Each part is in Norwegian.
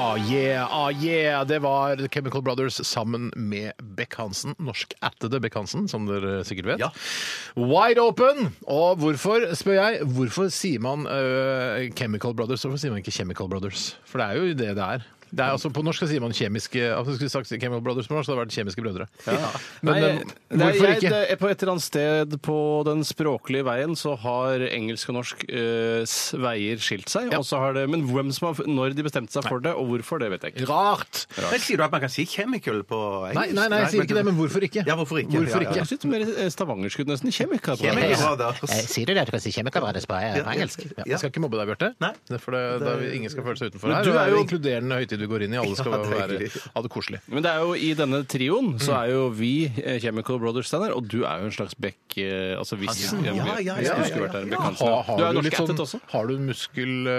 Ah yeah, ah yeah! Det var The Chemical Brothers sammen med Beck Hansen. Norsk-ættede Beck Hansen, som dere sikkert vet. Ja. Wide open! Og hvorfor, spør jeg, hvorfor sier man øh, Chemical Brothers? Hvorfor sier man ikke Chemical Brothers? For det er jo det det er. Det er altså, På norsk så sier man kjemiske altså Skulle sagt Chemical Brothers på norsk, så hadde det vært Kjemiske brødre. Men, Nei, men, nei, hvorfor jeg, ikke? det er På et eller annet sted på den språklige veien så har engelsk og norsk eh, s- veier skilt seg. Og så har det, men hvem som har, når de bestemte seg for det, og hvorfor, det vet jeg ikke. Rart! Men sier du at man kan si chemical på Nei, engelsk? nei, nei, jeg sier ikke det, men hvorfor ikke? Ja, hvorfor ikke? Hvorfor Ja, ja. ikke? Jeg synes det er mer eh, stavangerskudd nesten. Kjemiker. på Chemical det. Brothers. Sier du det at du kan si kjemikabades på engelsk? Ja. Jeg skal ikke mobbe deg, Bjarte. Nei. Det er For det, det er, ingen skal føle seg utenfor Men her. du og Det er er jo jo- inkluderende høytid du går inn i. Alle skal Ja, det er være, hyggelig. ha det koselig. Men det er jo i denne trioen så er jo vi eh, Chemical Brothers, Steinar, og du er jo en slags Beck eh, Altså hvis Hansen, ja, ja, ja, hvis ja, du ja, skulle vært der. Beck Hansen. Ha, du har, er du jo litt norsk sånn, ættet også. har du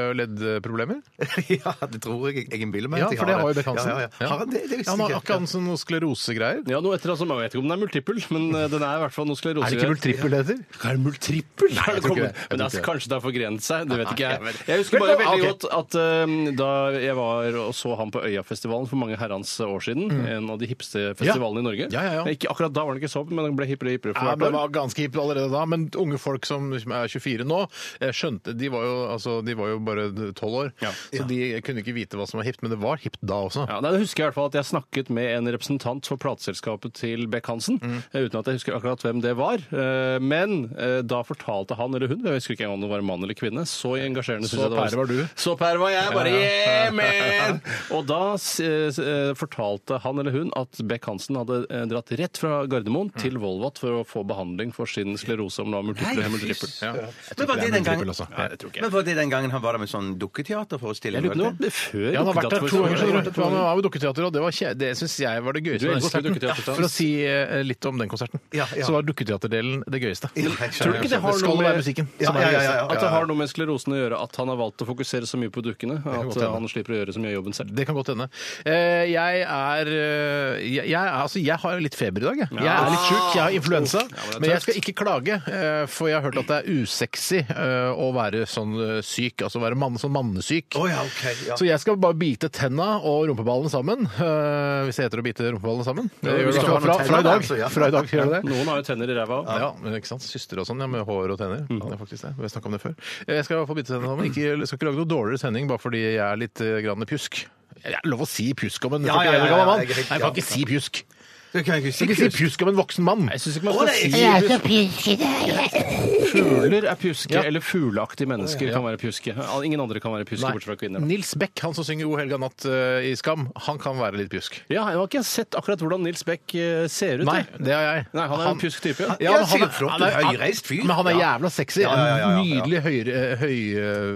muskel-leddproblemer? Ja, det tror jeg jeg innbiller meg. Ja, at jeg for det har jo Beck Hansen. Ja, ja, ja. Har han det? Det visste han har jeg akkurat sånn noe sklerosegreier. Ja, noe etter altså, Jeg vet ikke om den er multiple, men eh, den er i hvert fall noe sklerose. multippel det heter? Er det multrippel? Nei, jeg tror ikke det. Jeg Men det tror er ikke kanskje det har forgrenset seg. Det vet ikke Nei, jeg. jeg vet- Jeg husker bare Vel, veldig ok. godt at eh, da jeg var og så han på Øyafestivalen for mange herrens år siden, en av de hippeste festivalene i Norge Mm. Ja, ja, ja. Men Ikke akkurat da var den ikke så opp, men den ble hippere og hippere Ja, for men det hvert år. var ganske hipt allerede da, men unge folk som er 24 nå, eh, skjønte, de var jo, altså, de var jo bare 12 år, Ja. så de kunne ikke vite hva som var hipt, men det var hipt da også. Ja, nei, det husker jeg i hvert fall at jeg snakket med en representant for plateselskapet til Beck-Hansen, Mm. eh, uten at jeg husker akkurat hvem det var. Eh, Men eh, da fortalte han eller hun, jeg husker ikke engang om det var en mann eller kvinne, så engasjerende synes Så jeg det var. pære var du. Så pære var jeg, bare yeah, man! Og da eh, s- eh, fortalte han eller hun at Beck-Hansen hadde eh, dratt rett fra Mm. Gardermoen til Volvat for å få behandling for sin sklerose om det var multiple Nei, hemultrippel. fy søren. Jeg Men tror var ikke det det er den gangen multiple også. Nei, det tror ikke Men jeg. var det den gangen han var der med sånn dukketeaterforestilling? Jeg lurer på var det om det var før Ja, han har vært der to ganger. så Dukkedatt langt. Han var- var med dukketeater, og det, var kje- det syns jeg var det gøyeste. Du med den elsker konserten. dukketeater, Frans. For å si eh, litt om den konserten, Ja, ja. så var dukketeaterdelen det gøyeste. Ja, jeg skjønner. Tror du ikke det har Det noe skal være med musikken. Ja, som er ja, det ja, gøyeste. ja, At det har noe med sklerosen å gjøre at han har valgt å fokusere så mye på dukkene? At godt hende. han slipper å gjøre så mye av jobben selv? Det kan godt hende. Eh, Jeg er eh, jeg, jeg, er- altså, jeg har litt feber i dag, jeg. Jeg er litt sjuk, jeg har influensa. det er Men jeg tøft. skal ikke klage, eh, for jeg har hørt at det er usexy eh, å være sånn eh, syk, altså være mann, sånn mannesyk. Å ja, ok. Ja. Så jeg skal bare bite tenna og rumpeballene sammen. eh, hvis det heter å bite rumpeballene sammen. Det gjør hvis det du fra, har fra, noen fra i tenner, dag. altså, ja. Fra i dag gjør det det. Noen har jo tenner i ræva òg. Ja, men ikke sant? Søster og sånn, ja, med hår og tenner. Det er faktisk det. Vi har snakket om det før. Eh, Jeg skal i hvert fall bite tenna sammen. Ikke, jeg skal ikke lage noe dårligere sending bare fordi jeg er litt eh, grann pjusk. Jeg er lov å si pjusk om en Ja, 41 ja, ja, ja, år gammel mann. jeg er Nei, helt- jeg kan ja. ikke si pjusk. Jeg Du kan ikke si kan ikke si pjusk om en voksen mann. Jeg syns ikke man Å, skal nei, si jeg- fugler er pjuske, Ja. eller fugleaktige mennesker kan være pjuske. Ingen andre kan være pjuske, Nei. bortsett fra kvinner. Nils Beck, han som synger O helga natt eh, i Skam, han kan være litt pjusk. Ja, jeg har ikke sett akkurat hvordan Nils Beck eh, ser ut. Nei, jeg. det har jeg. Nei han er jo en pjusk type. Ja. Ja, men sikkert flott, han er- en høyreist fyr. Men han er Ja. jævla sexy. Ja, ja, ja, ja, ja. En Nydelig høyre- eh,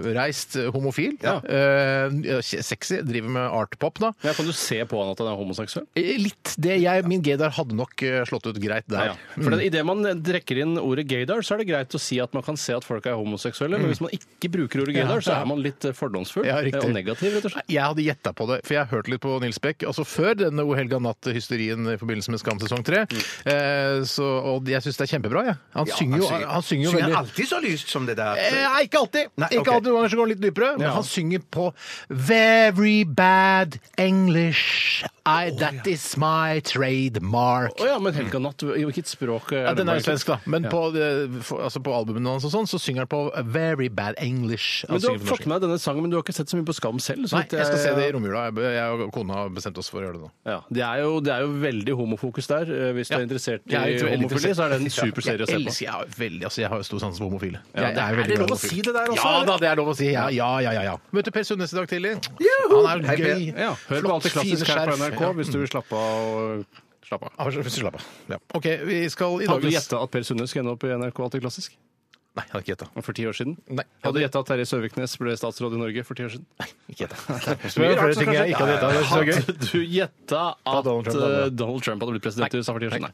høyreist homofil. Ja. Eh, sexy. Driver med artpop, da. Ja, kan du se på han at han er homoseksuell? Eh, Litt det jeg Min gaydar hadde nok eh, slått ut greit Ja, der. ja. For den- i Idet man trekker inn ordet gaydar, så er det greit å si at man kan se at folk er homoseksuelle, men hvis man ikke bruker ordet gaydar, så er man litt eh, fordomsfull Mm. Ja, eh, riktig. og negativ, rett og slett. Jeg hadde gjetta på det, for jeg hørte litt på Nils Beck. Altså Før denne O helga natt-hysterien i forbindelse med Skam sesong tre. Mm. eh, så- Og jeg syns det er kjempebra, jeg. Han Ja, synger jo, han synger jo veldig alltid så lyst som det der. Eh, Nei, ikke alltid. Nei, ikke ok. alltid Noen ganger så går han litt dypere. Men Ja. han synger på Very bad English. I, that is my trademark. Å ja, men Helga Natt, i hvilket språk er Ja, den er jo på? svensk, da. Men på, eh, for, altså på albumene hans og sånn, så synger han på Very bad English. Han Men du har synger på norsk. fått med deg denne sangen, men du har ikke sett så mye på Skam selv? så Nei, vidt jeg skal se det i romjula. Jeg- Jeg og kona har bestemt oss for å gjøre det nå. Ja, det, er jo, det er jo veldig homofokus der. eh, Hvis du Ja. er interessert i Jeg er jo veldig homofili, så er det en super Jeg serie å se på. elsker, jeg, har veldig, altså, jeg har jo stor sans for homofile. Ja, Jeg det er jo veldig det glad i lov homofile. å si det der også, Ja eller? da, det er lov å si. Ja, ja, ja. ja, ja. Møter Per Sundnes i dag tidlig. Han er Hei, Per. gøy. Ja, hør på alt det klassiske her på NRK hvis du vil slappe av. og- Slapp av. Ah, Slapp av. Ja. OK, vi skal i Hadde du dagens gjetta at Per Sundnes skulle ende opp i NRK Alltid Klassisk Nei, jeg hadde ikke gjetta. for ti år siden? Nei. Hadde du gjetta at Terje Søviknes ble statsråd i Norge for ti år siden? Ikke gjetta. Det var flere ting jeg ikke hadde gjetta. Det var så gøy. Hadde du gjetta at Donald Trump hadde eh, det. Donald Trump hadde blitt president i USA for ti år siden? Nei.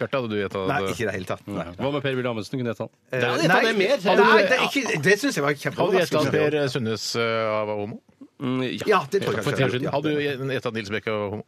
Bjarte, hadde du gjetta? Nei, det? ikke i det hele tatt. Nei, Hva med Per Willy Amundsen? Kunne du gjetta han? Eh, Der nei, gjettet jeg mer. Nei, det, er ikke- det syns jeg var Hadde du gjetta at kjempeoverraskende. Per Sundnes eh, var homo? Mm, ja. Ja, det tror jeg For kanskje. ti år siden. Ja. Hadde du gjetta at Nils Bech er homo?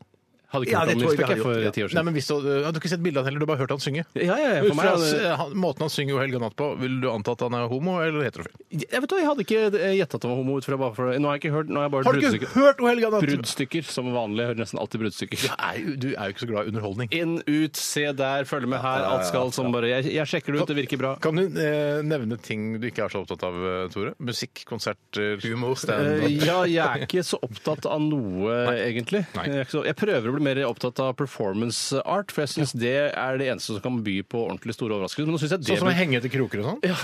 Hadde ikke Ja, hørt det om tror Nils jeg Beck jeg for hadde gjort, ti år Nei, siden. men hvis du, hadde du ikke sett bildet av han heller, du har bare hørt han synge? Ja, ja, ja, Ut for meg, fra hadde- s- han- måten han synger 'O helga natt' på, vil du anta at han er homo eller heterofil? jeg, vet, du hva, jeg hadde ikke gjetta at det var homo ut fra bare for Nå har jeg ikke hørt, nå har jeg bare Har du ikke bruddstykker. hørt 'O helga natt'? Bruddstykker som vanlig. Jeg hører nesten alltid bruddstykker. Du er jo- du er jo ikke så glad i underholdning. Inn, ut, se der, følg med her. Alt skal som bare Jeg, jeg sjekker det ut, det virker bra. Kan du eh, nevne ting du ikke er så opptatt av, eh, Tore? Musikk, konserter, humor, Eh, standup? ja, jeg er ikke så opptatt av noe, egentlig. Nei. Jeg, er ikke så, jeg prøver å bli mer opptatt av performance art, for jeg syns det er det eneste som kan by på ordentlig store overraskelser. Men nå synes jeg det Sånn som å blir- henge etter kroker og sånn? ja.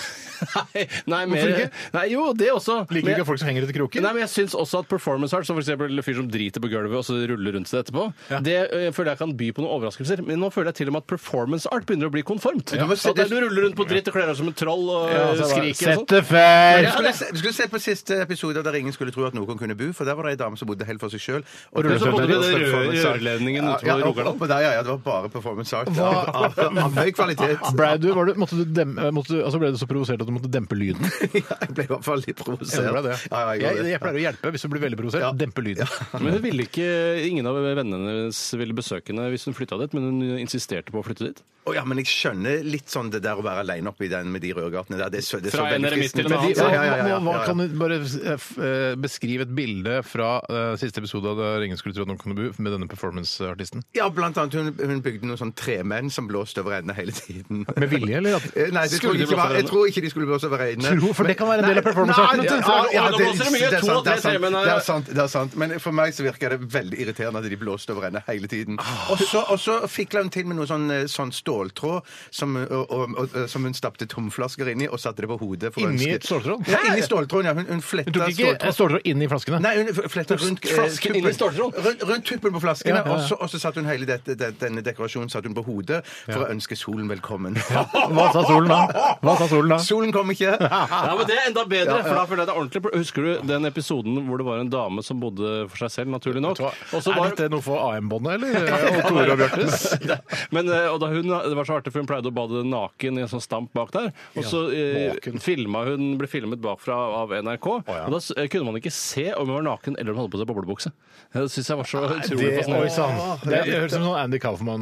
Nei, nei, mer ikke? Nei, jo, det også. Liker du Men- ikke folk som henger etter kroker? Nei, men jeg syns også at performance art, som f.eks. fyr som driter på gulvet og så ruller rundt seg etterpå, det ø, jeg føler jeg kan by på noen overraskelser. Men nå føler jeg til og med at performance art begynner å bli konformt. du må se- at du ruller rundt på dritt og kler deg som en troll og Ja, altså, ø, så bare, skriker og sånn. Sette fær! Vi skulle, se- vi skulle se på siste episode der ingen skulle tro at noen kunne bo, for der var det ei dame som bodde helt for seg sjøl. Og Men så Rullestol- bodde det Rullestol- den røde rørledningen Ja, utover ja, i opp- Rogaland. oppå der, ja, ja, det var bare performance art. Av, av høy kvalitet. Ble du, var du, måtte du dem, eh, måtte du, altså ble du så provosert at du måtte dempe lyden? Ja, jeg ble i hvert fall litt provosert. Jeg, det. Ja, ja, Jeg, gjorde det. jeg pleier å hjelpe hvis du blir veldig provosert. Ja. Dempe lyden. Men hun ville ikke, Ingen av vennene hennes ville besøke henne hvis hun flytta dit, men hun insisterte på å flytte dit. Å ja, men jeg skjønner litt sånn det der å være aleine oppi den med de rørgatene der. Det, så- det så Fra en veldig eremitt til en kristent annen, ut. Ja, ja, ja, ja, ja, Hva ja. kan du bare eh, f- eh, beskrive et bilde fra eh, siste episode av Der ingen skulle tro at noen kunne bo, med denne performanceartisten? Ja, blant annet hun, hun bygde noen sånn tremenn som blåste over ende hele tiden. Med vilje, eller? at- Eh, Nei, Skulle det tror de jeg, ikke blåse var, over jeg ende? tror ikke de skulle blåse over ende. Tror, for Men- det kan være en del av Nei, performancearten, nei, vet du. ja, ja, Å, nå det- blåser det mye. er To sant, og tre eh, det er sant, tremenn er- Det er sant, det er sant. Men for meg så virker det veldig irriterende at de blåste over ende hele tiden. Ah. Og så, og så fikla hun til med noe sånn, eh, sånn ståltråd som, og, og, og, som hun stappte tomflasker inn i og satte det på hodet. for å Inni ønske- et ståltråd? Ja, inni ståltråden, ja. Hun, hun fletta Hun tok ikke ståltråd. ståltråd inn i flaskene? Nei, hun fletta rundt eh, Flasken tuppen. inni ståltråden. Rundt, rundt tuppen på flaskene, Ja, ja, ja. og så- Og så satte hun hele dette, den- denne dekorasjonen satte hun på hodet for å ønske solen velkommen. Hva sa solen da? Hva sa solen da? Solen kom ikke. Ja, men Det er enda bedre, for da føler jeg det er ordentlig. Husker du den episoden hvor det var en dame som bodde for seg selv, naturlig nok? Og så Er var- dette noe for AM-båndet, eller? Og Tore og Bjørtes? Men, eh, og da hun, det var så artig, for hun pleide å bade naken i en sånn stamp bak der. Og så eh, naken. filma hun, ble filmet bakfra av NRK. ja. Og da s- eh, kunne man ikke se om hun var naken eller om hun hadde på seg boblebukse. Det syns jeg var så utrolig Det, oi, fascinerende. sann. det er- det høres ut som en sånn Andy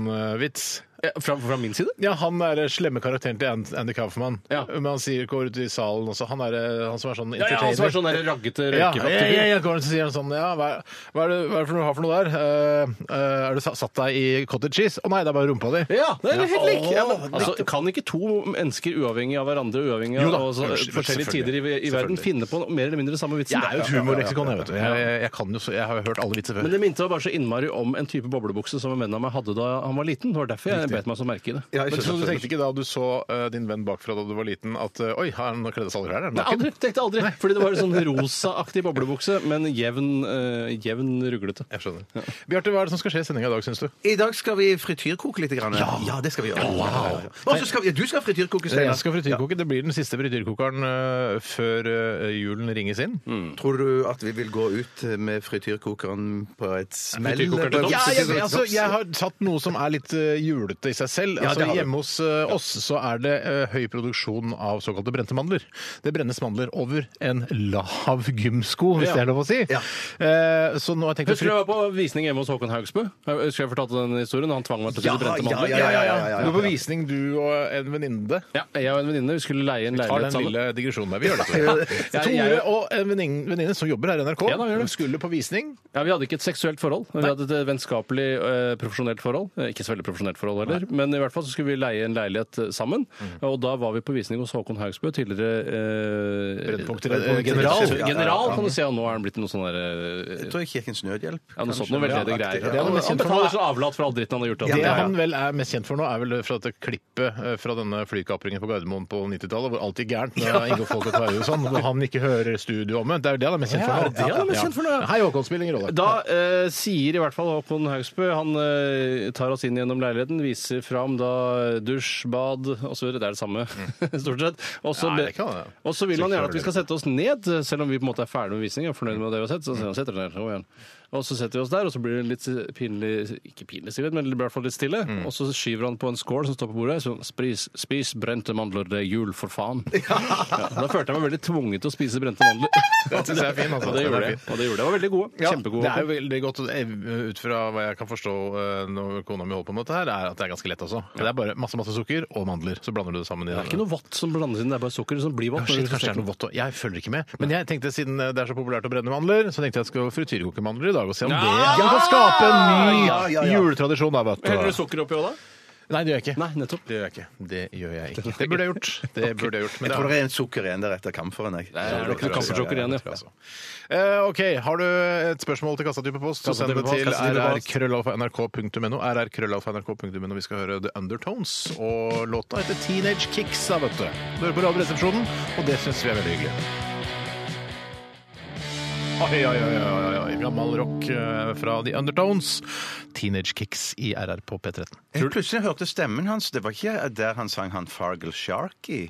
Kaufman-vits. Eh, Fra, fra min side? Ja, han er eh, slemme karakteren til And- Andy Kaufman. Ja. Men han sier, går ut i salen også. Han, er, eh, han som er sånn Ja, ja, han entertainer. som er sånn der raggete Ja, røykefaktor. ja, ja, ja, går han og sier han sånn Ja, hva er, hva er det hva er det for noe du har for noe der? Eh, eh, er du sa- satt deg i cottage cheese? Å nei, det er bare rumpa di. Ja, det er helt lik! Ja, men, Åh, altså, kan ikke to mennesker uavhengig av hverandre uavhengig Jo av da, og så- unnskyld, forskjellige tider i, i verden finne på mer eller mindre samme vitsen? Jeg er jo et humorleksikon, jeg, vet du. Jeg, jeg, jeg kan jo så, jeg har jo hørt alle vitser Men før. det minte meg bare så innmari om en type boblebukse som en venn av meg hadde da han var liten. Det var derfor jeg bet meg så merke i det. Ja, jeg Men så skjønner. du tenkte ikke da du så eh, din venn bakfra da du var liten, at eh, oi, han kledde seg aldri her? er han Nei, naken?» aldri, tenkte aldri. Fordi det var en sånn rosaaktig boblebukse, men jevn, eh, jevn ruglete. Jeg skjønner. Bjarte, hva er det som skal skje i sendinga i dag, syns du? I dag skal vi frityrkoke litt. Grann. Ja. det skal vi gjøre. Og så skal vi, du skal frityrkoke, Steinar. Jeg skal frityrkoke. Det blir den siste frityrkokeren øh, før øh, julen ringes inn. Ja. Tror du at vi vil gå ut med frityrkokeren på et smell? Frityrkokeren til På- topps? Ja, jeg, altså, jeg har tatt noe som er litt øh, julete i seg selv. Ja, det Altså, har du. hjemme hos øh, oss så er det øh, høy produksjon av såkalte brente mandler. Det brennes mandler over en lav gymsko, hvis Ja. det er lov å si. Ja. Eh, så nå har jeg tenkt å Husker du jeg var på visning hjemme hos Håkon Haugsbø? Husker jeg fortalte den historien? Han tvang meg til å Ja, spise brente ja, mandler. ja, ja, ja, ja, ja. Du var på visning, du og en venninne. Ja, jeg og en venninne vi skulle leie en Tar leilighet den sammen. lille digresjonen der. Vi gjør det. Tore. Ja, jeg- Tore og en venninne venninne som jobber her i NRK, Ja, da, gjør det. skulle på visning. Ja, Vi hadde ikke et seksuelt forhold, men vi hadde et eh, vennskapelig, eh, profesjonelt forhold. Eh, Ikke så veldig profesjonelt forhold heller, men i hvert fall så skulle vi leie en leilighet eh, sammen. Mhm. Og da var vi på visning hos Håkon Haugsbø, tidligere eh, Brennpunkt til- eh, eh, general. general. Ja, Mhm. ja, ja. General, kan du si. Og nå er han blitt noe sånn der Jeg eh, tror Kirkens Nødhjelp. Ja, noe sånt kanskje. noe veldedige Ja, sånn greier. det er noe Han- mest Han kjent for betaler nå. så avlat for all dritten han har gjort. altså. Ja, Det ja, ja. han vel er mest kjent for nå, er vel fra dette klippet eh, fra denne flykapringen på Gardermoen på 90-tallet, hvor alt gikk gærent med Inge Folke Tveide og sånn, hvor han ikke hører studio om det. Det er jo det han er mest kjent for nå. Ja, det er det han er mest kjent for nå, ja. Hei, Håkon, spiller ingen rolle. Da eh, sier i hvert fall Håkon Haugsbø Han eh, tar oss inn gjennom leiligheten, viser fram da dusj, bad osv. Det er det samme, stort sett. Og så Mm. Nei, be- det kan det. og så vil han gjerne at vi skal sette oss ned, selv om vi på en måte er ferdig med visningen. er fornøyd med det vi har sett, så sier han, «Sett dere ned. Kom igjen. Og så setter vi oss der, og så blir det litt eh, pinlig Ikke pinlig stillhet, men det blir i hvert fall litt stille. Mm. Og så skyver han på en skål som står på bordet. Så spis, spis brente mandler, det er jul, for faen. Ja. da følte jeg meg veldig tvunget til å spise brente mandler. Det synes jeg er fin, altså. Og det gjorde Den er jeg. Og det gjorde jeg. Det var veldig gode. Ja, Kjempegode. Det er jo veldig godt, og det er- ut fra hva jeg kan forstå eh, når kona mi holder på med dette her, er at det er ganske lett også. Det er bare masse, masse sukker og mandler, så blander du det sammen i Det er ikke noe vått som blandes inn, det er bare sukker som Ja, blir vått. shit, kanskje det er noe vått også. Jeg følger ikke med. Men jeg tenkte, siden eh, det er så populært å brenne mandler, så tenkte jeg at jeg skulle frityrkoke mandler i dag og se om det Ja! kan skape en ny Ja, ja, ja. juletradisjon. Da, vet Heller du. du sukker oppi òg, da? Nei, det gjør jeg ikke. Nei, nettopp. Det gjør jeg ikke. Det gjør jeg ikke. Det burde jeg gjort. Det burde jeg gjort. Jeg Men tror det det er en sukker igjen der etter kamferen. Jeg. Det er nok noe kamfersukker igjen, ja. Eh, OK. Har du et spørsmål til kassatype post, så send det til rrkrøllalfa.nrk.no. rrkrøllalfa.nrk.no. Vi skal høre The Undertones, og låta heter Teenage Kicks, da, vet du. Du hører på Radioresepsjonen, og det syns vi er veldig hyggelig. Oi, oi, oi, oi, oi. Gammel rock eh, fra The Undertones. Teenage Kicks i RR på P13. Jeg plutselig hørte stemmen hans. Det var ikke der han sang han Fargal Sharky.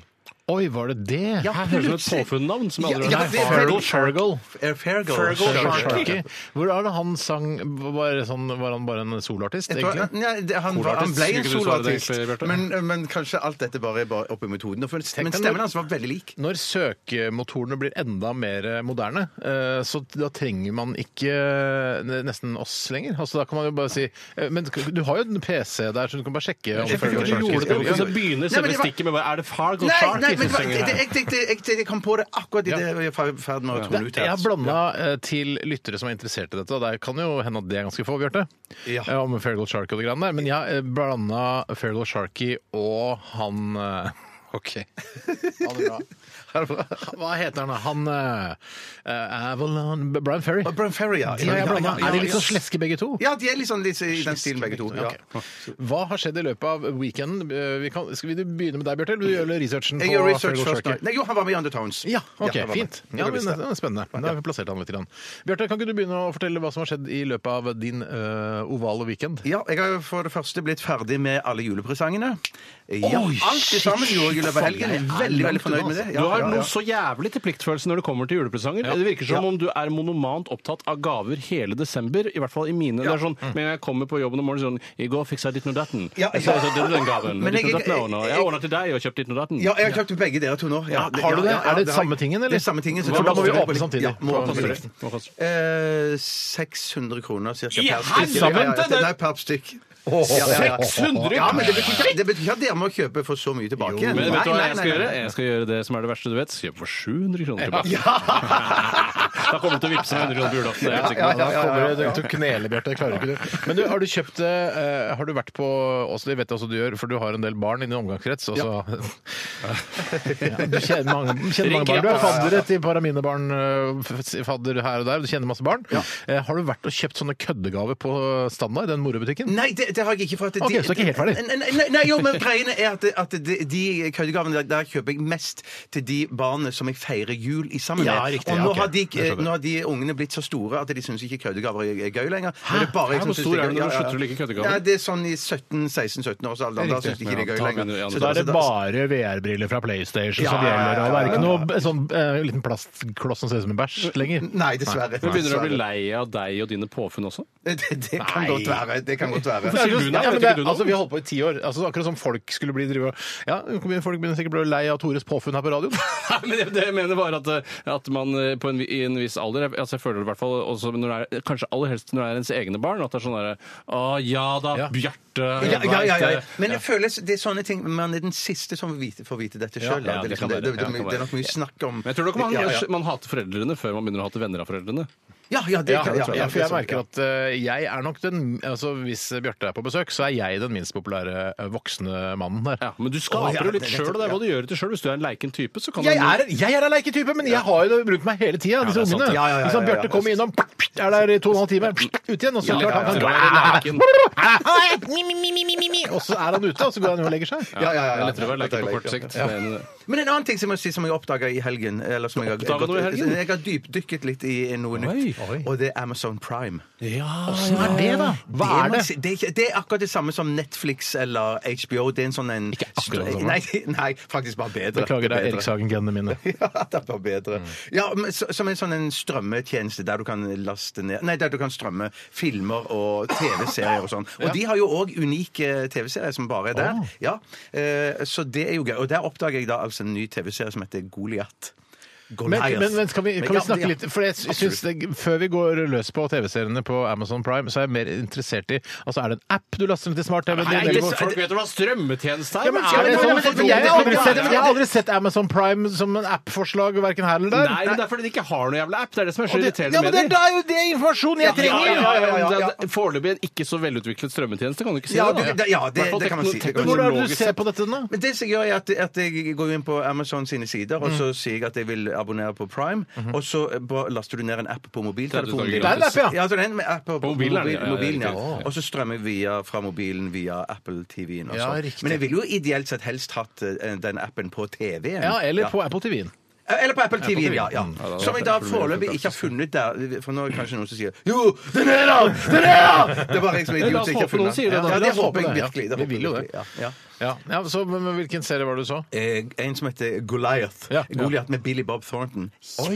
Oi, var det det? Her høres det ut som et påfunnnavn som jeg aldri Ja, har ja, hørt. det- Fergal Fergal. Er Fargal Fergal Sharkey. Hvor er det han sang var, det sånn, var han bare en soloartist, Jeg tror- egentlig? Nei, det, han, var- han Soloartist, ble skulle en du svare det soloartist, egentlig, Bjarte? men, eh, men kanskje alt dette bare er bare oppi metodene. For, men deg stemmen når- hans var veldig lik. Når søkemotorene blir enda mer moderne, eh, så da trenger man ikke eh, nesten oss lenger. Altså, da kan man jo bare si eh, Men du har jo en PC der, så du kan bare sjekke om Jeg Fergal føler du Sharkey gjorde det, skriver. Og så begynner Nei, men selve det var- stikket med bare, Er det Fargo Nei, Shark? nei, men som synger det, her? det, jeg, tenkte- jeg, tenkte- jeg kom på det akkurat idet jeg var i ferd med å tone ut Det, jeg har her. blanda eh, til lyttere som er interessert i dette, og det kan jo hende at det er ganske få, Bjarte. Ja. Eh, Om Fairgold Sharky og det greiene der. Men jeg har blanda Fairgold Sharky og han eh, OK. Ha det bra. Hva heter han, da? Han eh, eh, Avalon Brian Ferry. Og Brian Ferry, ja. De har jeg Ja, blanda. ja, ja, Er de litt ja. sånn sleske, begge to? Ja, de er litt sånn litt i den stilen, begge to. Ja. Ok. Hva har skjedd i løpet av weekenden? Eh, Vi kan, skal vi begynne med deg, Bjarte? Eller vil du gjøre researchen på Jeg gjør research Fairgold først. Sharky? nå. Nei, jo, han var med i Undertones. Ja, ok, han var med. fint. Det Ja, var men, visst det. det er spennende. Da har vi plassert han litt. grann. Bjarte, kan ikke du begynne å fortelle hva som har skjedd i løpet av din øh, ovale weekend? Ja, jeg har jo for det første blitt ferdig med alle julepresangene. Ja, Oi, alt det sammen gjorde jeg i løpet av helgen. Jeg er Veldig, veldig fornøyd altså. med det. Du Ja, har ja, ja. noe så jævlig til pliktfølelse når det kommer til julepresanger. Det virker som om du er monomant opptatt av gaver hele desember. I hvert fall i mine. Det er sånn, Men jeg kommer på jobben om morgenen sånn I går fiksa jeg ditt og datten. Mm. Ja, Jeg sa, ja. så denne den gaven. Men Ditt jeg- og datten er ordnet. jeg- Jeg ordna til deg og kjøpte ditt og datten. Ja, jeg har kjøpt begge dere to nå. Ja, Har du det? Er det har samme jeg. tingen, eller? Det er samme tingen. så For da må vi det- åpne samtidig. Ja, må Hva åpne koster samtidig. Hva koster Eh, 600 kroner cirka I per stykk. helvete, det- Nei, per stykk. Ja, ja, ja. 600 Ja, men det betyr, ikke, det betyr ikke at dere må kjøpe for så mye tilbake. Men Nei, vet du hva nei, jeg nei, skal gjøre? nei. Jeg skal gjøre det som er det verste du vet. Kjøpe for 700 kroner tilbake. da kommer du til å vippse meg 100 kroner på julaften. det er jeg helt sikker på. Ja, da kommer du til å knele, Bjarte. Det klarer ikke du. Men du, har du kjøpt det øh, Har du vært på også, Jeg vet også du gjør, for du har en del barn i din omgangskrets. Og så, ja. Du kjenner mange, kjenner mange barn. Du er faddere til paraminebarn, øh, f- fadder her og der. og Du kjenner masse barn. Eh, Har du vært og kjøpt sånne køddegaver på Standard, den morobutikken? Nei, det, det har jeg ikke. For at de, Ok, så er ikke helt ferdig. Nei, nei, nei, jo, men greiene er at, at de, de køddegavene der, der kjøper jeg mest til de barna som jeg feirer jul i sammen med. Ja, riktig, og ja, nå, ok. har de, Jeg skjønner. nå har de ungene blitt så store at de syns ikke køddegaver er- er gøy lenger. Men det er bare Hæ? jeg som Hvor synes stor er det du når gøy. du slutter å like køddegaver? Nei, det er sånn i 17-16-17 års alder. Da syns de ikke det er gøy Ja, ta lenger. begynner- ja, Så Da er det så bare VR-briller fra PlayStation som Ja, ja, ja, gjelder. Og det er ja, ikke ja, ja. noe b- sånn eh, liten plastkloss som ser ut som en bæsj lenger. Nei, dessverre. Men Begynner du å bli lei Dessverre. av deg og dine påfunn også? Det, det kan Nei. godt være. Det kan godt være. Hvorfor sier du nei? Ja, men Vet ikke det, du noe? altså, vi har holdt på i ti år. Altså, akkurat som folk skulle bli drive og Ja, folk begynner sikkert å bli lei av Tores påfunn her på radioen. Nei, men det- det jeg mener bare at, eh, at man eh, på en, vi- i en viss alder jeg- altså Jeg føler det i hvert fall også når det er, kanskje aller helst når det er ens egne barn. At det er sånn derre Å ja da, Ja. Bjarte. Ja, jeg ja, vet ja, ja. det». Men jeg føler det er sånne ting Man er den siste som får vite, får vite dette sjøl. Ja, ja, det, er det liksom, kan det, være. Ja, det det, det, kan det er nok mye snakk om Men jeg tror nok man, ja, ja. man hater foreldrene før man begynner å hate venner av foreldrene. Ja, ja, det Ja, kan ja, ja, for jeg merker at eh, jeg er nok den altså Hvis Bjarte er på besøk, så er jeg den minst populære eh, voksne mannen der. Ja, men du skaper Å, ja, jo litt det er sjøl, og det er nettopp, hva du gjør til sjøl. Hvis du er en leiken type, så kan Jeg du er, jeg er en leiketype, men jeg har jo det rundt meg hele tida, disse det er sant. ungene. Ja, ja, ja, Ikke sant? ja, ja. Bjarte kommer innom, er der i to og en halv time, ut igjen, og så klart han lettere å kan være leiken. Og så er han ute, og så går han jo og legger seg. ja, ja, ja, ja. Det er lettere å være leiken på kort sikt. eh, Det er en- Men en annen ting som jeg, må si, som jeg oppdaga i helgen eller som jeg, har- oppdaget gått- noe i helgen? Jeg har dypdykket litt i noe nytt, oi. og det er Amazon Prime. Ja, Hva er det, da? Hva det, er må jeg det? si- Det, er ikke- det er akkurat det samme som Netflix eller HBO. Det er en sånn en Ikke akkurat det samme. Nei, nei, faktisk bare bedre. Beklager, det er Bedre. Erik Sagen-genene mine. Ja, det var bedre. Mm. Ja, men, så, som en sånn en strømmetjeneste der du kan laste ned Nei, der du kan strømme filmer og TV-serier og sånn. Og de har jo òg unike TV-serier som bare er der. Ja, eh, Så det er jo gøy. Og der oppdager jeg da altså en ny TV-serie som heter Goliat. Men, Goliath. men, men skal vi, kan vi ja, snakke ja. litt For jeg sy- synes det, Før vi går løs på TV-seriene på Amazon Prime, så er jeg mer interessert i Altså, Er det en app du laster ned til smart-TV? Nei, Det- det- ikke- folk vet jo hva strømmetjeneste er! Ja, men Hva skal er vi- men- det for men- noe? men Jeg har aldri sett- jeg har aldri sett Amazon Prime som en app-forslag, verken her eller der. Nei, men det er fordi de ikke har noe jævla app. Det er det som er så Og det- ja, men irriterende med det er dem. da jo det informasjonen jeg Ja, trenger! ja, ja, ja, ja, men ja. det er Foreløpig en ikke så velutviklet strømmetjeneste, kan du ikke si Ja, det? da? du- det- ja, det- I hvert fall det kan man tekno- si. Men Det kan man si. Hvordan er det du teknologisk ser på dette nå? Men det som jeg gjør er at, at jeg går inn på Amazon sine sider, Mm. og så sier jeg at jeg vil abonnere på Prime, Mhm. og så eh, bare laster du ned en app på mobiltelefonen Det din. er en app, ja. ja så det er en app på, på mobilen, mobil, ja, ja, mobilen, ja. riktig. Og så strømmer jeg via, fra mobilen via Apple TV-en og Ja, sånn. riktig. Men jeg ville jo ideelt sett helst hatt eh, den appen på TV-en. Ja, eller på Apple TV-en. Eller på Apple TV-en, ja. ja. da- Som jeg da Apple TV er foreløpig ikke har fantastisk. funnet der. For nå er det kanskje noen som sier Jo, den er der! Den er der! Det var jeg som la oss idiot som ikke håpe noen har funnet sier det, da. Ja, La det oss håpe håper jeg det, ja. virkelig. Vi håper jeg vil jo det. virkelig, ja. Ja. Ja, ja så, men, men Hvilken serie var det du så? Eh, en som heter Goliath. Ja. Goliath med Billy Bob Thornton.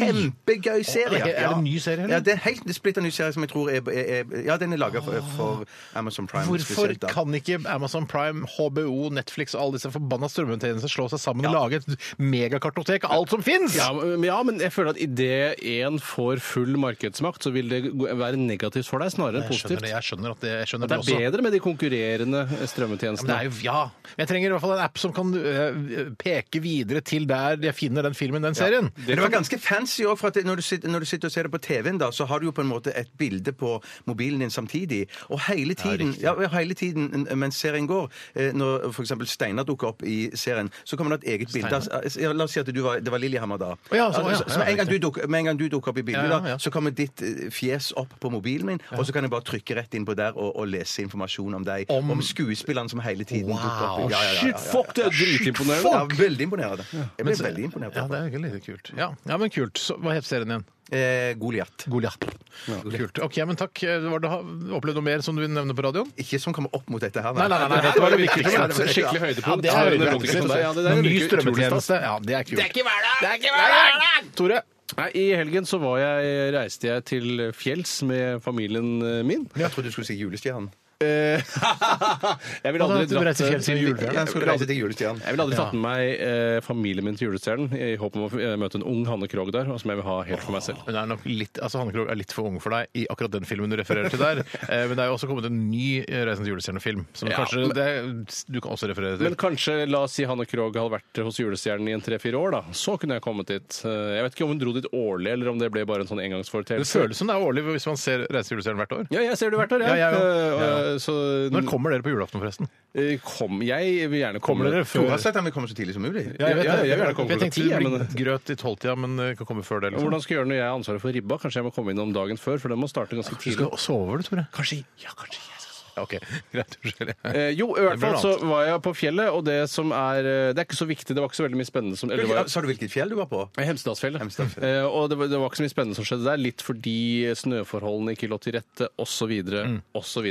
Kjempegøy serie! Er det- er det en ny serie, eller? Ja, det er helt en splitter ny serie som jeg tror er, er, er Ja, den er laga for, for Amazon Prime. Hvorfor spesielt, da. kan ikke Amazon Prime, HBO, Netflix og alle disse forbanna strømmetjenestene slå seg sammen og lage et megakartotek av alt som fins? Ja, men- ja, men jeg føler at idet én får full markedsmakt, så vil det gå- være negativt for deg snarere enn Jeg skjønner, positivt. det, jeg skjønner at det, jeg skjønner At det det også. er bedre med de konkurrerende Ja, Men det strømmetjenestene. er jo, ja. Men Jeg trenger i hvert fall en app som kan øh, peke videre til der jeg finner den filmen, den serien. Men det var ganske fancy òg, for at når du, sitter, når du sitter og ser det på TV-en, da, så har du jo på en måte et bilde på mobilen din samtidig. Og hele tiden, ja, hele tiden mens serien går, eh, når f.eks. Steinar dukker opp i serien, så kommer det et eget bilde. av- Ja, la oss si at du var, det var Lillehammer da. Å ja, så- Altså, å ja, så- ja, så med en gang du riktig. dukker- med en gang du dukker opp i bildet, Ja, ja, da, ja. så kommer ditt eh, fjes opp på mobilen min, og så kan jeg bare trykke rett inn på der og, og lese informasjon om deg. Om- Om, skuespilleren som hele tiden Wow. dukker opp. Ja, ja, ja, ja, Shit, ja. fuck, det er dritimponerende! Ja, veldig imponerende. Jeg ble veldig imponert. Ja, det er jo litt kult. Ja, ja men kult. Så, hva het serien igjen? Eh, Goliat. Goliat. Kult. OK, men takk. Eh, Var det, har du opplevd noe mer som du vil nevne på radioen? Ikke som kommer opp mot dette her, Nei, nei, nei, nei, dette var det viktigste. Ja, det var det, ja. Skikkelig Ja, høydepunkt. det er Ja, det er høydepunkt. høydepunkt. Ja, det der Noen ny virker utrolig stas. strømmetjeneste. Ja, det er kult. ikke hverdag! Det er ikke hverdag! Tore. Nei, I helgen så var jeg, reiste jeg til fjells med familien eh, min. Eh, Jeg trodde du skulle si julestjernen. jeg ville Hva da, aldri du dratt eh, reiser til fjells i Jeg julefjell? Jeg skulle ville reise aldri- til julestjernen. jeg ville aldri tatt med meg eh, familien min til Julestjernen i håp om å eh, møte en ung Hanne Krogh der, og som jeg vil ha helt for meg selv. Hun er nok litt, altså Hanne Krogh er litt for ung for deg i akkurat den filmen du refererer til der. Eh, Men det er jo også kommet en ny eh, Reisen til julestjernen-film, som Ja, kanskje det, du kan også referere til. Men kanskje, la oss si Hanne Krogh hadde vært hos Julestjernen i en tre-fire år, da. Så kunne jeg kommet dit. Eh, Jeg vet ikke om hun dro dit årlig, eller om det ble bare en sånn det engangsforeteelse. føles som det er årlig hvis man ser Reisen til julestjernen hvert år. Ja, jeg ser det hvert år, jeg. Ja, jeg Eh, òg. og, Jeg eh, Så Når kommer dere på julaften, forresten? eh, kom Jeg vil gjerne komme. Kommer dere før Tore har sagt han vil komme så tidlig som mulig. Ja, jeg vet det. Jeg vil gjerne komme Jeg klokka tenkte ti, det jeg, blir men- grøt i tolvtida, men eh, kan komme før det. Og Liksom. Hvordan skal jeg gjøre når jeg har ansvaret for ribba? Kanskje jeg må komme innom dagen før, for den må starte ganske Du tidlig. skal sove, du, Tore? Kanskje. Ja, kanskje. jeg skal sove. Ja, OK. Greit. Unnskyld. Eh, jo, i hvert Det blir fall noe så var jeg på fjellet, og det som er eh, Det er ikke så viktig, det var ikke så veldig mye spennende som eller, det var, Sa du hvilket fjell du var på? Hemsedalsfjellet. Hemsedalsfjellet. Eh, og det var, det var ikke så mye spennende som skjedde der, litt fordi snøforholdene ikke lå til rette, osv., Mm. osv.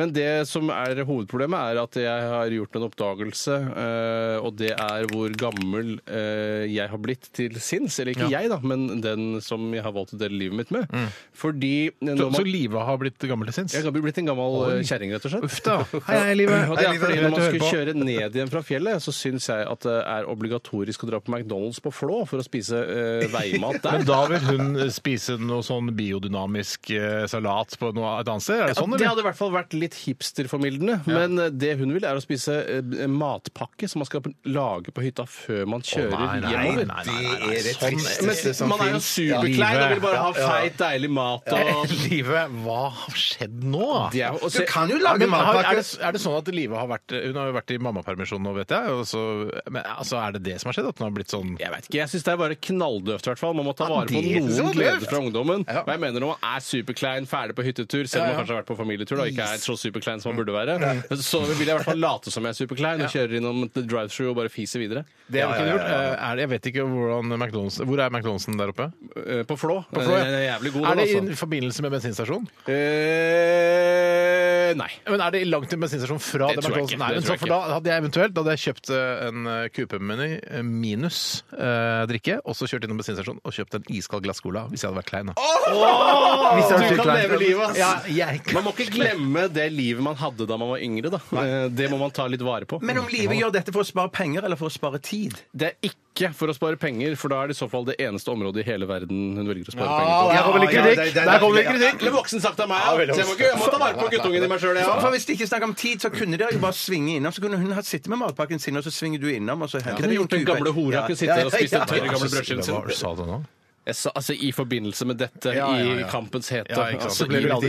Men det som er hovedproblemet, er at jeg har gjort en oppdagelse, eh, og det er hvor gammel eh, jeg har blitt til sinns. Eller ikke jeg, da, men den som jeg har valgt å dele livet mitt med. Fordi når Mm. Så, man, så Liva har blitt gammel til sinns? Jeg har blitt en gammel eh, kjerring, rett og slett. Uff da. Hei, hei, Liva. Og det Hei, er Liva. fordi Greit Når man å høre skulle på. kjøre ned igjen fra fjellet, så syns jeg at det er obligatorisk å dra på McDonald's på Flå for å spise eh, veimat der. Men da vil hun eh, spise noe sånn biodynamisk eh, salat på noe, et annet sted? Er det sånn, det eller? hadde i hvert fall vært litt hipsterformildende. Men eh, det hun vil, er å spise eh, matpakke som man skal lage på hytta før man kjører nei, nei, hjemover. nei, Det er det Sånn- tristeste Men som man er jo fins. superklein og vil bare ha Ja, ja. feit, deilig mat og Livet, hva har skjedd nå? Det er jo- og Du se- kan kan jo lage Men har, er, matpakke. det, er det sånn at Live har vært Hun har jo vært i mammapermisjon nå, vet jeg. Og så, men altså, er det det som har skjedd? At hun har blitt sånn Jeg vet ikke, jeg syns det er bare knalldøvt, i hvert fall. Man må ta vare på det er så noen døvt. gleder fra ungdommen. Ja. Og jeg mener når man er superklein, ferdig på hyttetur, selv om Ja, Mm. ja. man kanskje har vært på familietur da, og ikke er så superklein som man burde være, så vil jeg i hvert fall late som jeg er superklein og kjører innom the drive-through og bare fiser videre. Det har vi ikke gjort. Eh, Er det, jeg vet ikke hvordan McDonald's Hvor er McDonald'sen der oppe? Eh, På Flå. På Flå, ja. Den er jævlig god, er det den, i altså. forbindelse med bensinstasjon? Eh, nei. Men er det langt til bensinstasjon fra Det det tror jeg McDonald's? ikke. Nei, Det men tror så jeg for da ikke. hadde jeg eventuelt da hadde jeg kjøpt eh, en eh, kupemeny eh, minus eh, drikke, og så kjørt innom bensinstasjonen og kjøpt en iskald glass cola hvis jeg hadde vært klein. da. Hvis det Du er så kan kleint. leve livet, ass. Ja, jeg kan. Man må ikke glemme det livet man hadde da man var yngre. da. Eh, Det må man ta litt vare på. Men om livet gjør dette for å spare penger eller for å spare tid? Det er ikke for å spare penger, for da er det i så fall det eneste området i hele verden hun velger å spare der penger på. kommer det Ja, ja, det- kritikk! det- Der kommer det det- kritikk! Det ble voksen sagt av meg. Ja, veldig så jeg må, ikke, jeg må ta vare på guttungen i meg sjøl, jeg For, for òg. Hvis det ikke snakker om tid, så kunne dere jo bare svinge innom. Så kunne hun hatt sittet med matpakken sin, og så svinger du innom, og så henter Kunne du gjort den gamle hora kunne sitte der og spist den tørre gamle brødskiven Hva sin. sa du nå? Jeg sa, altså, I forbindelse med dette, Ja, ja, ja. i kampens hete. Ja, ikke sant. altså, Så ble det i- litt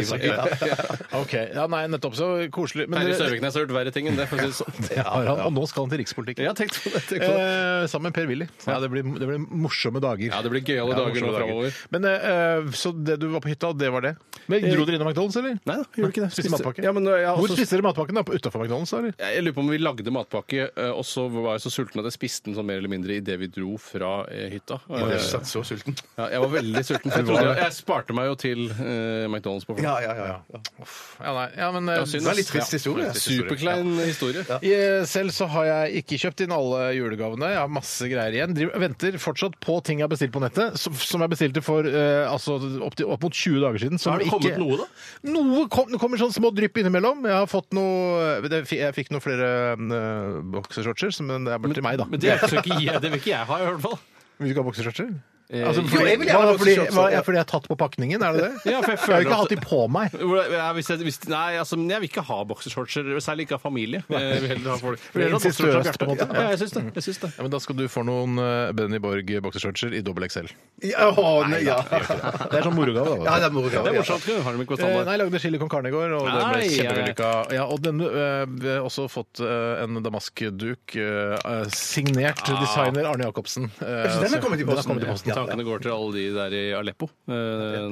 Ja. OK. Ja, nei, nettopp. Så koselig. Men Terje dere- Søviknes har gjort verre ting enn det. for å si det sånn. Ja, ja, og nå skal han til rikspolitikken. Ja, tenk på det, tenk på det. Eh, sammen med Per Willy. Ja, det, blir, det blir morsomme dager. Ja, det blir gøyale Ja, dager nå morsomme framover. Men, eh, så det du var på hytta, det var det? Eh, Men Dro dere innom McDonald's, eller? Nei da, gjorde ikke det. Spiste matpakke? Ja, altså- men, jeg har Hvor også- spiste dere matpakken? da? På- Utenfor McDonald's, da, eller? Jeg lurer på om vi lagde matpakke, eh, og så var jeg så sulten at jeg spiste den sånn mer eller mindre idet vi dro fra eh, hytta. Jeg Eh, satt så sulten. Ja, jeg var veldig sulten. For jeg, trodde, jeg sparte meg jo til eh, McDonald's på Ja, Flå. ja, ja. Ja, nei, ja, men, eh, Ja, synd, Det var litt trist historie. Superklein historie. Eh, Selv så har jeg ikke kjøpt inn alle julegavene. Jeg har masse greier igjen. Driver, venter fortsatt på ting jeg har bestilt på nettet, som, som jeg bestilte for eh, altså, opp, til, opp mot 20 dager siden. Som Har det kommet noe, da? Noe kom, det kommer sånn små drypp innimellom. Jeg har fått noe det, Jeg fikk noen flere uh, boksershortser, som- men det er bare til meg, da. Men det, er ikke så ikke, jeg- det vil ikke jeg ha, i hvert fall. Vil du ikke ha boksershortser? Eh, Altså, jo, jeg hva- vil gjerne ha fordi, boksershorts, hva- ja. ja, fordi jeg har tatt på pakningen, er det det? Ja, for har jeg jo føler ikke at- hatt de på meg. Hvor- ja, hvis jeg, hvis, nei, altså, men jeg vil ikke ha boksershortser, særlig ikke av familie. Jeg vil heller ha folk. Jeg vil heller ha Incestuøst, boksershortser av på en måte. Bjarte. Ja, jeg syns det. Jeg syns det. Ja, men Da skal du få noen eh, Benny Borg boksershortser i dobbel XL. Ja, å, nei, ja. Det er sånn morogave. da. ja det er moro. Det er Ja. morsomt. Har de ikke på Eh, standard? nei, jeg lagde chili con carne i går, og det Nei, ble ja, ja. kjempevellykka. Ja, og den, eh, vi har også fått eh, en damaskduk eh, eh, signert designer Arne Jacobsen. Eh, Så den så- har kommet i posten? Den har kommet i posten. Ja. Tankene går til alle de der i Aleppo. eh,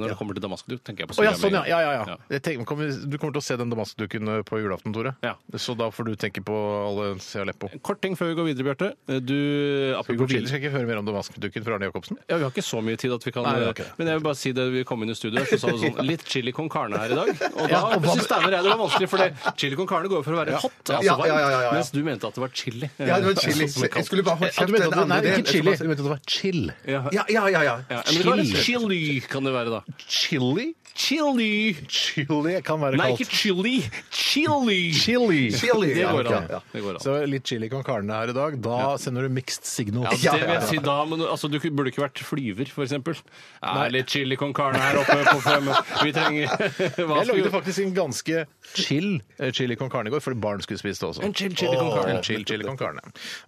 Når det kommer til Damaskus, tenker jeg på Å ja, Syria sånn, ja. med en ja, gang. ja, ja. Jeg tenker- kommer, du kommer til å se den damaskduken eh, på julaften, Tore. Ja. Så da får du tenke på alle Se Aleppo. Kort ting før vi går videre, Bjarte. Eh, Du, Vi går apropos videre, chili skal ikke høre mer om damaskduken fra Arne Jacobsen. Ja, Vi har ikke så mye tid at vi kan eh, Nei, vi har ikke det. Men jeg vil bare si det, vi kom inn i studio her, så sa du sånn Litt chili con carne her i dag. Og da Ja, og hva- synes Steinar jeg det var vanskelig, for det, chili con carne går jo for å være hot, altså Ja, varmt, ja, ja, ja, ja. mens du mente at det var chili. Ja, det var Eh, chili. sånn som det Jeg kalles. skulle bare holdt Ja, du kjeft mente den at det, nei, andre delen. ikke chili. Du mente at det var chill. Ja, ja, Ja, ja, ja. ja. men det var Chili. chili kan det være, da. Chili? Chili! Chili kan være Nei, ikke kalt. chili. Chili! Chili. Chili. Det går Ja, an. ok, ja. Det går an. Så litt chili con carne her i dag. Da sender du mixed signal. Ja, det vil jeg si da, men altså, Du burde ikke vært flyver, f.eks. Er litt chili con carne her oppe på fem Vi trenger Hva Jeg lagde skulle- faktisk en ganske chill eh, chili con carne i går, fordi barn skulle spise det også. En chill chili con carne. En chill chili con carne.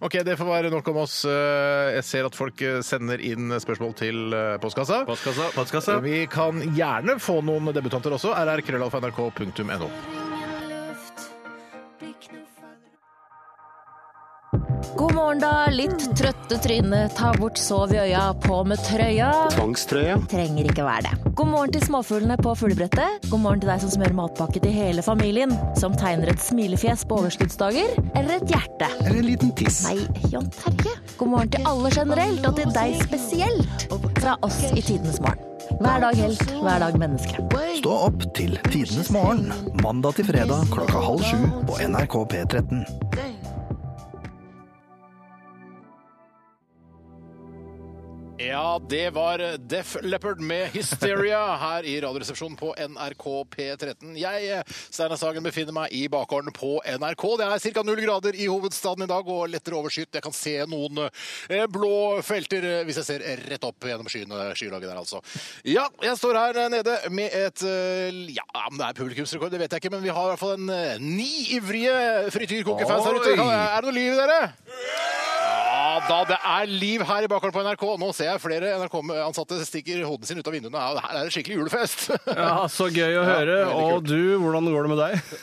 OK, det får være nok om oss. Eh, Jeg ser at folk eh, sender inn spørsmål til eh, postkassa. Postkassa. Postkassa. Vi kan gjerne få noen debutanter også. rrkrøllalfa.nrk.no. God morgen, da. Litt trøtte trynet. Ta bort sov i øya, på med trøya. Tvangstrøye. Trenger ikke være det. God morgen til småfuglene på fuglebrettet. God morgen til deg som smører matpakke til hele familien. Som tegner et smilefjes på overskuddsdager. Eller et hjerte. Eller en liten tiss. Nei, Jan Terje. God morgen til alle generelt, og til deg spesielt. Fra oss i Tidenes morgen. Hver dag helt, hver dag menneske. Stå opp til Tidenes morgen. Mandag til fredag klokka halv sju på NRK P13. Ja, det var Def Leppard med 'Hysteria' her i Radioresepsjonen på NRK P13. Jeg, Steinar Sagen, befinner meg i bakgården på NRK. Det er ca. null grader i hovedstaden i dag og lettere overskyet. Jeg kan se noen eh, blå felter eh, hvis jeg ser rett opp gjennom skyene, skylaget der, altså. Ja, jeg står her nede med et eh, Ja, om det er publikumsrekord, det vet jeg ikke, men vi har i hvert fall en eh, ni ivrige frityrkokefans her ute. Oi! Er det noe liv i dere? Ja, Ja da, det er liv her i bakgården på NRK. Nå ser jeg flere NRK-ansatte stikker hodet sin ut av vinduene. Ja, Her er det skikkelig julefest! Ja, Så gøy å høre. veldig Og kult. du, hvordan går det med deg?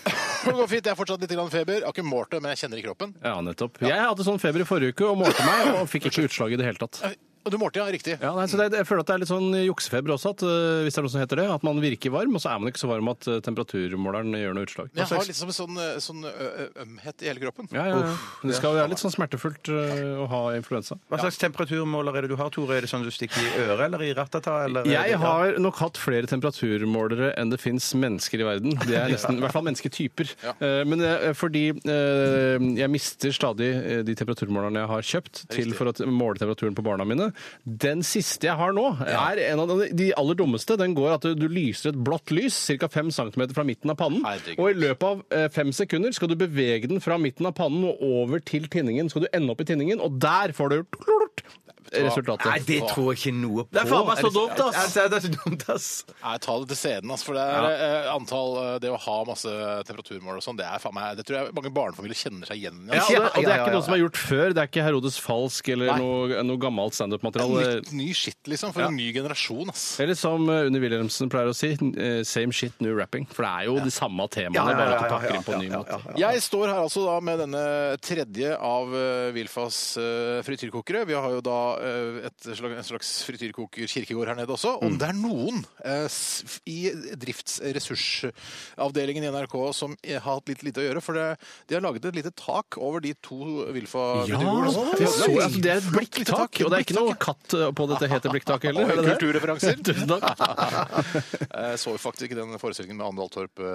Det går fint. Jeg har fortsatt litt grann feber. Jeg har ikke målt det, men jeg kjenner det i kroppen. Ja, nettopp. Jeg hadde sånn feber i forrige uke og målte meg, og fikk ikke utslag i det hele tatt. Og Du målte, ja. Riktig. Ja, nei, så det, Jeg føler at det er litt sånn juksefeber også, at, øh, hvis det er noe som heter det. At man virker varm, og så er man ikke så varm at øh, temperaturmåleren gjør noe utslag. Jeg har liksom en sånn, eh, sånn ø- ø- ømhet i hele kroppen. Altså, Ja, ja, ja. Det skal jo være litt sånn smertefullt øh, å ha influensa. Hva slags temperaturmåler er det du har, Tore? Er det sånn du stikker i øret eller i ratata? Eller Jeg har nok hatt flere temperaturmålere enn det fins mennesker i verden. Det er nesten, I hvert fall mennesketyper. Eh, Men eh, fordi eh, jeg mister stadig eh, de temperaturmålerne jeg har kjøpt til for å måle temperaturen på barna mine. Den siste jeg har nå, er en av de- de aller dummeste. Den går at du- du lyser et blått lys ca. 5 cm fra midten av pannen. Herregud. Og i løpet av eh, fem sekunder skal du bevege den fra midten av pannen og over til tinningen. Skal du ende opp i tinningen, og der får du resultatet. Nei, det tror jeg ikke noe på. Det er faen meg så dumt, ass. Ja, Det er, det er så dumt, ass. Nei, ta det til scenen, altså, for det er eh, antall eh, Det å ha masse temperaturmål og sånn, det er faen meg Det tror jeg mange barnefamilier kjenner seg igjen i. Ja, Altså. og det, og det ja, er ja, ikke ja. noe som er gjort før. Det er ikke Herodes Falsk eller Nei. noe, noe gammelt Det er standup-materiale. Altså, nytt, ny skitt, liksom, for en ny generasjon, ass. Eller som eh, Unni Wilhelmsen pleier å si, eh, same shit, new rapping. For det er jo de samme temaene, Ja, ja, ja, bare at du ja, pakker ja, inn på en ny ja, måte. Jeg står her altså da med denne tredje av eh, Wilfas eh, frityrkokere. Vi har jo da eh, et slags, en slags frityrkoker-kirkegård her nede også. Mm. Om det er noen eh, s- f- i driftsressursavdelingen i NRK som eh, har hatt litt lite å gjøre, for det, de har laget et lite tak over de to Ja, Wilfa-frityrkokerne. det, er så, altså, det er et blikktak, og det er ikke noe katt eh, på dette hete blikktaket heller. er det det? Kulturreferanser. Tusen takk. Jeg så jo faktisk ikke den forestillingen med Andal Torp. eh,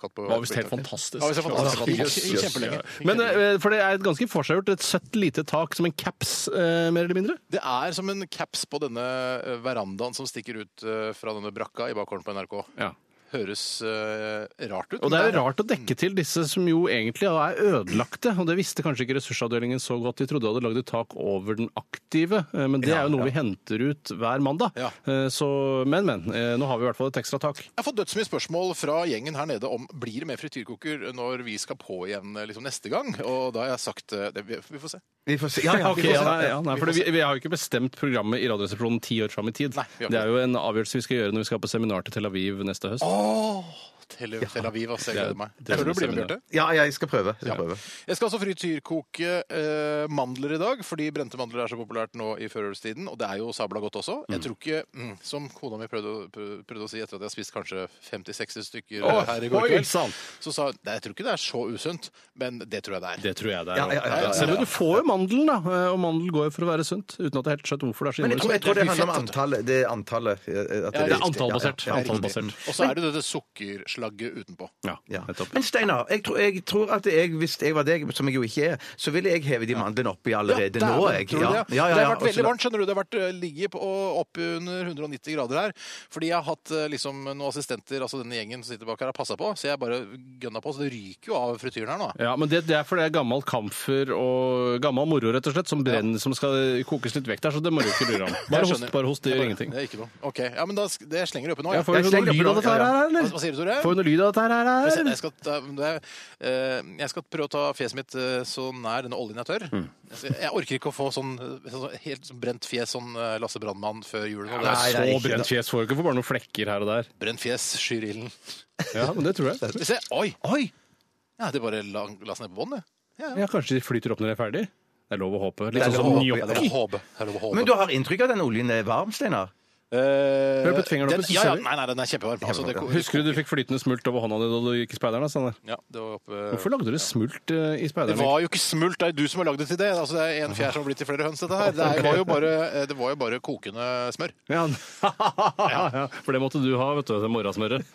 Katt på Det var visst helt fantastisk. Ja, visst helt fantastisk. Gikk Kjempelenge. Men eh, for det er et ganske forseggjort, et søtt lite tak som en caps, eh, mer eller mindre. Det er som en caps på denne eh, verandaen som stikker ut eh, fra denne brakka i bakgården på NRK. Ja. Høres eh, rart ut. Og det er men jo rart å dekke til disse som jo egentlig er ødelagte. Og det visste kanskje ikke ressursavdelingen så godt. De trodde de hadde lagd et tak over den aktive, eh, men det er jo noe vi henter ut hver mandag. Ja. Eh, Så, men, men. eh, Nå har vi i hvert fall et ekstra tak. Jeg har fått dødsmye spørsmål fra gjengen her nede om blir det mer frityrkoker når vi skal på igjen eh, liksom, neste gang. Og da har jeg sagt eh, det, vi- Vi får se. Vi får se. Ja, ja, vi Ok, får ja, se. nei, ja, nei, for det, vi, vi har jo ikke bestemt programmet i Radioresepsjonen ti år fram i tid. Nei, vi har ikke det er jo en avgjørelse vi skal gjøre når vi skal på seminar til Tel Aviv neste høst. Åh, Tel, Tel Aviv, ass. Jeg Det er- gleder meg. det er Tør du å bli med, seminar. Bjarte? Ja, jeg skal prøve. Jeg skal prøve. Jeg skal altså frityrkoke eh, mandler i dag, fordi brente mandler er så populært nå i førjulstiden. Og det er jo sabla godt også. Jeg tror ikke, mm, som kona mi prøvde, å- prøv- prøvde å si etter at jeg har spist kanskje 50-60 stykker eh, her i går oi, kveld, sann. så sa hun "Nei, jeg tror ikke det er så usunt, men det tror jeg det er. Det tror jeg det er. Ja, ja, ja, ja, ja, ja. Selv om du får jo mandelen, da. eh, Og mandel går jo for å være sunt. Uten at jeg helt skjønner hvorfor det er så Men jeg tror, innmari jeg tror sunt. det handler om antallet. Det er antallet. eh, at det, Det er riktig. Ja, ja, antallbasert. ja, ja, riktig. antallbasert. Og så er det dette sukkerslagget utenpå. Ja, Ja. nettopp. Men Steinar, jeg tror, jeg tror at jeg, hvis jeg var deg, som jeg jo ikke er, så ville jeg heve de mandlene oppi allerede Ja, nå. dæven, Jeg. tror du Ja, det? ja, Det ja, har ja. vært Og så veldig la- varmt, skjønner du. Det har vært eh, ligget på opp under 190 grader her. Fordi jeg har hatt eh, liksom noen assistenter, altså denne gjengen som sitter bak her, har passa på. Så jeg bare gønna på, så det ryker jo av frityren her nå. Ja, men det, det er fordi det er gammel kamfer og gammel moro, rett og slett, som brenner, som skal kokes litt vekk der, så det må du ikke lure om. Bare Jeg host, skjønner. bare host, det Jeg gjør bare- ingenting. Det er ikke noe. Ok, ja, men da, sk- det slenger jeg oppi nå. Ja, Ja. får vi slenger noe lyd av opp i dette her, dag, ja, eller? Hva, hva sier du, Tore? Får vi noe lyd av dette her, Jeg skal, eller? jeg, skal ta, det, er- eh, jeg skal prøve å ta fjeset mitt eh, så nær denne oljen jeg tør. Mm. Jeg skal- Jeg orker ikke å få sånn, eh, sånn helt sånn brent fjes sånn eh, Lasse Brannmann før julen. Og det Nei, er så det er ikke brent fjes får du ikke, får bare noen flekker her og der. brent fjes skyr ilden. Ja, men det tror jeg. Vi ser. Oi! Oi! Ja, det bare la, la seg ned på bånn, det. Ja, kanskje de flyter opp når de er ferdig? Det er lov å håpe. Litt er sånn som lov å håpe, Ja, det gnocchi. var håpe. Det var håpe. Men du har inntrykk av at den oljen er varm, Steinar? Eh, Prøv å putte fingeren opp, den- så ser ja, ja, vi. nei, nei, den er kjempevarm. Altså, det, Husker du du fikk flytende smult over hånda di da du gikk i speideren? da, Steinar? Ja, det var oppe... Hvorfor lagde du smult eh, i Det speideren? var jo ikke smult, det er jo du som har lagd det til det. Altså, det er en fjær som har blitt til flere høns, dette her. Det, er, var, jo bare, eh, det var jo bare kokende smør. Ja. ja, for det måtte du ha, vet du, det morrasmøret.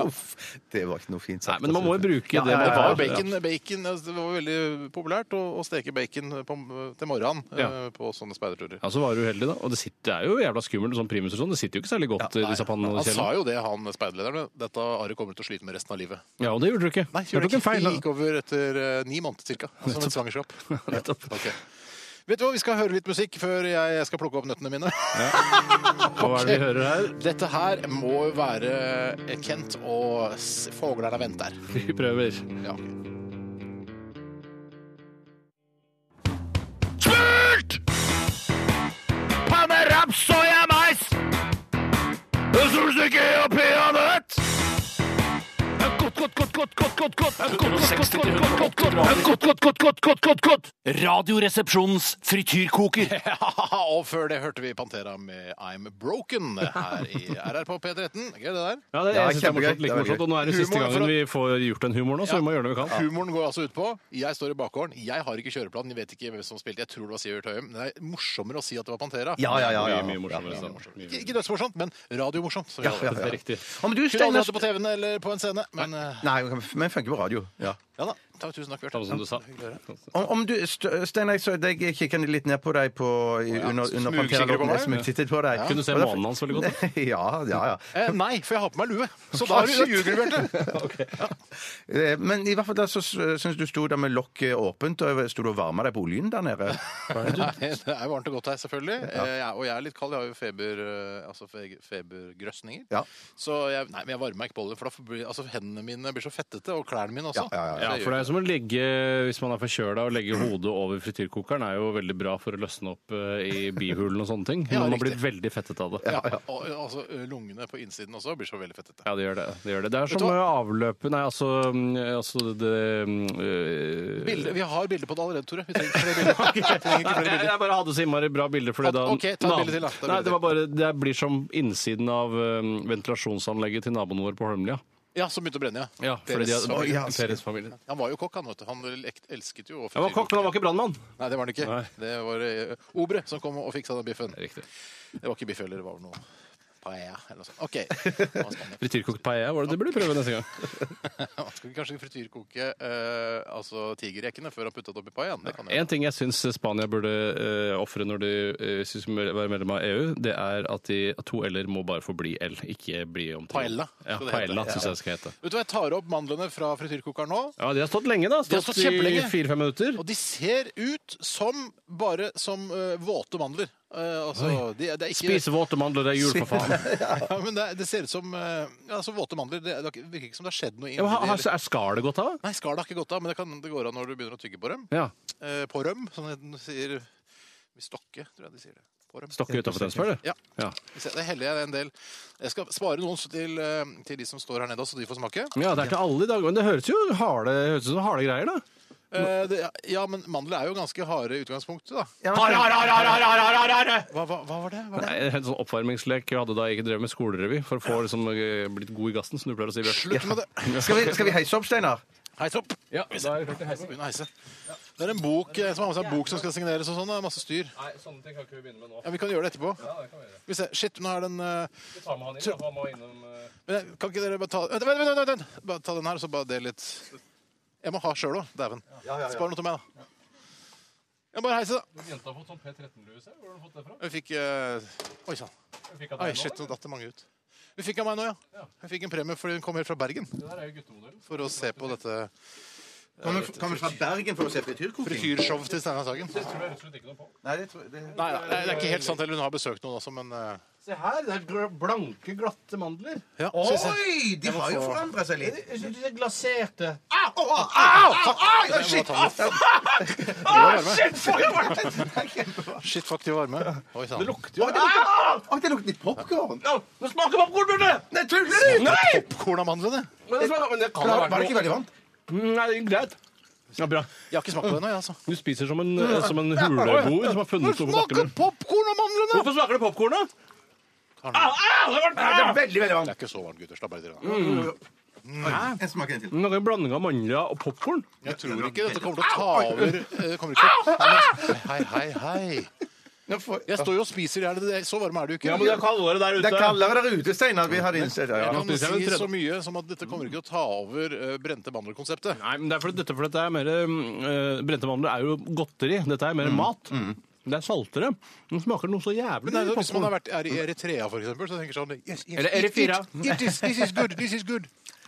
Uff, det var ikke noe fint Nei, sagt. men man må jo bruke det. Det man- var jo bacon, bacon altså, Det var jo veldig populært å, å steke bacon på, til morgenen eh, Ja. på sånne speiderturer. Ja, så var du uheldig, da. Og det, sitter, det er jo jævla skummelt, sånn primus og sånn. Det sitter jo ikke særlig godt i disse pannene. og Han sa kjelen. jo det, han speiderlederen. Dette Are kommer til å slite med resten av livet. Ja, og det gjorde du ikke. Nei, du gjør det tok en ikke. feil. Det da. gikk over etter eh, ni måneder ca. Som et svangerskap. Nettopp. Ok. Vet du hva, Vi skal høre litt musikk før jeg skal plukke opp nøttene mine. Hva er det vi hører her? Dette her må jo være eh, Kent og s- 'Fuglerne venter'. Vi prøver. Ja. soyamais, solstykke og peanøtt. Radioresepsjonens frityrkoker. Og før det hørte vi Pantera med I'm Broken her i RR på P13. Gøy, det der? Ja, det, Ja, jeg synes det er kjempegøy. morsomt, like Det er morsomt. Og nå er det siste Humor for gangen at- vi får gjort den humoren nå, så vi må gjøre det vi kan. Humoren går altså ut på Jeg står i bakgården, jeg har ikke kjøreplan, jeg vet ikke hvem som spilte, jeg tror det var Sivert Høyem. Men det er morsommere å si at det var Pantera. Ja, ja, ja. ja, Mye, mye ja. morsommere. sånn. Mye, Ikke mye. ikke dødsmorsomt, men radiomorsomt. som vi Ja, ja, kaller Det det. er riktig. Om du, Kunne aldri Steinar hatt det på TV-en eller på en scene, men eh, Nei, men funker på radio. Ja. ja da. Takk, tusen takk, Bjarte. Samme som du sa. Hyggelig å høre. Om, om du, St- Steinar, jeg så deg kikke litt ned på deg på, i- under, under Smugkikker på Pantera-låten. meg? Jeg smugtittet på deg. Kunne du se Og derfor- månen hans veldig godt? da? Ja, ja, ja. Eh, nei, for jeg har på meg lue. Så da har du- da ljuger du, Bjarte. Eh, Men i hvert fall der så syns du sto der med lokket åpent, og sto du og varma deg på oljen der nede? Nei, det er jo varmt og godt her, selvfølgelig. Eh, jeg- og jeg er litt kald. Jeg har jo feber, eh, altså fe- febergrøsninger. Ja. Så jeg, nei, men jeg varmer meg ikke på olje, for da blir altså, hendene mine blir så fettete, og klærne mine også. Ja, ja, Ja, for det er jo som å legge, hvis man er forkjøla, å legge hodet over frityrkokeren er jo veldig bra for å løsne opp eh, i bihulen og sånne ting. Ja, Men man riktig. blir veldig fettet av det. Ja, Og, eh, altså, eh, lungene på innsiden også blir så veldig fettete. Ja, det gjør det. Det, gjør det. det er du som hva? avløpet Nei, altså, mm, altså det mm, øh, Bilde, vi har bilder på det allerede, Tore. Vi trenger ikke flere bilder. Vi trenger ikke flere Nei, bilder. jeg bare hadde så innmari bra bilder. Fordi At- da, ok, ta et Nei, bilde til, da. Ta et Nei, bilde det, var bare, det blir som innsiden av øhm, ventilasjonsanlegget til naboen vår på Holmlia. Ja, som begynte å brenne, ja. Ja, fordi de Deres hadde, familie. Deres familie. Han var jo kokk, han. vet du. Han lek- elsket jo å Han var kokk, men han var ikke brannmann. Nei, det var han ikke. Nei. Det var eh, Obre som kom og fiksa den biffen. Riktig. Det var ikke biff heller, det var vel noe paella eller noe sånt. OK. Man skal, Frityrkokt paella var det det burde du prøve neste gang. man skal kanskje frityrkoke eh, altså tigerrekene før han putta det oppi paellaen. Det kan jeg. En ting jeg syns Spania burde uh, ofre når de uh, syns de vil være medlem av EU, det er at de at to l-er må bare få bli l, ikke bli om til Paella, Ja, skal det hete. paella syns jeg det skal hete. Vet du hva, jeg tar opp mandlene fra frityrkokeren nå. Ja, De har stått lenge, da. har Stått, stått i kjempelenge. fire-fem minutter. Og de ser ut som bare som eh, våte mandler. Eh, altså, de, det er ikke Spise våte mandler, det er jul, for faen. ja, men det, er- det ser ut som eh, ja, altså, våte mandler. Det, det virker ikke som det har skjedd noe Ja, inni men har- de, har- eller- er skallet gått av? Nei, skallet har ikke gått av, men det, kan, det går av når du begynner å tygge på dem. Ja. Eh, på røm, som de sier Vi stokker, tror jeg de sier det. På røm. Stokke utafor Tønsberg, du? Ja. Ja. Så Det heller jeg en del. Jeg skal spare noen til, eh, til de som står her nede, så de får smake. Ja, det er til alle i dag. Men det høres jo harde, høres ut som harde greier, da. Eh, det, ja, men mandler er jo ganske harde i utgangspunktet, da. Harde, harde, harde, harde, harde, harde, harde! Hva, hva, hva var det? Hva var det? Nei, en sånn oppvarmingslek jeg hadde da jeg ikke drev med skolerevy, for å få liksom eh, blitt god i gassen, som du pleier å si, Bjørn. Slutt med det. Skal vi, skal vi heise opp, Steinar? Heis opp. Ja, da er det klart til heisen. Begynn å heise. Det er en bok eh, som har med seg en bok som skal signeres og sånn. Det er masse styr. Nei, sånne ting kan ikke vi begynne med nå. Ja, Vi kan gjøre det etterpå. Vi ser. Shit, nå er den eh, Vi tar med han inn, han må innom eh, Men jeg- Kan ikke dere bare ta Vent, vent, vent! vent, vent. Bare ta den her, og så bare del litt Jeg må ha sjøl òg, dæven. Spar noe til meg, da. Jeg må bare heise, da. Jenta har fått sånn P13-lue, hvor har du fått det fra? Jeg fikk eh, Oi sann. Oi, shit, nå datt det mange ut. Hun fikk av meg nå, ja. Hun fikk en premie fordi hun kom helt fra Bergen Det der er jo guttemodellen. for å se på dette eh, Kommer vi fra Bergen for å se frityrkoking? frityrshowet til Steinar Sagen. Nei, tror jeg rett og slett ikke noe på. Nei, det tror jeg det- nei, det er ikke helt sant heller. Hun har besøkt noen også, men eh, Se her, det er gr- blanke, glatte mandler. ja. Skal vi se. Oi! De har jo forandra seg litt. Jeg synes de er glaserte. Au, shit! Au, shit! for en varme! Det er kjempebra. Shit, fuck, de var varme. Oi sann. Å, det lukter- Å, det lukter litt popkorn! Nå smaker popcornbjørne! Nei, tuller du?! Popkorn av mandlene. Men det smaker, men det kan ha vært Var det noe. ikke veldig varmt? Nei, det er greit. Ja, bra. Jeg har ikke smakt på det ennå, jeg, altså. Du spiser som en, eh, som en huleboer som har funnet noe på bakken. popkorn av mandlene! Hvorfor smaker det popkorn, da? Det er veldig, veldig varmt. Det er ikke så varmt, gutter. Slapp bare av. Jeg smaker en til. Noen blanding av mandler og popkorn. Jeg tror ikke dette kommer til å ta over eh, det kommer ikke til å... Hei, hei, hei. Nå får- Jeg står jo og spiser i hjel. det- Så varm er du ikke. kaldere der Det er kaldere der ute, Steinar. Vi hadde innsett det. Ja. Jeg kan spiser jeg si en tredje. så mye som at dette kommer ikke til å ta over eh, brente mandler-konseptet. Nei, men det er fordi dette, for dette er mer eh, Brente mandler er jo godteri. Dette er mer mat. Det er saltere. Den smaker noe så jævlig. Men det er jo- Hvis man popcorn. har vært er i Eritrea, for eksempel, så tenker jeg sånn yes, yes, Eller eat, Eritrea. eat, eat this, this is good, this is good.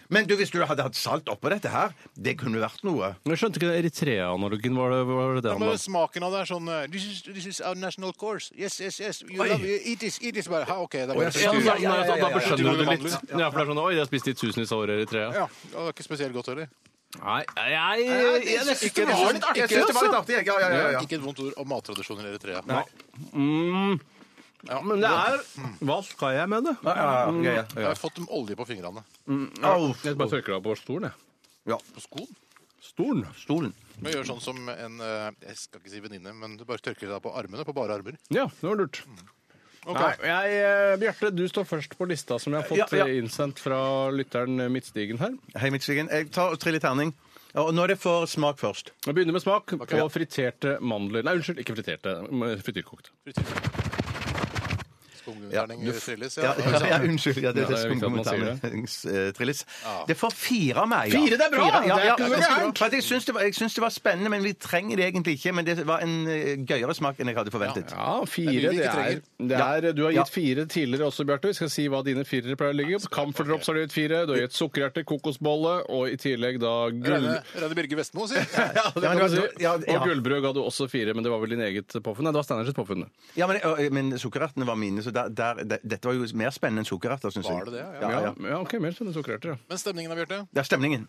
Men du, hvis du hadde hatt salt oppå dette her, det kunne vært noe. Jeg skjønte ikke den Eritrea-analogen. Var det, var det det han Men var? smaken av det er sånn eh, This is, this is our national course. Yes, yes, yes. You love it. Eat this, eat this. Bare, ha, OK, det er bare Ja, frityr. ja, ja, Da ja, ja. skjønner du det litt. Ja, for det er sånn, Oi, de har spist i tusenvis av år i Eritrea. Ja, det var ikke spesielt godt heller. Nei, jeg, jeg, jeg synes ikke altså. det var litt Jeg artig. synes det var litt artig. jeg. Ja, ja, ja, ja. Ikke et vondt ord om mattradisjonen i Eritrea. Mm, Ja, men det er Mm. Hva skal jeg med det? Ja, ja, ja, ja, ja, Jeg har fått olje på fingrene. Au. Jeg bare tørker det av på stolen, jeg. På skoen. Stolen? Stolen. Men gjør sånn som en eh, Jeg skal ikke si venninne, men du bare tørker deg på armene. På bare armer. Ja, det var lurt. Nei, Ok. jeg, eh, Bjarte, du står først på lista som jeg har fått Ja, ja. eh, innsendt fra lytteren eh, Midtstigen her. Hei, Midtstigen. Jeg tar og triller terning. Ja, Og nå er det for smak først. Vi begynner med smak på friterte mandler. Nei, unnskyld, ikke friterte. men Frityrkokt. Skumgummiterning trilles. Ja, eh, Ja. ja, ja, unnskyld. Ja, det, Ja, det er er viktig at man sier skumkommentaren. Eh, Trillis. Det får fire av meg. ja. Fire, det er bra! Fire, Ja, Det er ja, ikke så jeg synes- gærent. for at jeg syns det, var- jeg syns det var spennende, men vi trenger det egentlig ikke. Men det var en eh, gøyere smak enn jeg hadde forventet. Ja, fire. Det er mye vi Det ikke er, trenger. det er, du har Ja. gitt fire tidligere også, Bjarte. Vi skal si hva dine firere pleier å ligge i. Camphor Drops har du gitt fire. Du har gitt sukkerhjerte, kokosbolle og i tillegg da gull... Reine Reine Birge Vestmo, sier Ja, det kan du men si. det var- ja, ja. Og gullbrød ga du også fire, men det var vel din eget påfunn? Nei, det var Steinar sitt påfunn. Ja, men, ø, men sukkerertene var mine, så der, der, det- dette var jo mer spennende enn sukkererter, syns jeg. Var det det? Ja, Ja, ja, Ja, ja, OK, mer spennende sukkerhjerter, ja. Men stemningen da, Bjarte? Det er stemningen.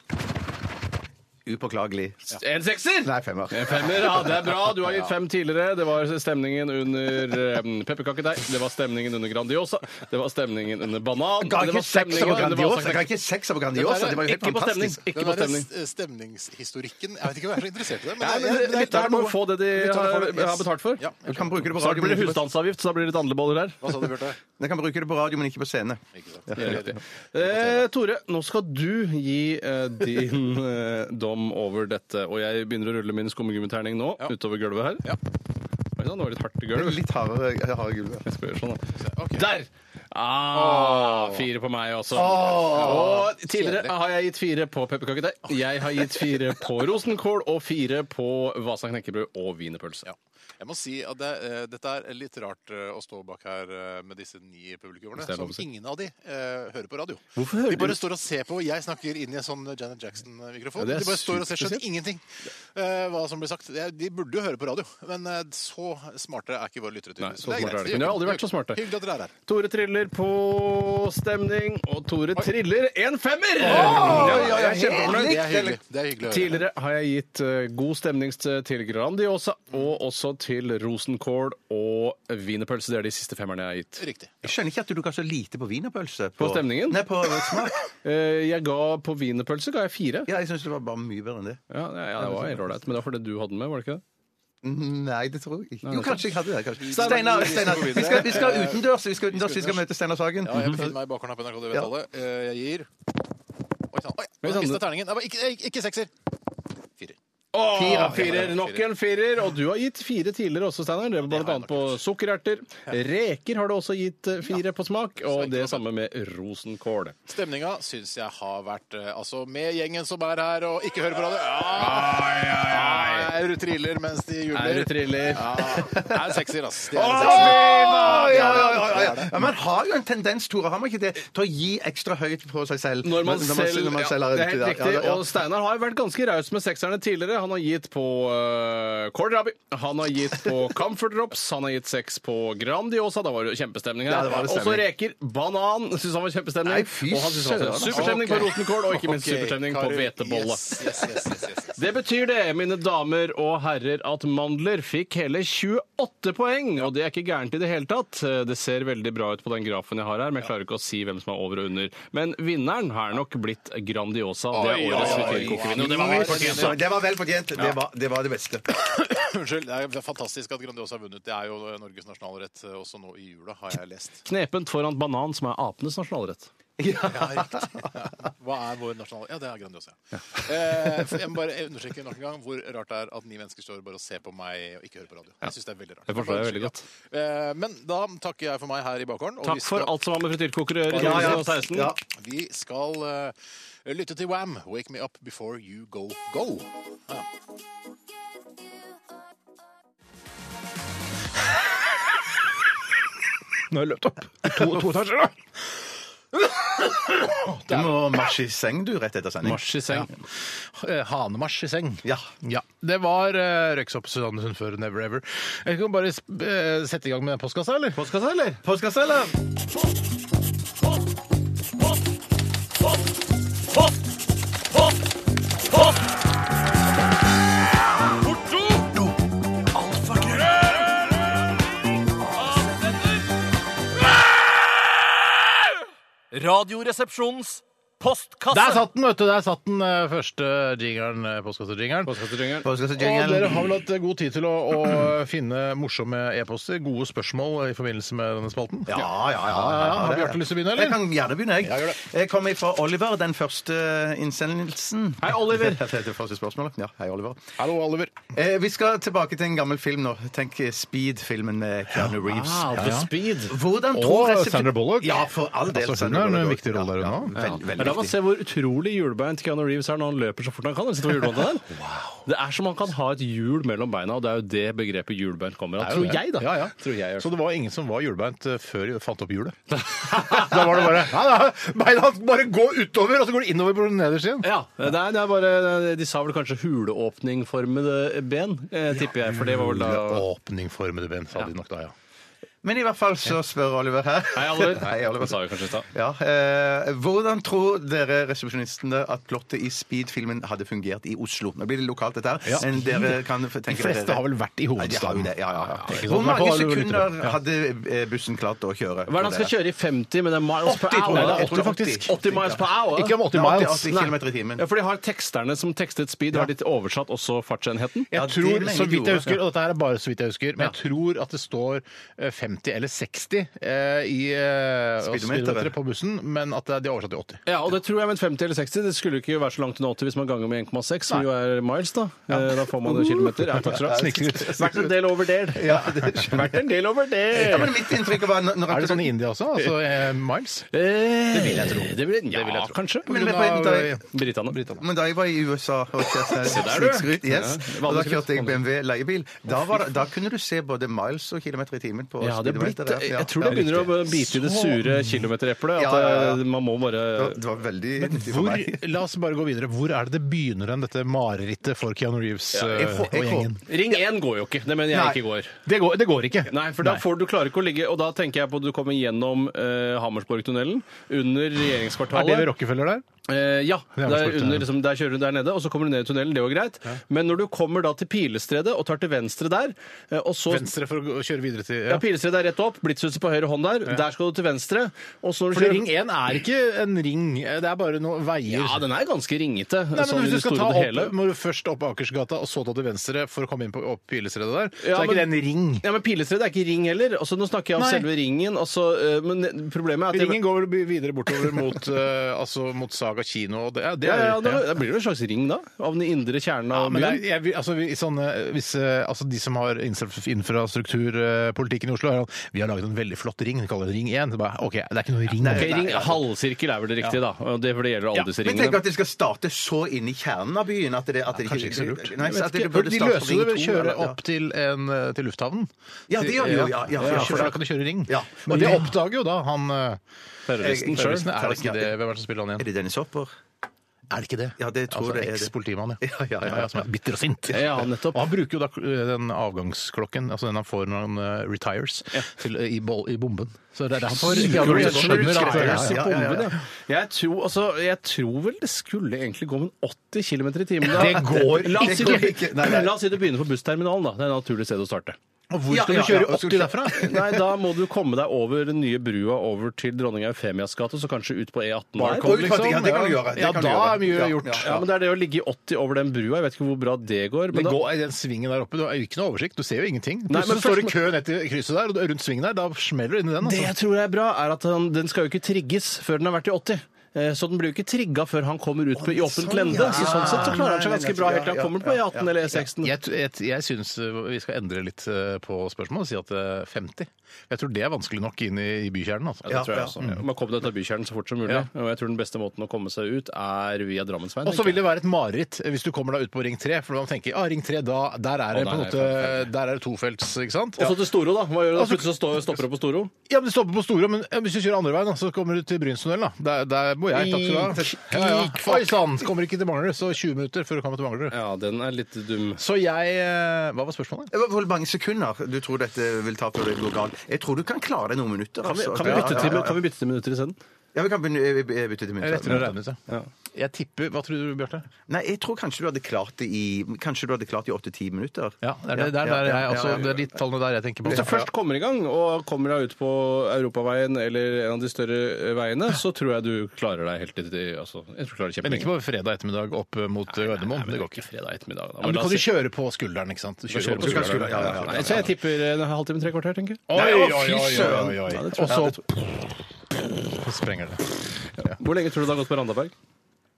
Upåklagelig. En sekser! Nei, femmer. En femmer, ja, Det er bra. Du har gitt fem tidligere. Det var stemningen under um, pepperkakedeig. Det var stemningen under Grandiosa. Det var stemningen under banan. Ga Det ikke var seks stemningen over under Grandiosa! Jeg Ga valsaksaus. ikke seks over Grandiosa! Det var jo helt Ikke på stemning. fantastisk. Ikke på Den stemning. der stemningshistorikken Jeg vet ikke om jeg er så interessert i det, men, Nei, jeg- men det, jeg- det er noe- bare å få det de Betaler har, for det, yes. har betalt for. Ja. Du kan bruke det på Snart radio, blir men det ikke på, husstandsavgift, så da blir det litt andleboller her. Hva sa du, Bjarte? du kan bruke det på radio, men ikke på scene. Ikke sant? Det er riktig. Eh, Tore, nå skal du gi eh, din eh, dom over dette. Og jeg begynner å rulle min skummegummiterning nå Ja. utover gulvet her. Ja. Oi, da, nå var det litt hardt i gulvet. Litt hardere, hardere gulvet. Jeg skal gjøre sånn, da. Ok. Der! Ah, fire på meg også. og tidligere har jeg gitt fire på pepperkakedeig. Jeg har gitt fire på rosenkål og fire på Vasa knekkebrød og wienerpølse. Ja. Jeg må si at det, eh, dette er litt rart eh, å stå bak her eh, med disse ni publikummerne, Hvis det er som lov å si. ingen av de eh, hører på radio. Hvorfor hører de bare du- står og ser på, og jeg snakker inn i en sånn Janet Jackson-mikrofon. Ja, det er de bare står og ser superspesielt. skjønner ingenting eh, hva som blir sagt. Det er- De burde jo høre på radio, men eh, så smarte er ikke våre lyttere. Nei, tydeligvis. så Det er greit. smarte er de ikke. Men de har aldri vært så smarte. Hyggelig at dere er her. Tore triller på stemning, og Tore triller en femmer! Ja, ja, ja, kjempefornøyd. Det er hyggelig. Det er hyggelig å høre. Tidligere har jeg gitt eh, god stemning til Grandiosa og også til rosenkål og wienerpølse. Det er de siste femmerne jeg har gitt. Riktig. Jeg skjønner ikke at du ga så lite på wienerpølse. På stemningen? Nei, på smak. Eh, Jeg ga på wienerpølse ga jeg fire. Ja, jeg syns det var bare mye bedre enn det. Ja, ja, ja, det var helt ålreit, men det var fordi du hadde den med, var det ikke det? Nei, det tror jeg ikke. Jo, kanskje jeg hadde det. kanskje. Steinar, Steinar, vi Steinar, skal gå vi skal, vi skal videre. utendørs. Vi skal, utendørs, vi skal møte Steinar Sagen. Ja, jeg befinner meg i bakhånda på NRK, det vet Mhm. Ja. alle. Eh, Jeg gir Oi sann. Oi, Oi, nå sann, mistet du- terningen. Nei, bare Ikke, ikke- ikke sekser. Firer. Åh, Fire, firer, fire, nok fire. en firer. Og du har gitt fire tidligere også, Steinar. Det var det Blant har jeg annet på sukkererter. Reker har du også gitt eh, fire på smak, og det samme med rosenkål. Stemninga syns jeg har vært eh, Altså, med gjengen som er her og ikke hører på radio ja, Ai, ai, Er du thriller mens de Ah, Er jubler? du triller? Ja, det er en sekser, ass. Det er en Å, sekser. ja, ja, ja, ja, ja. ja, Man har jo en tendens, Tore, har man ikke det, til å gi ekstra høyt på seg selv? Når man selv, når man selv ja, har- Det er helt ja, riktig. ja, ja. Og Steinar har jo vært ganske raus med sekserne tidligere. Han har gitt på uh, kålrabi, han har gitt på Comfort Drops, han har gitt seks på Grandiosa. Da var det jo kjempestemning Ja, her. det var det og så stemning. reker. Banan syns han var kjempestemning. Nei, fy og han syns han var søren. altså. superstemning på rosenkål, og ikke minst Ok, superstemning Kari. på hvetebolle. Yes, yes, yes, yes, yes, yes. Det betyr det, mine damer og herrer, at mandler fikk hele 28 poeng. Og det er ikke gærent i det hele tatt. Det ser veldig bra ut på den grafen jeg har her, men jeg klarer ikke å si hvem som er over og under. Men vinneren har nok blitt Grandiosa. Det er Oi, årets oi, oi. frityrkokevinner. og Det var vel fortjent. Så Det var vel fortjent. Det var det, var det beste. Unnskyld. Det er fantastisk at Grandiosa har vunnet. Det er jo Norges nasjonalrett eh, også nå i jula, har jeg lest. Knepent foran banan, som er apenes nasjonalrett. Ja, riktig. Hva er vår nasjonale Ja, det er Grandiosa. Eh, for jeg må bare understreke nok en gang hvor rart det er at ni mennesker står bare og ser på meg og ikke hører på radio. Jeg synes det er veldig rart. Det forstår jeg veldig godt. Eh, men da takker jeg for meg her i bakgården. og vi Takk for skal- alt som var med frityrkokere i Ja, ja. 2016. Ja. Vi skal eh, lytte til Wham! Wake me up before you go go. Ja. Nå har jeg løpt opp to, to etasjer, da. Du må marsje i seng, du, rett etter sending. Marsj i seng. Eh, Hanemarsj i seng. Ja. Ja. Det var eh, uh, Røyksopp Susanne Sundfør, Never Ever. Jeg kan bare sp- eh, sette i gang med den postkassa, eller? Postkassa, eller? Postkassa, eller? Porto! Alfakrøll! Avsender! Radioresepsjonens postkasse. Der satt den, vet du! Der satt den eh, første jingeren, eh, postkassejingeren. Postkassejingeren. Og dere har vel hatt eh, god tid til å, å finne morsomme e-poster, gode spørsmål eh, i forbindelse med denne spalten? Ja, ja, ja. Har det er- Bjarte lyst til å begynne, eller? Jeg kan gjerne begynne, jeg. gjør det. Jeg kommer fra Oliver, den første eh, innsendelsen. Hei, Oliver. Det er det første spørsmålet. Ja, hei, Oliver. Hallo, Oliver. Eh, vi skal tilbake til en gammel film nå. Tenk Speed-filmen med Keanu Reeves. Ah, The Speed. Hvordan Og tror resepsjon- Sandra Bullock. Ja, for all del. Altså, hun Sandra har en Bullock. viktig rolle der Ja, hun ja, Ja. Veldig, Men veldig La oss viktig. se hvor utrolig hjulbeint Keanu Reeves er når han løper så fort han kan. Har du sett hvor hjulbeint han er? Det er som han kan ha et hjul mellom beina, og det er jo det begrepet hjulbeint kommer av. Tror jeg, da. Ja, ja. Tror jeg, i hvert Så det var ingen som var hjulbeint eh, før de fant opp hjulet? da var det bare Nei, nei, beina bare gå utover, og så går det innover på den nederste igjen. Ja, det er, det er bare De sa vel kanskje huleåpningformede ben, eh, tipper jeg. For det var vel da Åpningformede ben, sa de nok da, ja. Men i hvert fall så spør Oliver her. Hei, Oliver. Hei, Oliver. Det sa vi kanskje i stad. Ja, eh, hvordan tror dere resepsjonistene at plottet i Speed-filmen hadde fungert i Oslo? Nå blir det lokalt, dette her. Ja. Men dere kan f- De tenke fleste dere- har vel vært i Nei, de har jo hovedstaden. det, ja, ja, ja. Ikke sant? Hvor I hvert mange fall sånn alle sekunder lyttere. Ja. hadde eh, bussen klart å Hva er kjøre? det han skal kjøre i 50 med det er miles per 80, tror hour? jeg. da? Jeg tror det er 80. 80 miles per hour? Ikke om 80 Ja, 80, miles. 80 Nei. kilometer i timen. Ja, for de har teksterne som tekstet speed, har de oversatt også fartsenheten? Jeg Ja, det tror, mener så jeg vidt jeg gjorde. husker, og dette her er bare så vidt jeg husker, men jeg tror at det står eh, 50 eller 60 eh, i eh, Speedometeret. speedometeret på bussen, men at det- de har oversatt til 80. Ja, og det tror jeg med 50 eller 60. Det skulle jo ikke være så langt unna 80 hvis man ganger med 1,6, som jo er miles, da. Eh, Da får man jo kilometer. Ja, takk skal du Snikskritt. ha. Vært en del over der. Ja, det skjønner jeg. Vært en del over Ja, der. men mitt inntrykk var når- når Er det sånn i India også? Altså eh, miles? Det vil jeg tro. Det vil, ja, kanskje. Men- men- På grunn av- eh, men- Britene. Men da jeg var i USA og kjørte snikskryt, yes, og da kjørte jeg BMW leiebil, da, var, det- da kunne du se både miles og kilometer i timen på Ja, det er blitt, speedometeret. Ja, jeg tror det ja, begynner å bite i det sure kilometereplet. Ja, ja, ja. At eh, man må bare Det var veldig nyttig for Hvor, meg. la oss bare gå videre. Hvor er det det begynner hen, dette marerittet for Keanu Reeves eh, jeg får- og jeg gjengen? Ring 1 går jo ikke. Det mener jeg Nei. ikke går. Det går, det går ikke. Nei, for da får du klarer ikke å ligge Og da tenker jeg på at du kommer gjennom eh, Hammersborgtunnelen, under Er det ved regjeringskvartalet. Rockefeller der? Eh, ja. Der, Hammersborgtunnelen. under, liksom, der kjører du der nede, og så kommer du ned i tunnelen. Det var greit. Men når du kommer da til Pilestredet og tar til venstre der, eh, og så Venstre for å gå- kjøre videre til ja, Pilestredet er rett opp, Blitzhuset på høyre hånd der. Der skal du til venstre. Og så når du For kjører- Ring 1 er ikke en ring, Eh, det er bare noen veier. Ja, den er ganske ringete. Nei, sånn men i hvis det du skal ta store og det hele. opp, må du først opp Akersgata og så ta til venstre for å komme inn på opp Pilestredet der, Ja, så er ikke det men- en ring. Ja, men Pilestredet er ikke ring heller. Altså, nå snakker jeg om Nei. selve ringen. Altså, eh, men problemet er at Ringen går vel videre bortover mot, eh, altså, mot Saga kino. Og det, ja, det Ja, er, ja, ja, da, da blir det en slags ring, da? Av den indre kjernen av Ja, men det er, byen? jeg, vil- altså, vi- sånne, hvis, eh, altså, de som har infrastrukturpolitikken i Oslo, er sånn, vi har laget en veldig flott ring, vi kaller det Ring 1. Det, er bare, ok, det er ikke noe ring. Ok, det. ring, halvsirkel er vel det riktige, da. Og det, for det gjelder alle disse Men ringene. tenk at de skal starte så inn i kjernen av byen at det, at det Kanskje ikke så lurt. Nei, så at de det burde starte på løser det Ring ved å 2, kjøre eller- opp til, en, eh, til lufthavnen. Ja, det gjør de jo, ja, ja, for for sure. da kan du kjøre ring. Ja. Og det oppdager jo da han eh, Terroristen Sure. sjøl. terroristen. Er det ikke det? Hvem er det som spiller han Er igjen? det Dennis Hopper? Er det ikke det? Ja, det tror altså, jeg det er det. Eks-politimann, ja. Ja, ja, ja. Som er bitter og sint. Ja, nettopp. Og han bruker jo da eh, den avgangsklokken, altså den han får når han eh, retires, til, eh, i, bol- i bomben. Så det er derfor Keanu Reeves skjønner at- Retires i Ja, ja, ja. bomben, ja. Jeg tror, altså, jeg tror vel det skulle egentlig gå med en 80 km i timen. da. Det går La oss si du- ikke. Det går ikke. Nei, nei. La oss si du begynner på bussterminalen, da. Det er et naturlig sted å starte. Og hvor Ja, skal ja, du kjøre ja, og skal 80 derfra? Nei, da må du komme deg over den nye brua over til dronning Eufemias gate, og så kanskje ut på E18 der. Barcode, liksom? Ja, det kan du gjøre. Det Ja, kan du da gjøre. er mye Ja, gjort. Ja, men det er det å ligge i 80 over den brua. Jeg vet ikke hvor bra det går. Det Men da, går, den svingen der oppe, Du har jo ikke noe oversikt, du ser jo ingenting. Nei, men Plutselig står det først- kø ned til krysset der, og du- rundt svingen der, da smeller du inn i den. det Altså. jeg tror er bra, er at han, den skal jo ikke trigges før den har vært i 80. Eh, Så den blir jo ikke trigga før han kommer ut på, i åpent lende. Så sånn sett så klarer han seg ganske bra helt til han kommer på E18 eller E16. Jeg, jeg, jeg syns vi skal endre litt eh, på spørsmålet og si at eh, 50. Jeg tror det er vanskelig nok inn i, i bykjernen. Altså. Det tror jeg også. Mm. Man kommer deg ut av bykjernen så fort som mulig. Og jeg tror den beste måten å komme seg ut er via Drammensveien. Og så tenker vil jeg. det være et mareritt eh, hvis du kommer deg ut på Ring 3, for man tenker ah, Ring 3, da, der er det på Å, en nei, måte, der er det tofelts, ikke sant? Og så til Storo, da. Hva gjør du da? Altså- Plutselig så står- stopper du på Storo. Ja, men det stopper på Store, men hvis du kjører andre veien, da, så kommer du til Brynstunnelen. da. Der, der bor jeg. Takk skal du ha. Ja, ja. Oi sann! Kommer ikke til Manglerud, så 20 minutter før du kommer til Manglerud. Ja, den er litt dum. Så jeg eh, Hva var spørsmålet? Hvor mange sekunder du tror dette vil ta før det går galt? Jeg tror du kan klare det i noen minutter. Kan vi, altså. kan vi, bytte, Ja, til, ja, ja. kan vi bytte til minutter isteden? Ja, vi kan begynne- eh, bytte til Jeg minutter. retter og regner ut, ja. Jeg tipper Hva tror du, Bjarte? Nei, jeg tror kanskje du hadde klart det i Kanskje du hadde klart det i åtte-ti minutter. Ja, det er, det, der, der, er jeg, også, det er de tallene der jeg tenker på. Hvis jeg først kommer i gang og kommer deg ut på europaveien eller en av de større eh, veiene, så tror jeg du klarer deg helt til til- altså, Jeg tror du klarer Men kjempelenge. ikke på fredag ettermiddag opp mot Gardermoen. Det går ikke. fredag ettermiddag. Da. Ja, men la kan oss du si- kjøre på skulderen, ikke sant? Du kjøre på skulderen. Ja, ja, ja. Nei, så jeg tipper eh, en halvtime, tre kvarter, tenker jeg. Oi, oi, oi, fy oi, søren. oi. Og så sprenger det. Hvor lenge tror du det har gått på Randaberg?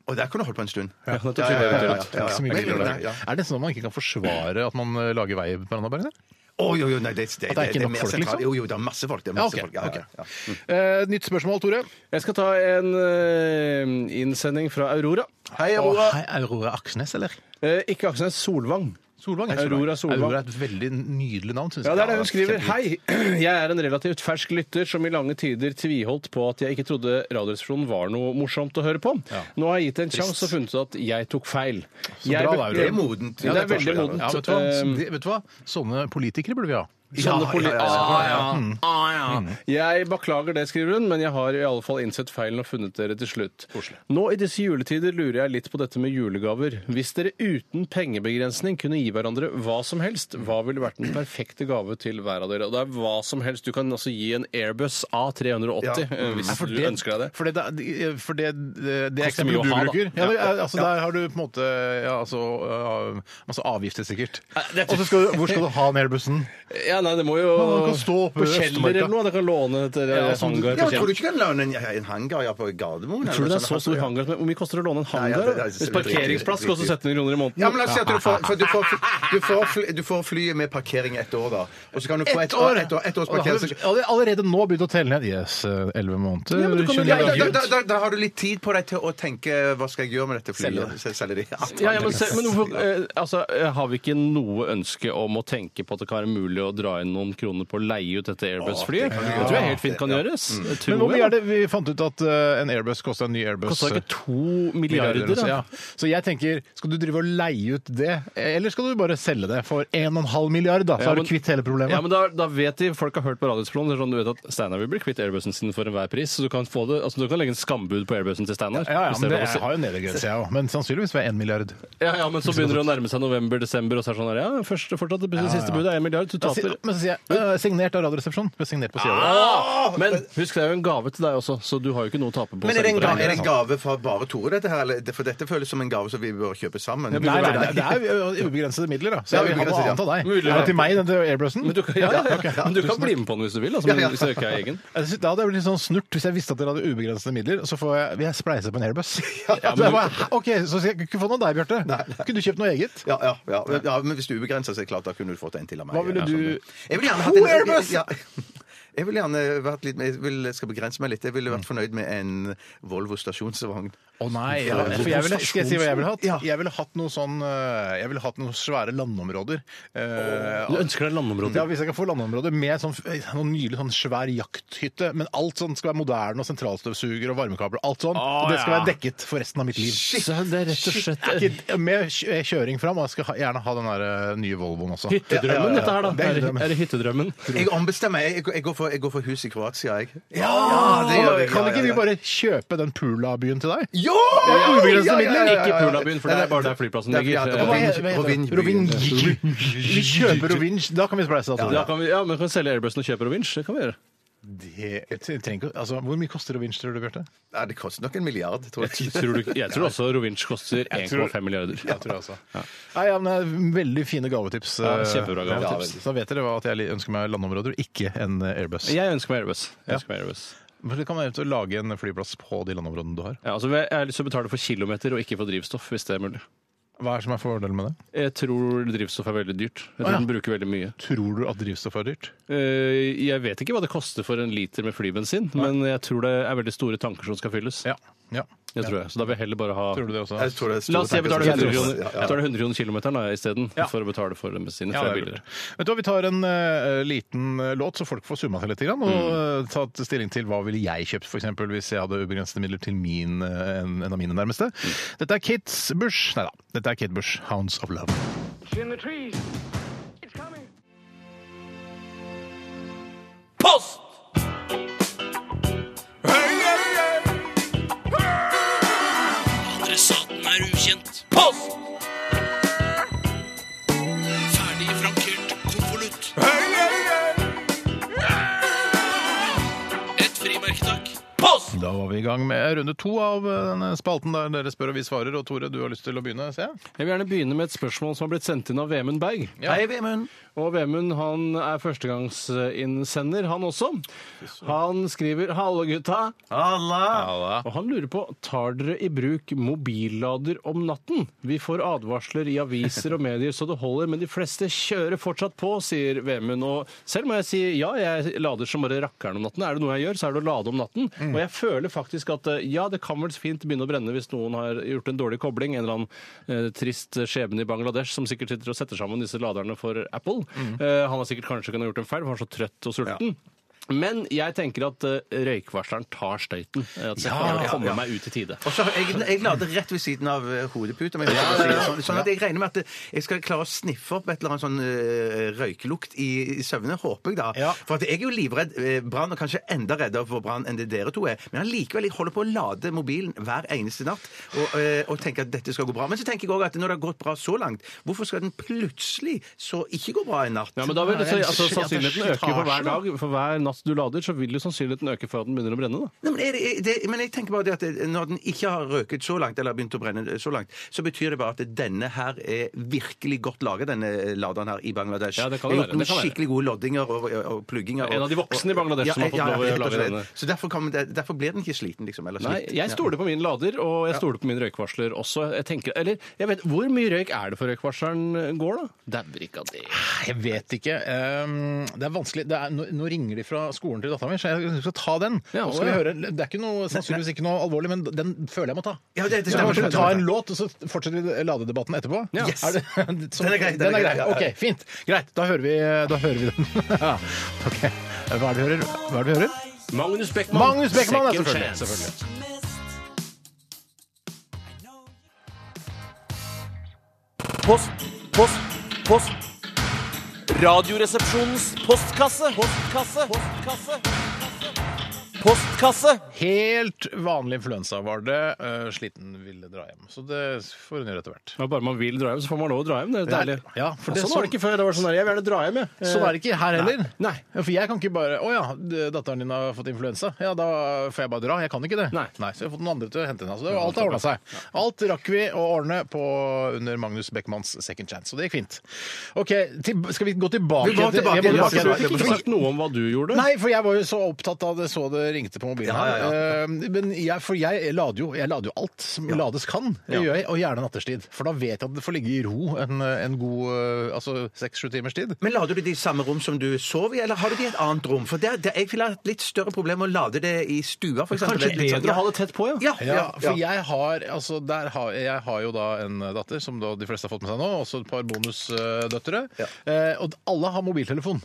Og der kunne du holdt på en stund. nettopp, så det er eventuelt. ja, ja. Så mye Men- billigere. nei, ja. Er det sånn at man ikke kan forsvare at man eh, lager vei på Randaberg? eller? Å, jo, jo, nei, det, det, At det er ikke nok mer folk, sentralt. liksom? Ah, Jo, jo, det er masse folk. Det er masse folk. Ja, ja, ja. Eh, nytt spørsmål, Tore. Jeg skal ta en eh, innsending fra Aurora. Hei, Aurora. Hei, Aurora Aksnes, eller? Eh, ikke Aksnes, Solvang. Solvang. ja. Aurora Solvang. Aurora er et veldig nydelig navn, syns Ja, jeg. det er det hun skriver. Hei, jeg er en relativt fersk lytter som i lange tider tviholdt på at jeg ikke trodde Radioresepsjonen var noe morsomt å høre på. Nå har jeg gitt det en sjanse og funnet ut at jeg tok feil. bra, Jeg be- da, Aurora. Det er modent. Ja, det er veldig modent. Ja, vet, du hva? Ehm, Eh, Det- vet du hva? Sånne politikere burde vi ha. Sånne ja, poli- ja, ja, ja. Mm. Ah, ja. Ah, ja. Jeg beklager det, skriver hun, men jeg har i alle fall innsett feilen og funnet dere til slutt. Nå i disse juletider lurer jeg litt på dette med julegaver. Hvis dere uten pengebegrensning kunne gi hverandre hva som helst, hva ville vært den perfekte gave til hver av dere? Og det er hva som helst. Du kan altså gi en Airbus A380 Ja. eh, hvis Nei, for du det- ønsker deg det. For det, det- for det, det, det Koster mye eksempelet å du ha, da. bruker ja, det, er- altså, Der har du på en måte ja, altså, øh, masse avgifter, sikkert. Eh, Og så skal du, hvor skal du ha den airbussen? Ja, nei, det må jo Ja, det kan stå oppe på i kjeller Østmarka. eller noe. Det kan låne til Ja, eh, som du- hangar Ja, på men tror kjeller. du ikke du kan lage en, en hangar ja, på Gardermoen? Tror du eller det noe er så sånt? stor hangar? Hvor mye koster det å låne en ja, hangar? det- det er- Hvis parkeringsplass koster 1700 kroner i måneden. Ja, men la oss si at du får, for du får, du får, fly, du får flyet med parkering ett år, da. Og så kan du få ett år, ett år, ett Og års da har parkering. du så- ja, det er allerede nå begynt å telle ned. Yes, eh, elleve måneder. Ja, men du kan jo- 29 Ja, da, dager. da, da, da, da har du litt tid på deg til å tenke hva skal jeg gjøre med dette flyet? Se- Selge det. Ja, ja, men, se- men hvorfor, eh, altså, eh, har vi ikke noe ønske om å tenke på at det kan være mulig å dra inn noen kroner på å leie ut dette Airbus-flyet? Det tror jeg helt fint kan gjøres. Det tror Men hvor mye jeg, er det vi fant ut at eh, en Airbus kosta en ny da. Airbus? eh, Koster det ikke to milliarder? milliarder, da? ja. Så jeg tenker, skal du drive og leie ut det, eller skal du bare selge det for 1,5 milliard, da, så Ja, har men- du kvitt hele problemet? Ja, men da, da vet de, folk har hørt på Radiosplan, sånn, du vet at Steinar vil bli kvitt Airbusen sin for enhver pris, så du kan, få det, altså, du kan legge en skambud på Airbusen til Steinar. Ja, ja, hvis men det det er lov å si. jeg har jo nedre grense, jeg òg. Men sannsynligvis ved 1 milliard. ja, ja, men så begynner det å nærme seg november, desember, og så er det sånn her, ja, først, fortsatt, det siste budet er en milliard, du Da si- taper. Men så sier jeg eh, signert av Radioresepsjonen. Det er Signert på sida. Ah! Men husk, det er jo en gave til deg også, så du har jo ikke noe å tape på. å Men er det, en selge på gave, er det en gave fra bare Tore, dette her? Eller? For dette føles som en gave som vi bør kjøpe sammen. Nei, nei, nei, det er jo ubegrensede midler, da. Så Ja, jeg vil ha noe ubegrensede, annet av deg. Mulig, ja. Er det til meg, den til Airbussen? Men du, kan- ja, ja, ja. Men du kan bli med på den hvis du vil, altså, men hvis du ikke er egen. Jeg synes- Da hadde jeg blitt litt sånn snurt hvis jeg visste at dere hadde ubegrensede midler. Så får jeg, vil jeg spleise på en airbus. Ja, så, jeg men- bare, ok, så skal jeg ikke få noe av deg, Bjarte. Kunne du kjøpt noe eget? Ja, ja, ja. ja, men hvis du ubegrenser, så er det klart da kunne du fått en til av meg. Hva ville Ja, du- sånn. Jeg vil gjerne hatt To en- Airbus! Ja. Jeg vil gjerne vært litt Jeg vil, skal begrense meg litt. Jeg ville vært Mm. fornøyd med en Volvo stasjonsvogn. Å nei, ja, for jeg ville, Skal jeg si hva jeg ville hatt? Ja. Jeg ville hatt noe sånn eh, Jeg ville hatt noen svære landområder. Eh, Du ønsker deg Ja, landområder. Hvis jeg kan få landområder med sånn, noen nylig sånn svær jakthytte, men alt sånn skal være moderne, og sentralstøvsuger og varmekabler, alt sånn. Å, og det skal ja. være dekket for resten av mitt liv. Så det er rett og slett Er ikke- Med kjø- kjøring fram, og jeg skal ha- gjerne ha den der eh, nye Volvoen også. hyttedrømmen, dette her, da. Det er Er det, hyttedrømmen. er det hyttedrømmen? Jeg ombestemmer meg. Jeg, går- jeg, går for- jeg går for hus i Kroatia, jeg. Ja! det gjør vi. Kan Ja, ikke ja, vi ja. bare kjøpe den Pula-byen til deg? Jo! ubegrensede midler. Ikke Pula-byen, for det er bare der flyplassen ligger. Rovinj. Vi kjøper Rovinj, da kan vi spleise. Altså. Da kan vi, ja, men kan vi selge Airbusen og kjøpe Rovinch? Det kan vi gjøre. Det, jeg trenger ikke- altså, hvor mye koster Rovinj, tror du, Bjarte? Ja, det koster nok en milliard, tror jeg. Tror du, ikke- jeg tror også Rovinch koster 1,5 milliarder. altså. Nei, ja, men det er Veldig fine gavetips. Ja, eh, kjempebra gavetips. ja, vel. så vet dere hva, at jeg li- ønsker meg landområder, ikke en eh, Airbus. Jeg ønsker meg Airbus. Jeg ønsker meg Airbus. Men det kan være eventuelt å lage en flyplass på de landområdene du har. Ja, altså, jeg har lyst til å betale for kilometer og ikke for drivstoff, hvis det er mulig. Hva er det som er fordelen med det? Jeg tror drivstoff er veldig dyrt. Å, Jeg tror ja. den bruker veldig mye. Tror du at drivstoff er dyrt? Eh, Jeg vet ikke hva det koster for en liter med flybensin, men jeg tror det er veldig store tanker som skal fylles. Ja. ja. Det tror jeg. Så da vil jeg heller bare ha Tror du det også? Jeg tror det er store La oss si jeg betaler tanker. 100 kroner, Ja, ja. jeg betaler 100 kroner kilometeren da, isteden, Ja. for å betale for den bensinen. Ja, for det er det er billigere. lurt. Vet du hva, Vi tar en eh, liten eh, låt, så folk får summa seg litt. Grann, og Mm. eh, tatt stilling til hva ville jeg kjøpt for eksempel, hvis jeg hadde ubegrensede midler til min, eh, en, en av mine nærmeste. Mm. Dette er Kate Bush. Nei da. Dette er Kate Bush, 'Hounds of Love'. Adressaten er ukjent. Poff! Ferdig frankert konvolutt. Et frimerke, takk. Poff! Da var vi i gang med runde to av eh, denne spalten der dere spør og vi svarer. Og Tore, du har lyst til å begynne? ser jeg? Jeg vil gjerne begynne med et spørsmål som har blitt sendt inn av Vemund Berg. Hei, Vemund. Og Vemund han er førstegangsinnsender, han også. Han skriver 'Hallo, gutta'. Og han lurer på tar dere i bruk mobillader om natten. Vi får advarsler i aviser og medier så det holder, men de fleste kjører fortsatt på, sier Vemund. Og selv må jeg si ja, jeg lader som bare rakkeren om natten. Er det noe jeg gjør, så er det å lade om natten. Og jeg føler faktisk at eh, ja, det kan vel fint begynne å brenne hvis noen har gjort en dårlig kobling, en eller annen eh, trist skjebne i Bangladesh som sikkert sitter og setter sammen disse laderne for Apple. Eh, han har sikkert kanskje kunnet gjort en feil, for han er så trøtt og sulten. Men jeg tenker at eh, røykvarsleren tar støyten. eh, At jeg klarer å komme meg ut i tide. Og så har jeg, jeg lader rett ved siden av eh, hodeputa. Men jeg skal bare si det sånn, sånn at jeg regner med at jeg skal klare å sniffe opp et eller annet sånn eh, røyklukt i, i søvne, håper jeg da. For at jeg er jo livredd eh, brann, og kanskje enda reddere for brann enn det dere to er. Men allikevel, jeg holder på å lade mobilen hver eneste natt og, eh, og tenker at dette skal gå bra. Men så tenker jeg òg at når det har gått bra så langt, hvorfor skal den plutselig så ikke gå bra en natt? Ja, men da vil det, Nei, det er altså, en slitasje, Sannsynligheten øker for hver da. dag. For hver natt du lader, så vil jo sannsynligheten øke for at den begynner å brenne. da. Nei, men, er det, er det, men jeg tenker bare det at det- når den ikke har røket så langt, eller begynt å brenne så langt, så betyr det bare at denne her er virkelig godt laget, denne laderen her i Bangladesh. Ja, det kan Jeg har det være, gjort noen det kan være. skikkelig gode loddinger og, og, og plugginger. og- En av de voksne i Bangladesh Ja, som har fått ja, ja, lov å rett og lage slett. denne. Så derfor, kommer det, derfor blir den ikke sliten, liksom. Eller Nei, slitt. jeg stoler på min lader, og jeg stoler på min røykvarsler også. Jeg tenker, eller, jeg vet, Hvor mye røyk er det for røykvarsleren går, da? Dauer ikke av det. Jeg vet ikke. Ehm, det er vanskelig. Det er, nå, nå ringer de fra skolen til dattera mi, så jeg skal ta den. Ja, og så skal vi å, høre. Det er ikke noe, sannsynligvis ikke noe alvorlig, men den føler jeg må ta. Ja, det, det Så stemmer. kanskje stemmer, vi tar en stemmer. låt, og så fortsetter vi ladedebatten etterpå? Ja. Er det, som, Den er grei, den er Den er grei, grei. ja, ja. OK, fint. Greit. Da hører vi, da hører vi den. Ja, ok. Hva er det vi hører? Hva er det vi hører? Magnus Beckmann. Magnus Beckmann, ja, Second selvfølgelig. chance. selvfølgelig. Post, post, post. Radioresepsjonens postkasse. Postkasse. Postkasse. Postkasse. Helt vanlig influensa var det. Eh, sliten ville dra hjem. Så det får hun gjøre etter hvert. Når bare man vil dra hjem, så får man lov å dra hjem. Det er Ja, deilig. ja, for det sånn så- var det ikke før. Det var sånn der, Jeg vil gjerne dra hjem, jeg. Eh, Sånn er det ikke her heller. Nei. Ja, for jeg kan ikke bare Å ja, d- datteren din har fått influensa. Ja, da får jeg bare dra. Jeg kan ikke det. Nei. Så jeg har fått noen andre til å hente henne. Så det, var- alt har ordna seg. Alt rakk vi å ordne på, under Magnus Beckmanns second chance. Så det gikk fint. OK, til, skal vi gå tilbake? Vi går til- tilbake. jeg må Ja, for Eh, Du det fikk blir ikke sagt noe om hva du gjorde. Nei, for jeg var jo så opptatt da det så det ringte på mobilen Ja, ja, her. Eh, Men jeg, for jeg lader jo, jeg lader jo alt som lades kan, det gjør jeg, og gjerne natterstid. For da vet jeg at det får ligge i ro en, en god eh, altså seks-sju timers tid. Men lader du det i samme rom som du sover i, eller har du det i et annet rom? For det, det, jeg vil ha et litt større problem med å lade det i stua, for eksempel. Kanskje Det er litt sånn- bedre å ha det tett på, ja. Ja, Ja, ja, for jeg har, altså, der har jeg har jo da en datter, som da de fleste har fått med seg nå, også et par bonusdøtre. Eh, og alle har mobiltelefon.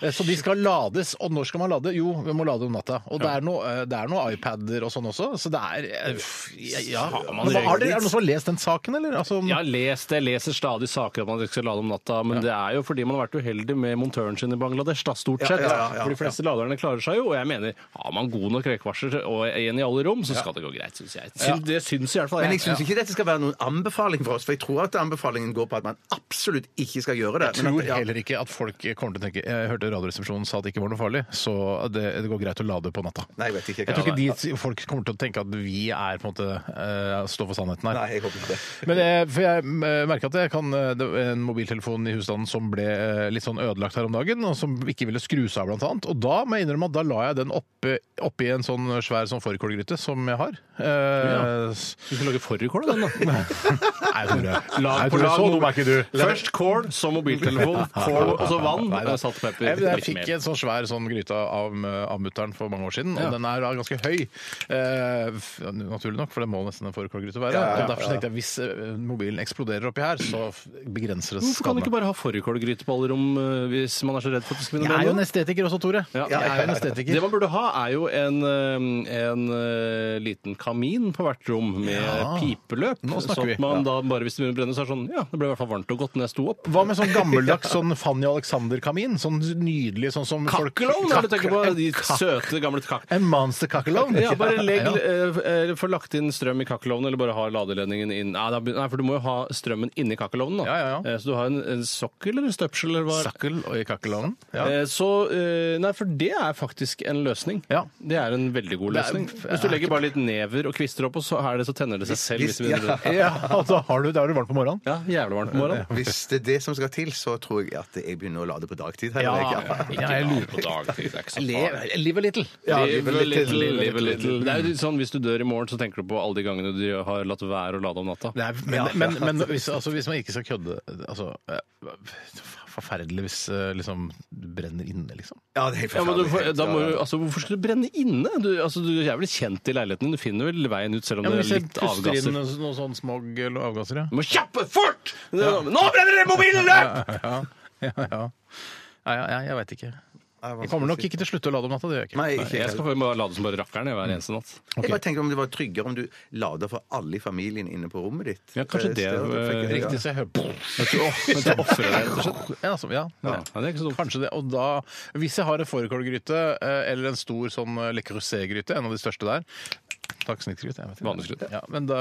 Eh, så de skal lades. Og når skal man lade? Jo, vi må lade om natta. Og det, er noe, eh, det er noe iPader og sånn også, så det er eh, pff, ja, ja. man Men hva- regler har dere- Er det noen som har lest den saken, eller? Altså, om- Jeg har lest det. Jeg leser stadig saker om at man ikke skal lade om natta, men det er jo fordi man har vært uheldig med montøren sin i Bangladesh, da, stort sett. ja, ja, ja. For de fleste laderne klarer seg jo, og jeg mener, har man god nok røykvarsler og en i alle rom, så skal det gå greit, syns jeg. Syn- Det syns i hvert fall Men jeg jeg. syns ikke dette skal være noen anbefaling for oss, for jeg tror at anbefalingen går på at man absolutt ikke skal gjøre det. Jeg men tror at, ja. heller ikke at folk kommer til å tenke Jeg hørte Radioresepsjonen sa at det ikke var noe farlig, så det, det går greit å lade på natta. Nei, jeg vet ikke. Jeg tror ikke de folk kommer til å tenke at vi er på en måte eh, står for sannheten her. Nei, jeg håper ikke det. Men eh, for jeg merka at jeg kan eh, det var en mobiltelefon i husstanden som ble eh, litt sånn ødelagt her om dagen, og som ikke ville skru seg av, blant annet. Og da må jeg innrømme at da la jeg den oppe- oppi en sånn svær sånn fårikålgryte som jeg har. Eh, s- Du skal lage fårikål av den, da. Nei, Tore. Nei, Lag på Tore, lag. så dum er sånn- ikke du. Først kål, så mobiltelefon, kål, og så vann, Nei, da. salt og pepper. Jeg, jeg litt fikk mer. en sånn svær sånn gryte av, av mutter'n for mange år siden, og den er da ganske høy. Eh, f- naturlig nok, for det må nesten en fårikålgryte være. Og Derfor så tenkte jeg hvis eh, mobilen eksploderer oppi her, så f- begrenser det Hvorfor kan du ikke skadene. bare ha fårikålgryte på alle rom eh, hvis man er så redd for at det skal Jeg begynne å er jo en brenne? estetiker også, Tore. Ja. Jeg er jo en Det estetiker. man burde ha, er jo en, eh, en eh, liten kamin på hvert rom med pipeløp. Nå snakker sånn vi. at man da bare hvis det begynner å brenne, så er det sånn Ja, det ble i hvert fall varmt og godt når jeg sto opp. Hva med sånn gammeldags sånn Fanny Alexander-kamin? Sånn nydelig sånn som folk- Kakkelovn, er det du tenker på? En De kak- søte, gamle kak... En monster kakkelovn? Ja, bare legg, eh, eh, Få lagt inn strøm i kakkelovnen, eller bare ha ladeledningen inn Nei, da, nei for du må jo ha strømmen inni kakkelovnen. da. Ja, ja, ja. Eh, Så du har en, en sokkel eller en støpsel eller hva? Sakkel og i kakkelovnen. Ja. Eh, Så, eh, nei, for det er faktisk en løsning. Ja. Det er en veldig god Det er- løsning. Hvis du legger bare litt never og kvister oppå, så er det, så tenner det seg selv. Hvis, vi- ja. Ja, og da Altså, har du, da er du varm på morgenen. ja, jævlig varmt på morgenen. Hvis det er det som skal til, så tror jeg at jeg begynner å lade på dagtid. her, eller ikke? ja, jeg lurer på dagtid, det er ikke så Live, live a little. Ja, Live live a a little, little, live a little. Det er jo litt sånn, Hvis du dør i morgen, så tenker du på alle de gangene du har latt være å lade om natta. Det er, men men, men hvis, altså, hvis man ikke skal kødde altså, eh, Forferdelig hvis eh, liksom, du brenner inne, liksom. Ja, det er helt Ja, men du, forferdelig. får- da må, jo- altså, hvorfor skal du brenne inne? Du, altså, du er vel kjent i leiligheten din. Du finner vel veien ut, selv om det er litt avgasser. noe, sånn smog eller avgasser, ja. Du må kjappe! Fort! Nå brenner det! Mobilen løp! Ja, ja, ja. Nei, ja, jeg veit ikke. Jeg kommer nok ikke til å slutte å lade om natta. det gjør jeg ikke. Nei, ikke Jeg helt. skal bare lade som bare rakkeren jeg, hver eneste natt. Jeg bare tenkte om det var tryggere om du lader for alle i familien inne på rommet ditt. Ja, kanskje det, Eh, stedet. eh, Ja. Riktig, så jeg hører Vet du, åh, vet du, offrer deg, rett og slett. Ja, altså, ja. Ja, det er ikke så dumt. Kanskje det. Og da, hvis jeg har en fårikålgryte eh, eller en stor sånn eh, le creuset-gryte, en av de største der Takk, snikskryte. jeg vet ikke. Vanlig skryt. Ja, men da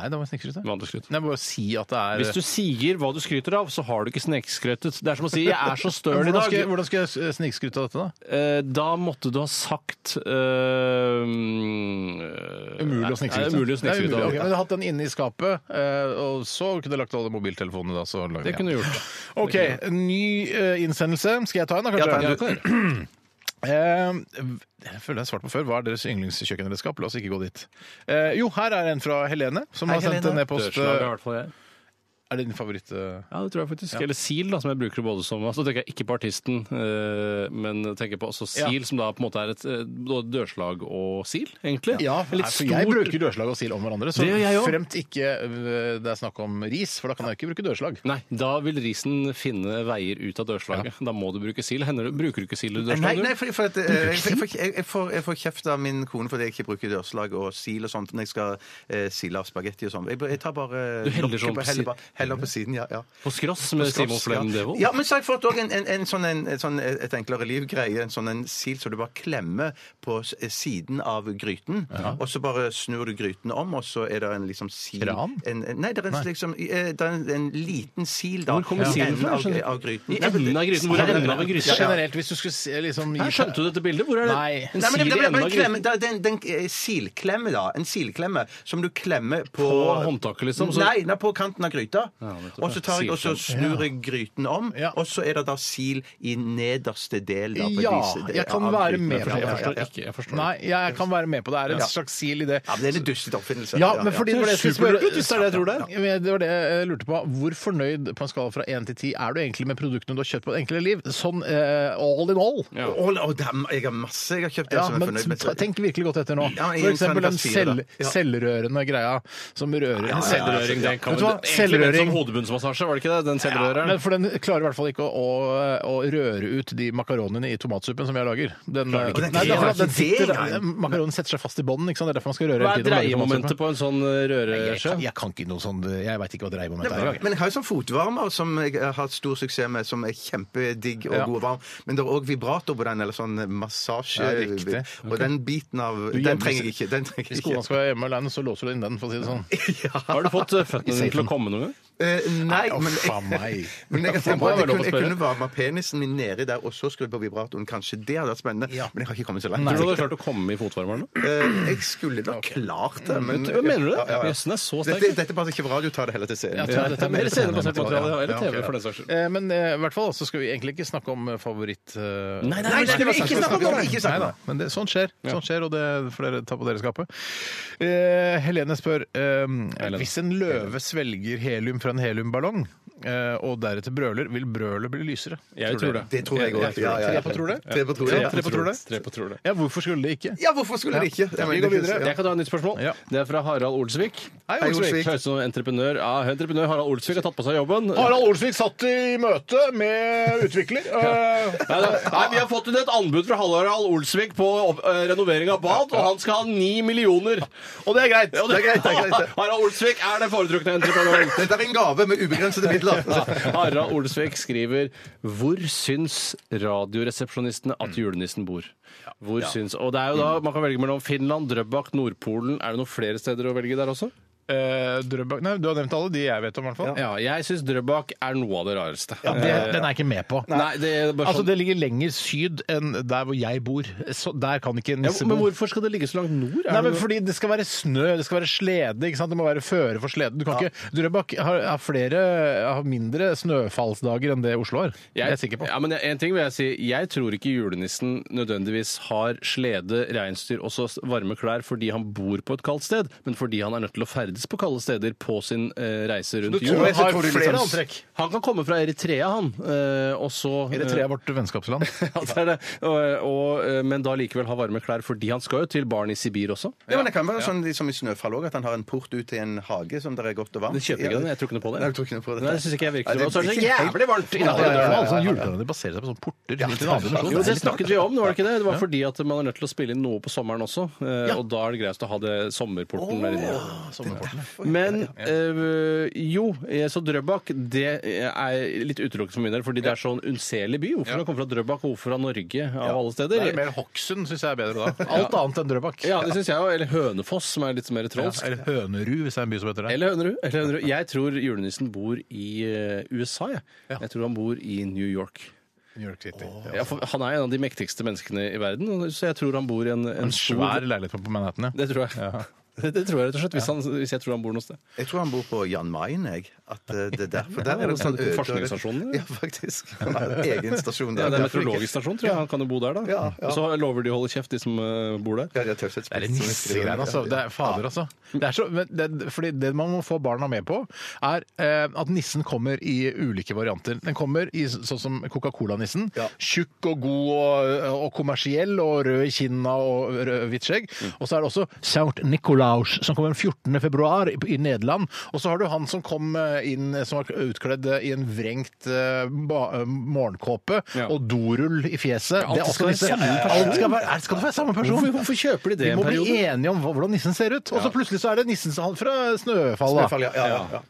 Nei, det var snikskryte. Vanlig skryt. Jeg må bare si at det er Hvis du sier hva du skryter av, så har du ikke snekskrøtet. Det er som å si 'jeg er så støl i hvordan, skal, dag'. jeg- hvordan skal jeg s- eh, snikskryte av dette, da? Eh, Da måtte du ha sagt eh, Umulig Umulig å snikskryte. Umulig Det er å umulig. snikskryte av. Ok, men du har hatt den inne i skapet, eh, og så kunne du lagt alle mobiltelefonene da. Så Det kunne du gjort. OK, ny eh, innsendelse. Skal jeg ta en, da, kanskje? Ja, ta en. Eh, jeg føler jeg har svart på før. Hva er deres yndlingskjøkkenredskap? La oss ikke gå dit. Eh, jo, her er en fra Helene, som Hei, har sendt Helene. en e-post. Er Dørslag er i eh, hvert fall jeg. det din favoritt? eh? Ja, det tror jeg faktisk. Eller Seal, da, som jeg bruker det både som altså, Da tenker jeg ikke på artisten, eh, men tenker på også Seal, som da på en måte er et eh, både dørslag og Seal, egentlig. En Nei, for litt altså, jeg stor- bruker dørslag og sil om hverandre. Så Det gjør jeg også. fremt ikke eh, det er snakk om ris, for da kan jeg ikke bruke dørslag. Nei, da vil risen finne veier ut av dørslaget. Da må du bruke Seal. Hender du, bruker du ikke Seal i Nei, dørslaget? nei, for, for at, eh, jeg, jeg, får- jeg, jeg, får, jeg får kjeft av min kone fordi jeg ikke bruker dørslag og sil og sånt når jeg skal eh, sile av spagetti og sånn. Jeg, jeg tar bare Du heller lokket sånn på på- heller siden. bare- heller på siden. Ja, ja. På skross med Simon Flem Devold? Ja, men så har jeg fått òg en, en, en sånn, en, en sånn Et enklere liv-greie. En sånn en sil som du bare klemmer på s- eh, siden av gryten. Og så bare snur du gryten om, og så er det en liksom sil Kran? En, nei, det er, en, liksom, eh, det er en, en liten sil da. Hvor kommer i silen enden fra? av- eh, Skjønner ikke. av gryten. I Nei, men- enden av gryten? Hvor er enden av en gryte? Generelt, hvis du skulle se, liksom Her skjønte du dette bildet? Hvor er det? Nei. En Nei, men Seal det, i det, enden men av klemme, gryten. da, den, den eh, silklemme, da. En silklemme som du klemmer på På håndtaket, liksom, så- Nei, nei, på kanten av gryta. Ja, nettopp, og så tar jeg, og så Silklemme. snur jeg gryten om, Ja. og så er det da sil i nederste del. Da, på Ja, disse- jeg kan av være gryten. med på Ja, det. Jeg ja, ja, forstår ja. ikke. Jeg forstår Nei, jeg kan være med på det. Det er en Ja. slags sil i det. Ja, men det er en dustete oppfinnelse. Ja, men fordi det var det jeg skulle spørre Superlurt, hvis det er det jeg tror det er. Ja, men Det var det jeg lurte på. Hvor fornøyd på en skala fra 1 til 10 er du egentlig med produktene du har kjøpt på Det enkle liv? Sånn eh, all in all. Ja. Å, å, damn, jeg har masse jeg har kjøpt. jeg Ja, som er men fornøyd med. ta- tenk virkelig godt etter nå. Ja, i For eksempel den terningkast fire, da. selv, Ja. selvrørende greia som rører En Selvrøring, det kan Vet du hva? egentlig ment Selvrøring. Som hodebunnsmassasje, var det ikke det? Den Ja, selvrøreren. men for den klarer i hvert fall ikke å, å, å røre ut de makaronene i tomatsuppen som jeg lager. Den, nei, ikke det? det er fordi at Klarer den ikke det, sitter, nei. makaronen setter seg fast i bånden, ikke sant? Det er derfor man skal røre Hva hele er tiden. og lage dreiemomentet tomatsaupe. på en sånn eh, Jeg røreskje? kan, jeg kan ikke noe sånn Jeg veit ikke hva dreiemoment er. Men jeg har jo sånn fotvarmer som jeg har hatt stor suksess med, som er kjempedigg og Ja. god og varm. Men det er òg vibrator på den, eller sånn massasje... Ja, riktig. Og den biten av Den trenger jeg ikke. Den trenger Hvis jeg kona ikke. skal være hjemme alene, så låser du inn den, for å si det sånn. Har du fått eh, føttene dine til å komme noen gang? Eh, nei, Å, men faen meg. men jeg, Faen, jeg, det er jeg, lov å kunne, jeg spørre. kunne varme penisen min nedi der og så skru på vibratoren. Kanskje det hadde vært spennende. Ja. Men jeg har ikke kommet så langt. Tror du du hadde klart å komme i fotvarmeren? da? Eh, jeg skulle nok klart det, men Hva mener du det? Ja, ja, ja. Jøssen er så sterk. Dette, dette passer ikke på radio. Ta det heller til scenen. Ja, dette er mer scenebasert Ja, materiale, eller ja, TV, ok, for ja. den saks skyld. Eh, Men eh, i hvert fall så skal vi egentlig ikke snakke om eh, favoritt... eh, Nei, det skal vi ikke snakke om! Ikke snakke om. Neida, men det, sånt skjer, sånt skjer, og det får dere ta på deres kappe. Eh, Helene spør eh, Hvis en løve svelger helium fra en heliumballong, eh, og deretter brøler, vil brølet bli lysere? Jeg tror det. Det tror jeg òg. Tre på tror det? Tre på tror det, Ja, ja. tre på tror det? Tre på tror det. Ja, hvorfor skulle det ikke? Ja, hvorfor skulle det ikke? Ja, vi går videre. Jeg kan ta et nytt spørsmål. Ja. Det er fra Harald Olsvik. Hei, Hei, Olsvik. Olsvik. Høres ut som entreprenør. Ja, entreprenør Harald Olsvik har tatt på seg jobben. Harald Olsvik satt i møte med utvikler. Eh, Nei, da- nei, Vi har fått inn et anbud fra Harald Olsvik på opp- eh, renovering av bad, og han skal ha ni millioner. Og det er greit. Ja, Det er greit, det er greit. Harald Olsvik er den foretrukne entreprenøren. Dette er en gave med ubegrensede midler. Harald Olsvik skriver Hvor syns radioresepsjonistene at julenissen bor? Hvor syns Og det er jo da man kan velge mellom Finland, Drøbak, Nordpolen. Er det noen flere steder å velge der også? Eh, Drøbak Nei, du har nevnt alle de jeg vet om, i hvert fall. Ja, jeg syns Drøbak er noe av det rareste. Ja, det- den er jeg ikke med på. Nei, det er bare Altså, sånn det ligger lenger syd enn der hvor jeg bor. Så der kan ikke en ja, nisse Men bo. hvorfor skal det ligge så langt nord? Er Nei, det men noe- fordi Det skal være snø, det skal være slede. ikke sant? Det må være føre for sleden. Du kan ikke, Drøbak har, har flere har mindre snøfallsdager enn det Oslo har. Det er jeg sikker på. Ja, men en ting vil jeg si. Jeg tror ikke julenissen nødvendigvis har slede, reinsdyr og så varme klær fordi han bor på et kaldt sted, men fordi han er nødt til å ferdes på kalde steder på sin eh, reise tror rundt jorda. han har flere antrekk? Han kan komme fra Eritrea, han. eh, og så eh, Eritrea er vårt vennskapsland. ja, det er det. Og, og, eh, men da likevel ha varme klær, fordi han skal jo til barn i Sibir også. Ja, men Det kan være sånn som i Snøfall òg, at han har en port ut til en hage som der er godt og varmt. Den kjøper ikke den, jeg tror ikke noe på det. Nei, du tror ikke noe på det. Nei, jeg synes ikke jeg virker Nei, det. Og så er det så ikke helt- jævlig Ja, varmt innenfor ja, ja, døren. ja, Julekalenderen baserer seg på sånne porter. helt til en annen dimensjon. Jo, det snakket vi om, det var det ikke det? Det var fordi at man er nødt til å spille inn noe på sommeren også, eh, og da er det greiest å ha det sommerporten der inne. Men eh, jo, eh, så Drøbak det er litt utelukket for min del, fordi det er sånn unnselig by. Hvorfor han kommer fra Drøbak, og hvorfor fra Norge, av alle Det steder? er mer Hokksund syns jeg er bedre da. Alt annet enn Drøbak. Ja, det syns jeg jo. Eller Hønefoss, som er litt mer trolsk. Eller Hønerud, hvis det er en by som heter det. Eller Hønerud. Eller Hønerud. Jeg tror julenissen bor i eh, USA, jeg. Jeg tror han bor i New York. New York City. Ja, for han er en av de mektigste menneskene i verden, så jeg tror han bor i en, en, En stor svær leilighet på Manhattan, ja. Det tror jeg. Det, det tror jeg rett og slett, hvis, han, hvis jeg tror han bor noe sted. Jeg tror han bor på Jan Mayen, jeg. At eh, det er derfor der er det Ja, sånn øde- forskningsstasjonen, eller? Ja, faktisk. Han har en egen stasjon der. Ja, det er meteorologisk stasjon, tror jeg. Han kan jo bo der, da. Ja, ja. Og så lover de å holde kjeft, de som eh, bor der. Ja, det er taushetsplikt Det er som en jeg skriver. nissegreier, altså. Det er fader, altså. Det er så, men det, fordi det man må få barna med på, er eh, at nissen kommer i ulike varianter. Den kommer i så- sånn som Coca-Cola-nissen. Tjukk og god og, og kommersiell og rød i kinna og rød- hvitt skjegg. Mm. Og så er det også St. Nicolaus, som kommer den 14. februar i, i Nederland. Og så har du han som kom eh, inn, som var utkledd eh, i en vrengt eh, ba, eh, morgenkåpe Ja. og dorull i fjeset. alt Det er skal også nisse. være samme person. Alt skal være, er- skal det være samme person? Hvorfor, hvorfor kjøper de det Vi en må bli periode? enige om hva- hvordan nissen ser ut. Og så plutselig så er det nissen som- fra Snøfall. Da. Snøfall, ja, ja, ja.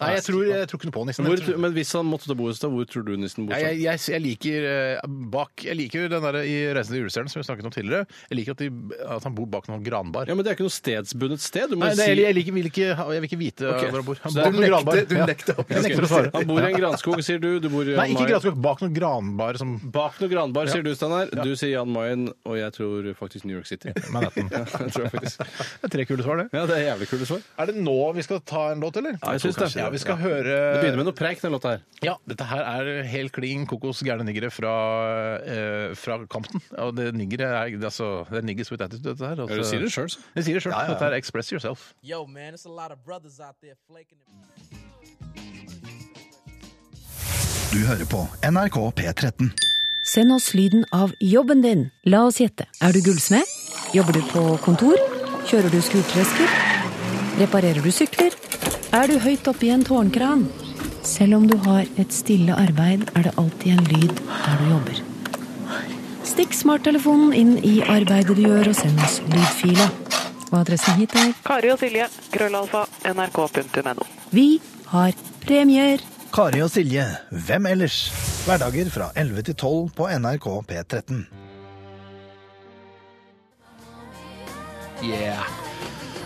Nei, jeg tror, jeg tror ikke noe på nissen. Hvor, Jeg, tror- men hvis han måtte bo et sted, hvor tror du nissen bor? Nei, da? jeg, jeg, jeg liker eh, bak Jeg liker den der i 'Reisen til julestjernen' som vi snakket om tidligere. Jeg liker at, de, at han bor bak noen granbar. Ja, men det er ikke noe stedsbundet sted. Du må Nei, jo det, jeg, si jeg, liker, vil ikke, ha- jeg vil ikke vite Ok. hvor han bor. Han Så bor bak du noen nekter- granbar. du Ja. nekter å- Jeg nekter å svare. Han bor i en granskog, sier du. Du bor i Nei, ikke Jan Mayen. granskog. Bak noen granbar som Bak noe granbar, sier du, Steinar. Du sier Jan Mayen, og jeg tror faktisk New York City. Manhattan. Ja, det tror jeg faktisk. Det er tre kule svar, det. Ja, det er jævlig kule svar. Er det nå vi skal ta en låt, eller? Ja, jeg syns det. Ja, vi skal Det høre begynner med noe preik, den låta her. Ja, dette her er helt klin kokos gærne niggere fra, eh, fra Compton. Og det niggere er det er altså det er niggers with attitude, dette her. Altså, Ja, du sier det selv, så. Jeg sier det sjøl. Dette er Express Yourself. Yo, man, it's a lot of brothers out there flaking it. Du hører på NRK P13. Send oss lyden av jobben din. La oss gjette. Er du gullsmed? Jobber du på kontor? Kjører du skurtresker? Reparerer du sykler? Er du høyt oppe i en tårnkran? Selv om du har et stille arbeid, er det alltid en lyd der du jobber. Stikk smarttelefonen inn i arbeidet du gjør, og send oss lydfila. Og adressen hit er Kari og Silje, krøllalfa, nrk.no. Vi har premier! Kari og Silje, hvem ellers? Hverdager fra 11 til 12 på NRK P13. Yeah.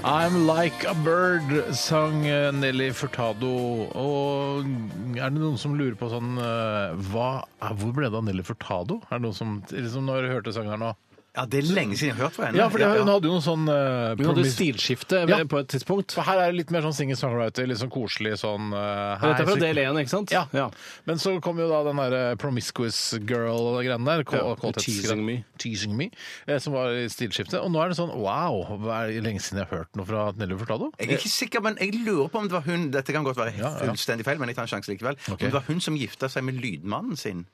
I'm like a bird, sang eh, Nelly Furtado. Og er det noen som lurer på sånn eh, hva, eh, Hvor ble det av Nelly Furtado? Er det noen som, liksom Når dere hørte sangen her nå? Ja, det er lenge siden jeg har hørt fra henne. Ja, for det- hun hadde jo noe sånn eh, Hun hadde promis- stilskifte Ja. på et tidspunkt. For her er det litt mer sånn singer-songwriter, litt sånn koselig sånn eh, Dette er hei, fra så- del 1, ikke sant? Ja. Men så kom jo da den der promiscuous girl og greiene der. K- Ja, kåthetsgreiene. Teasing Me. Teasing Me, eh, Som var i stilskiftet. Og nå er det sånn wow, hva er det lenge siden jeg har hørt noe fra Nelly Furtado. Jeg er ikke sikker, men jeg lurer på om det var hun Dette kan godt være Ja, ja. fullstendig feil, men jeg tar en sjanse likevel. Om det var hun som gifta seg med lydmannen sin.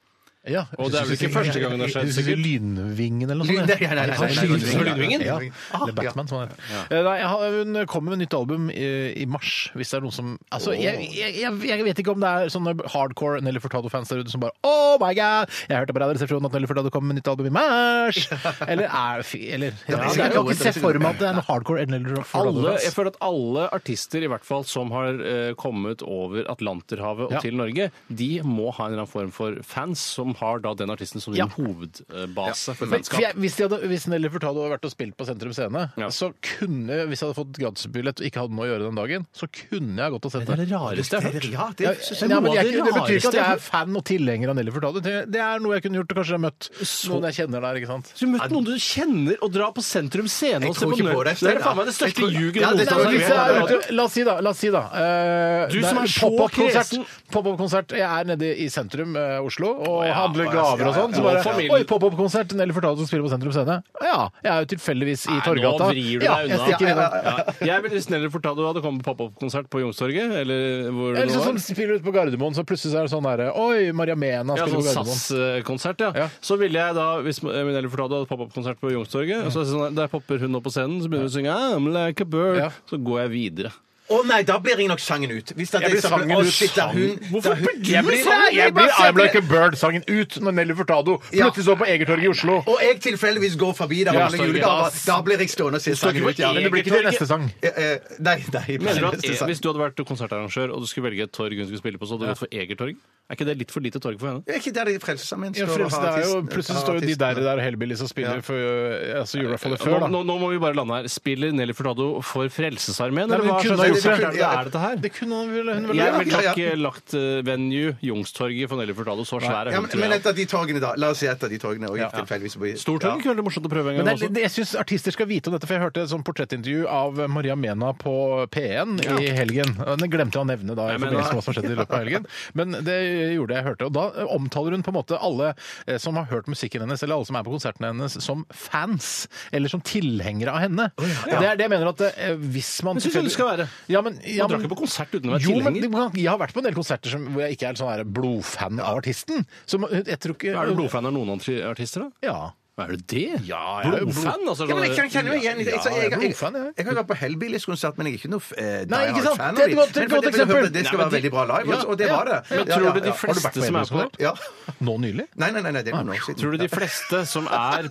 Ja, Og det er vel ikke første gangen det har skjedd, sikkert? sikkert? Lynvingen eller noe sånt? Lyn- nei, nei, nei, nei, nei, nei, Lynvingen, nei, nei, nei, Lynvingen? nei, Ja. nei, Ah, Det er Batman som han heter. Eh, Nei, jeg har- hun kommer med nytt album i, i mars, hvis det er noen som Altså, Åh. jeg, jeg, jeg- jeg vet ikke om det er sånne hardcore Nelly Furtado-fans der ute som bare Oh my god! Jeg hørte på Radioresepsjonen at Nelly Furtado kommer med nytt album i mars! Eller er fy- Eller Ja, Jeg det kan er noe ikke se etter- for meg at det er noe hardcore Nelly Alle, jeg Furtado-fans. føler at alle artister i hvert fall som har eh, kommet over Atlanterhavet og Ja. til Norge, de må ha en eller annen form for fans som har da den artisten som sin Ja. Altså, hovedbase for Men, for jeg, fanskap. hvis, de hadde, hvis Nelly Furtado hadde vært og spilt på Sentrum Scene, så kunne hvis jeg hadde fått gratisbillett og ikke hadde noe å gjøre den dagen, så kunne jeg gått og sett det. det rareste jeg har hørt. Ja, Ja, det, det er ja, men noe av jeg, det det betyr ikke at rareste jeg jeg har er fan og tilhenger av Nelly Furtado. Det det er noe jeg kunne gjort, og kanskje jeg har møtt noen jeg kjenner der. ikke sant? Så du møtte noen du kjenner, og dra på Sentrum Scene og se på Nød. Det er faen meg det største ljuget Ja, det- noensinne har hvis jeg er gjort. ute- La oss si, da. La oss si da eh, Du det som er så pop-up-konsert. kresen. Pop-up-konsert. Jeg er nede i sentrum eh, Oslo og ja, handler å ja, gaver og ja, ja, sånn. Så ja. Og bare familien. Oi, pop-up-konsert! Nelly Furtado spiller på Sentrum Scene. Ja, jeg er jo tilfeldigvis i Nei, Torgata. Nå vrir du ja, deg jeg unna. stikker innom. Ja. Jeg ville snillere fortalt at du hadde kommet på pop-up-konsert på Youngstorget. Eller hvor det Eller nå sånn var. som spiller ut på Gardermoen, så plutselig så er det sånn derre Oi, Maria Mena Ja, spiller på sånn Gardermoen. SAS-konsert, ja. Så ville jeg da, hvis Minelli Furtado hadde pop-up-konsert på Youngstorget, og så er det sånn, der popper hun opp på scenen, så begynner hun å synge I'm like a bird, så går jeg videre. Å nei, da blir jeg nok sangen ut. Hvis det Jeg er blir det som- sangen Å, ut. shit, da hun- da hun- Jeg blir- Jeg blir I'm Like a Bird-sangen ut når Nelly Furtado plutselig står på Egertorget i Oslo. Og jeg tilfeldigvis går forbi der Ja, og handler sorry. julegaver. Da blir jeg stående og se Du står ikke sangen på ut. ja. Men det blir ikke til neste sang. Eh, eh, Nei, nei. Mener du at neste eh, E- sang. Hvis du hadde vært konsertarrangør og du skulle velge et torg hun skulle spille på, så hadde du gått for Egertorg? Er ikke det litt for lite torg for henne? Det er ikke der de Frelsesarmeen Ja, står for og har det er jo, artisten- plutselig har står jo de artisten. der der og Hellbillies og spiller for øh, altså, Julefolket før, Nå, da. nå, nå må vi bare lande her. Spiller Nelly Furtado for Frelsesarmeen, Nei, eller men hva hun kunne ha slags gjort sånn- det. konsert er det er dette her? Det kunne hun vel hun vel- Jeg Ja, ville nok ja. eh, lagt eh, venue Youngstorget for Nelly Furtado, så svær er Ja, hun, men, tror jeg. men altså. et av de torgene, da. La oss si et av de torgene. Og ja. tilfeldigvis blir- Stortorget kunne vært morsomt å prøve en Men gang det Eh, også. er, det, jeg syns artister skal vite om dette, for jeg hørte et sånt portrettintervju av Maria Mena på P1 i helgen. Den glemte jeg å nevne da, i men forbindelse med da- hva som skjedde i løpet av helgen. Men det gjorde jeg, jeg hørte. Og da eh, omtaler hun på en måte alle eh, som har hørt musikken hennes, eller alle som er på konsertene hennes, som fans. Eller som tilhengere av henne. Og det er det jeg mener at eh, hvis man Men synes jeg det skal være. Ja, men, ja, Man drar men- ikke på konsert uten å være jo, men tilhenger. det- man- jeg har vært på en del konserter som, hvor jeg ikke er sånn her blodfan av artisten. Så man- jeg tror ikke Er du blodfan av noen andre artister, da? Ja. Er du det? Ja, jeg er jo Blodfan, altså? Ja, men jeg kan kjenne meg igjen. i det. Ja, Altså, jeg, jeg er jeg, blodfan, jeg, jeg har gått på Hellbillies-konsert, men jeg er ikke noe eh, Nei, die ikke hard sant? fan Det er et dem. godt- godt Men fordi jeg hørte eksempel. at Nei, Det skal men være de- veldig bra live, Ja, og det ja. var det. Men Ja, tror ja, du de ja. Har vært fleste som er på- Hellbillies-konsert? Ja. Nå nylig? Nei, nei, nei, nei, det var noe Tror du de fleste som er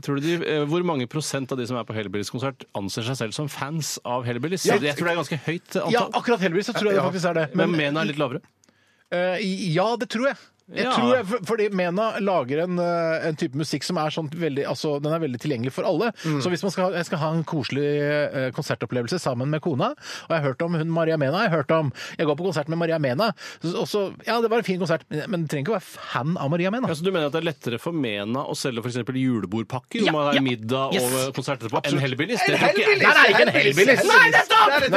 tror du de, eh, Hvor mange prosent av de som er på Hellbillies-konsert, anser seg selv som fans av Hellbillies? Ja. Jeg tror det er ganske høyt antall. Ja, akkurat Hellbillies så tror jeg det Ja. faktisk er det. Men Mena er litt lavere. Eh, ja, det tror jeg. Jeg Ja. tror jeg, for- Fordi Mena lager en, eh, en type musikk som er sånn veldig, altså, den er veldig tilgjengelig for alle. Mm. Så hvis man skal, ha- jeg skal ha en koselig eh, konsertopplevelse sammen med kona, og jeg har hørt om hun Maria Mena, jeg har hørt om Jeg går på konsert med Maria Mena, så- og så Ja, det var en fin konsert, men men du trenger ikke å være fan av Maria Mena. Ja, så du mener at det er lettere for Mena å selge f.eks. julebordpakker Ja, om man har ja. middag Yes. og konsert etterpå, enn Absolutt. Hellbillies? En Det tror ikke jeg. Hellbillies! Nei, nei, ikke en Hellbillies. Nei, nettopp! Nei, Nei.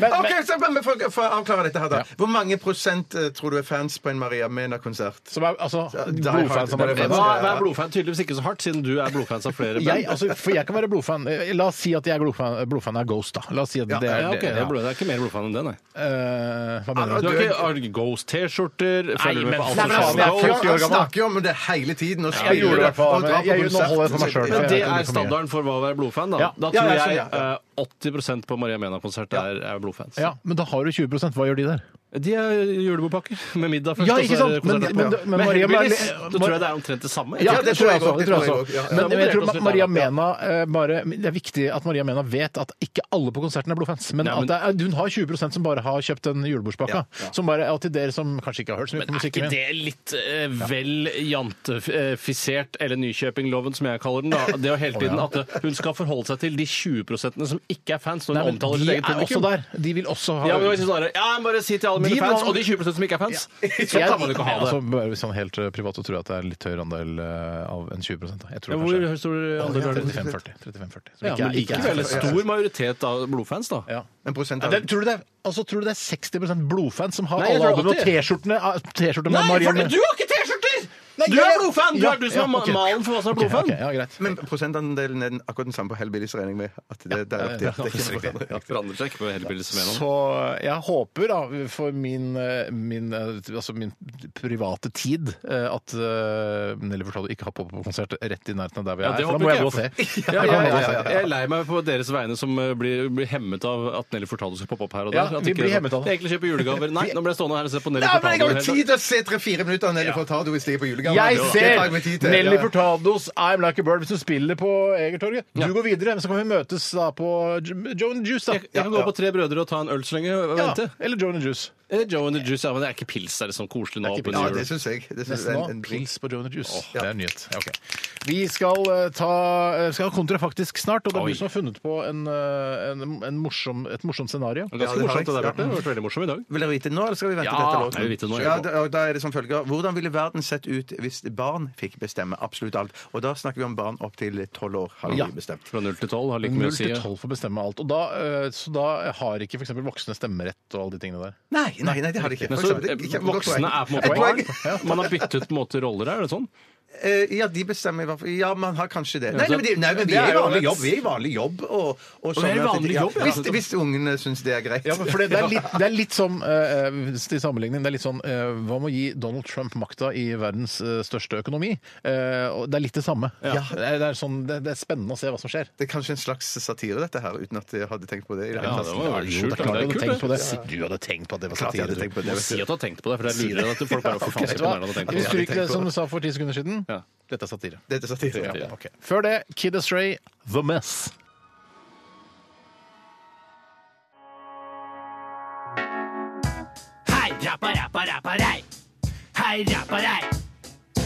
Men- men- Ok, så bare for, for å avklare dette her, da. Hvor mange prosent eh, tror du er fans på en Maria Mena-konsert? Som er, altså, Die blodfans Hard, av Maria Die Hard, Mena. Hva, ja. hva er blodfan? Tydeligvis ikke så hardt, siden du er blodfans av flere. Jeg, altså, for jeg kan være blodfan. Eh, La oss si at jeg er blodfan, blodfan av Ghost, da. La oss si at ja, det er ja, ok, det. det, er blod- det er ikke mer blodfan enn det, nei. Eh, hva Du mener du? har ikke har du Ghost-T-skjorter? Følger du med men på alt faen, som skjer jeg er med Ghost? fjorten. 40 år Han gammel. snakker jo om det hele tiden. Og Jeg spiller gjorde det i hvert fall, og men drar på jeg- nå konsert. holder jeg for meg selv, for Men jeg- det jeg er blir for mye. standarden for hva å være blodfan, da. Ja. Da Ja, tror ja, jeg sånn, ja, eh, 80 på Maria Mena-konsert er, er blodfans. Ja, men da har du 20 Hva gjør de der? De er julebordpakker med middag først. Ja, og så ikke er sant? det Men- konsert men- etterpå. men Maria Hellbillies, Mena- da tror jeg det er omtrent det samme. Ja, det tror jeg også. Det også, det tror jeg tror også. jeg også. Ja, ja. Men jeg tror Moderert oss litt Maria der, Mena eh, bare, Det er viktig at Maria Mena vet at ikke alle på konserten er blodfans, men, Nei, men- at det er, hun har 20 som bare har kjøpt den julebordspakka. Ja, ja. Som bare er til dere som kanskje ikke har hørt så mye på Er musikken min. ikke det litt eh, vel jantefisert, eller Nykjøping-loven, som jeg kaller den? da? Det er jo hele tiden at eh, hun skal forholde seg til de 20 som ikke er fans, når Nei, hun men omtaler de sitt er eget også publikum. der. De vil også ha Ja, men jeg synes bare, ja, men bare si til alle mine De fans, må- og de 20 som ikke er fans. Så Sånn kan man jo ikke ha det. Altså, bare sånn helt eh, privat så tror jeg at det er litt høyere andel eh, av enn 20 da. Jeg tror Ja, kanskje- hvor stor andel er det? 35-40. 35-40, som Ja, ikke men er- ikke er- likevel en stor majoritet av blodfans, da. Ja. En prosent Ja, av det, tror, du det er, altså, tror du det er 60 blodfans som har Nei, jeg alle tror albumene og alltid- T-skjortene T-skjortene med Maria Mena? har ikke T-skjorter! Nei, Nei, Du jeg- er blodfan! Du Ja, er du som ja, er ok. ma- malen for hva som er Ok, blodfan. ok, ja, greit. Men prosentandelen er den akkurat den samme på Hellbillies, regner jeg med. At det, det er riktig. Det er ikke så riktig. Det forandrer seg ikke på Hellbillies som Så jeg håper da, for min, eh, min, eh, altså min private tid, eh, at eh, Nelly Furtado ikke har popkonsert rett i nærheten av der vi Ja, er. det for da håper må ikke jeg gå og se. jeg. Da kan Ja, ja, jeg gå ja, og se. ja. Jeg er lei meg på dere vegne som eh, blir, blir hemmet av at Nelly Furtado skal poppe opp her og Ja, der. At vi ikke- blir hemmet av det. Jeg egentlig kjøper julegaver. Nei, nå ble jeg stående her og se på Nelly Nei, men jeg Furtado. har jo hele- tid til å se tre-fire minutter av Nelly Furtado hvis jeg er på julegave. Jeg Det tar jeg meg tid ser til. Nelly Ja. Furtados I'm Like a Bird hvis hun spiller på Egertorget. Du går videre, men så kan vi møtes da på J- Joe and the Juice. da. Jeg kan gå på Tre brødre og ta en øl så lenge og Ja, vente. Eller Joe and the Juice. Eh, Joe and the Juice, ja, men det er ikke pils, er det sånn koselig nå? på Ja, jul? det syns jeg. Det synes Nesten jeg nå. er en, en Pils på Joe and the Juice. ja. Det er en nyhet. Ja, ok. Vi skal eh, ta eh, skal ha kontra faktisk snart, og det er Oi. du som har funnet på en, eh, en, en morsom, et morsomt scenario. Det er Ganske Ja, det har morsomt det der, jeg. Bjarte. Det har vært veldig morsomt i dag. Vil dere vite det nå, eller skal vi vente Ja, til etter låten? jeg vil vite det nå, jeg. ja, da, og da er det som følger. Hvordan ville verden sett ut hvis barn fikk bestemme absolutt alt? Og da snakker vi om barn opp til tolv år, har vi Ja. bestemt. Fra null til tolv har like 0 mye å si. til ja. 12 får bestemme alt. Og da, eh, så da har ikke f.eks. voksne stemmerett og alle de tingene der. Nei, nei, nei, det har de ikke. Men så, For eksempel, det- eh, kjempegodt voksne poeng. er på en Et måte poeng. barn. Man har byttet på en måte roller her, er det sånn? Eh, Ja, de bestemmer i hvert fall. Ja, man har kanskje det. Nei, så- nei, men, de, nei, men vi Det er er i jo vanlig annerledes. jobb. Vi er i vanlig jobb. Og, og er i at vanlig de- ja, jobb, ja. Hvis, hvis ungene syns det er greit. Ja, men for det, det, er litt, det er litt som eh, hvis til sammenligning, det er litt sånn eh, Hva med å gi Donald Trump makta i verdens eh, største økonomi? Eh, og det er litt det samme. Det, er, det, er sånn, det, det er spennende å se hva som skjer. Det er kanskje en slags satire, dette her, uten at jeg hadde tenkt på det. i det Ja, hele tatt. det var Jo, det veldig er skjult. klart du men hadde det er tenkt på kult, det. Du hadde tenkt på at det var Klart jeg hadde satire. tenkt på det. det. Si at du har tenkt på det, for det er lurere enn at folk bare får faen så Vet du hva? imponerende å tenke Hvis på du det. ikke, som du sa for ti sekunder siden, Ja. dette er satire. Dette er satire. Ja, ok. Før det, Kid Astray, The Mess. Hei, rappa, rappa, rappa, rei. Hei, rappa, rei.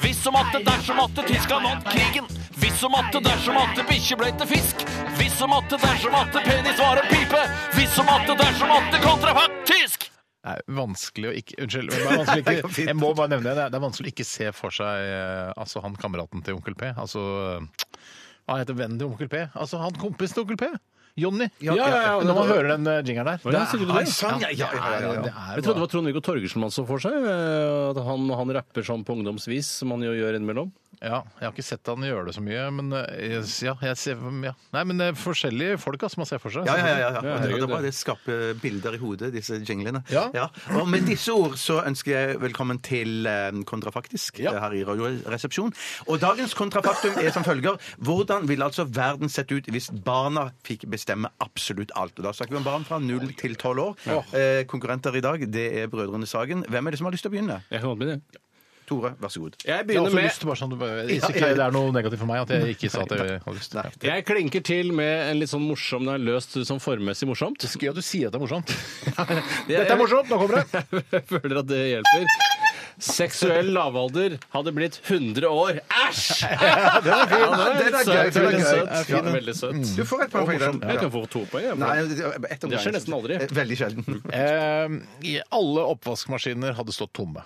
Hvis som atte, dersom atte, tyska vant krigen. Hvis som atte, dersom atte, bikkje ble til fisk. Hvis som atte, dersom atte, penis var en pipe. Hvis som atte, dersom atte, kontrafakt tysk. Det er vanskelig å ikke Unnskyld. Det er vanskelig å ikke, jeg må bare nevne det. Det er- Det er vanskelig å ikke se for seg eh, altså han kameraten til Onkel P. Altså eh, Han heter vennen til Onkel P. Altså han kompisen til Onkel P. Jonny. ja, ja. Når man hører den eh, jingeren der. Ja, sier du det? Nei, sånn, ja, ja, ja, ja, ja. Det er Jeg trodde det var Trond-Viggo Torgersen man så for seg. eh, At han, han rapper sånn på ungdomsvis, som han jo gjør innimellom. Ja, jeg har ikke sett han gjøre det så mye, men eh, jeg- ja, jeg ser ja. Nei, men det er forskjellige folk altså, man ser for seg. Ja, ja, ja. ja. Og Ja, det, herregud, det, var det. det skaper bilder i hodet, disse jinglene. Ja. Og med disse ord så ønsker jeg velkommen til eh, Kontrafaktisk eh, her i Radioresepsjon. Og dagens kontrafaktum er som følger Hvordan ville altså verden sett ut hvis barna fikk bestemme absolutt alt? Og da snakker vi om barn fra 0 til 12 år. Eh, konkurrenter i dag, det er Brødrene Sagen. Hvem er det som har lyst til å begynne? Jeg kan godt begynne. jeg. Tore, vær så god. Jeg Jeg har begynner også med lyst til bare sånn jeg, ikke, Det er noe negativt for meg at jeg ikke sa at jeg har lyst. Ja. Jeg klinker til med en litt sånn morsom Den er løst sånn formmessig morsomt. Det er gøy at du sier at det er morsomt. Dette er morsomt! Nå kommer det! Jeg føler at det hjelper. Seksuell lavalder hadde blitt 100 år. Æsj! Ja, det var fin. Den er gøy, den Veldig er gøy. Mm. søt. Ja, Ja, Veldig søt. Du får et poeng for den. Jeg kan få to poeng. jeg. Nei, det er ett om Det skjer gangen. nesten aldri. Eh, Veldig sjelden. Eh, alle oppvaskmaskiner hadde stått tomme.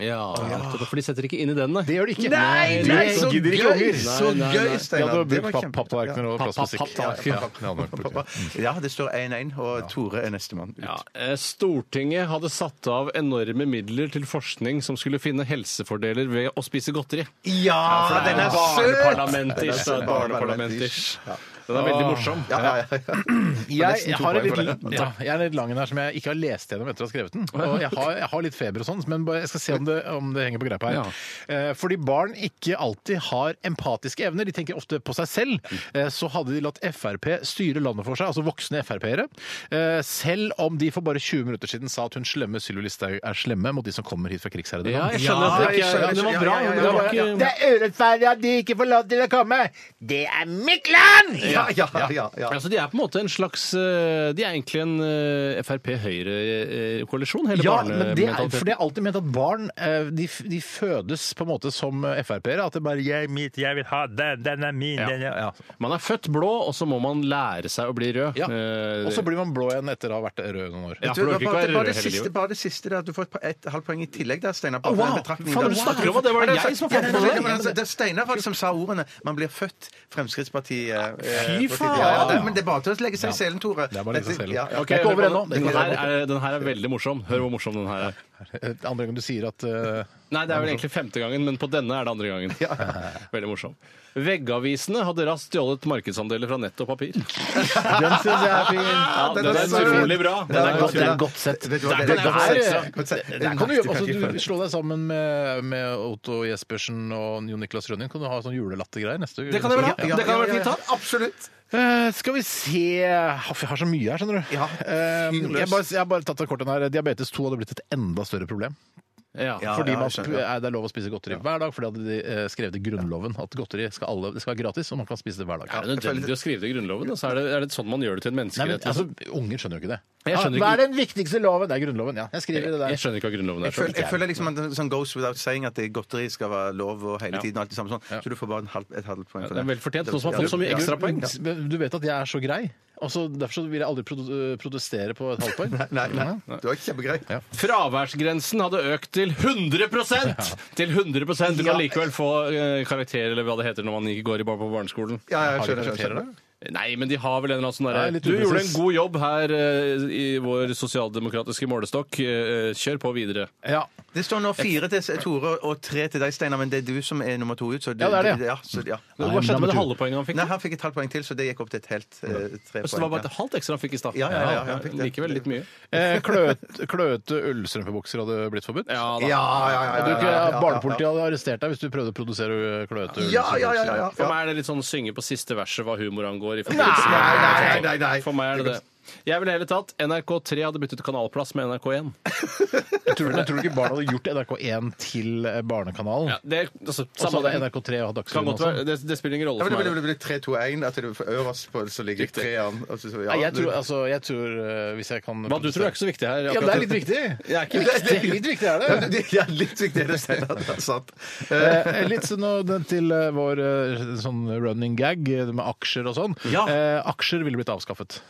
Ja, nettopp, For de setter ikke inn i den, nei. Det gjør de ikke. Nei, De nei, så gidder ikke gøy! unger. Så Nei, nei, gøy, eh, nei. De Steinar. hadde Det var brukt papp- kjempe- papptallerkener og Ja. plastmusikk. Papp- papp- Ja, det hadde nok brukt. Ja, det står 1-1, og Tore er nestemann ut. Ja, eh, Stortinget hadde satt av enorme midler til forskning som skulle finne helsefordeler ved å spise godteri. Ja, den er Barneparlamentisk. Den er søt. barneparlamentisk. Den er veldig morsom. Ja, ja, ja, ja. Jeg, jeg har en poeng for litt, ja, jeg er litt lang en her som jeg ikke har lest gjennom etter å ha skrevet den. Og jeg har, jeg har litt feber og sånn, men bare, jeg skal se om det, om det henger på greip her. Eh, fordi barn ikke alltid har empatiske evner, de tenker ofte på seg selv. Eh, så hadde de latt Frp styre landet for seg, altså voksne Frp-ere. Eh, selv om de for bare 20 minutter siden sa at hun slemme Sylvi Listhaug er slemme mot de som kommer hit fra krigsherrede Ja, land. jeg skjønner at det Ja, jeg ikke skjønner, er Det var bra, ja, ja, ja, men det var ja, ikke er urettferdig at de ikke får lov til å komme! Det er mitt land! Ja, ja, ja, ja. Altså, De er på en måte en slags eh, De er egentlig en eh, Frp-Høyre-koalisjon, hele Ja, men det er, for barnementaliteten. det er alltid ment at barn eh, de, f- de fødes på en måte som eh, Frp-ere. At det bare jeg, er mitt, jeg vil ha den, den er min, den er ja. Man er født blå, og så må man lære seg å bli rød. Ja. Eh, Og så blir man blå igjen etter å ha vært rød noen år. Ja, Du, for du orker ikke bare, å være bare, rød bare, det hele siste, livet. bare det siste der. Du får et, pa- et halvt poeng i tillegg der, Steinar. på Wow! den betraktningen Faen, der. du snakker om at det var Ja, jeg sant. som fant Ja, på det. det. men altså, Det er Steinar faktisk som sa ordene. Man blir født Fremskrittspartiet. eh, Fy på faen! tide. Ja, ja, men det er bare til å legge seg i selen, Tore. Det er bare å legge seg i selen. Ja, ja. Det er ikke over ennå. Den her er, den her er veldig morsom. Hør hvor morsom den her er. Andre gangen du sier at eh, Nei, det er vel egentlig femte gangen, men på denne er det andre gangen. Veldig morsom. Veggavisene hadde raskt stjålet markedsandeler fra nett og papir. Den syns jeg er fin. Ja, den, er søt. utrolig bra. Den er godt, søt. den er godt sett. Vet du hva, Den det er er godt sett, er- ja. godt sett. Det er Kan du, godt altså, sett. du slå deg sammen med, med Otto Jespersen og Jon Niklas Rønning. Kan du ha sånn julelattergreier neste Det kan jeg vel ha. Ja, ja, Det kan jeg vel ja, fint ha. ja. Eh, skal vi se Haff, Jeg har så mye her, skjønner du. Eh, jeg, bare, jeg har bare tatt av kortene her. Diabetes 2 hadde blitt et enda større problem. Ja. fordi Ja, man, jeg skjønner, ja. er det er lov å spise godteri hver dag, fordi hadde de eh, skrevet i Grunnloven at godteri skal, alle, det skal være gratis, og man kan spise det hver dag. Er det nødvendig å skrive det i Grunnloven? Altså, er, det, er det sånn man gjør det til en Nei, men, menneskerett? altså, liksom? Unger skjønner jo ikke det. Ah, Jeg skjønner Hva ikke- er den viktigste loven? Det er Grunnloven, ja. Jeg skriver det der. Jeg skjønner ikke hva Grunnloven Jeg er. føler, jeg føler liksom at det sånn goes without saying at det godteri skal være lov og hele tiden. og alt det samme sånn. Så du får bare en halv, et halvt poeng for det det. er vel fortjent, noen som har fått så mye Ja. ekstra poeng. Ja. Men Du vet at jeg er så grei. Altså, derfor så vil jeg aldri produ- protestere på et halvt poeng. Nei, nei, du er kjempegrei. Fraværsgrensen hadde økt til 100 Til 100 Du kan likevel få eh, karakter, eller hva det heter når man ikke går i bar på barneskolen. Ja, Har jeg de skjønner, jeg karakterer skjønner. da? Nei, men de har vel en eller annen Nei, sånn derre litt Du gjorde en upresis. god jobb her eh, i vår sosialdemokratiske målestokk. Eh, Kjør på videre. Ja. Det står nå fire til Tore og tre til deg, Steinar, men det er du som er nummer to ut. Så du, Ja, det er det. Ja, så, ja. Men Hva skjedde med det halve poenget han fikk? Nei, han fikk et halvt poeng til, så det gikk opp til et helt eh, tre poeng. Så det var bare et halvt ekstra han fikk i stad. Ja, ja, ja, ja, han fikk det. Likevel litt mye. Eh, kløet- Kløete ullstrømpebukser hadde blitt forbudt. Ja, Ja, ja, ja, ja, Du, ja, ikke- ja, ja. Barnepolitiet hadde arrestert deg hvis du prøvde å produsere øh, kløete ullstrømpebukser. Ja, ja, ja, ja, ja. For meg er det litt sånn synge på siste verset hva humor angår. i forbindelse Nei, med- nei, nei, nei, nei. For meg er det det. Jeg ville heller tatt NRK3 hadde byttet kanalplass med NRK1. Jeg tror, jeg tror ikke barn hadde gjort NRK1 til eh, Barnekanalen. Ja, det, altså, Og så samme hadde det. NRK3 og hatt Kan Dagsrevyen godt også. være. Det, det spiller ingen rolle Ja, men for det meg. blir- det blir 3-2-1. At du får øverst på, så ligger treeren. og så- så- ja, Nei, jeg du- tror, altså, jeg tror eh, hvis jeg kan Hva du tror er ikke så viktig her. Ja, det er litt viktig. Det er ikke Det er litt viktig, er det? Ja, det- det er litt viktigere enn Steinar. det er sant. Eh, litt sånn og den til eh, vår eh, sånn running gag eh, med aksjer og sånn. Ja. Eh, aksjer ville blitt avskaffet.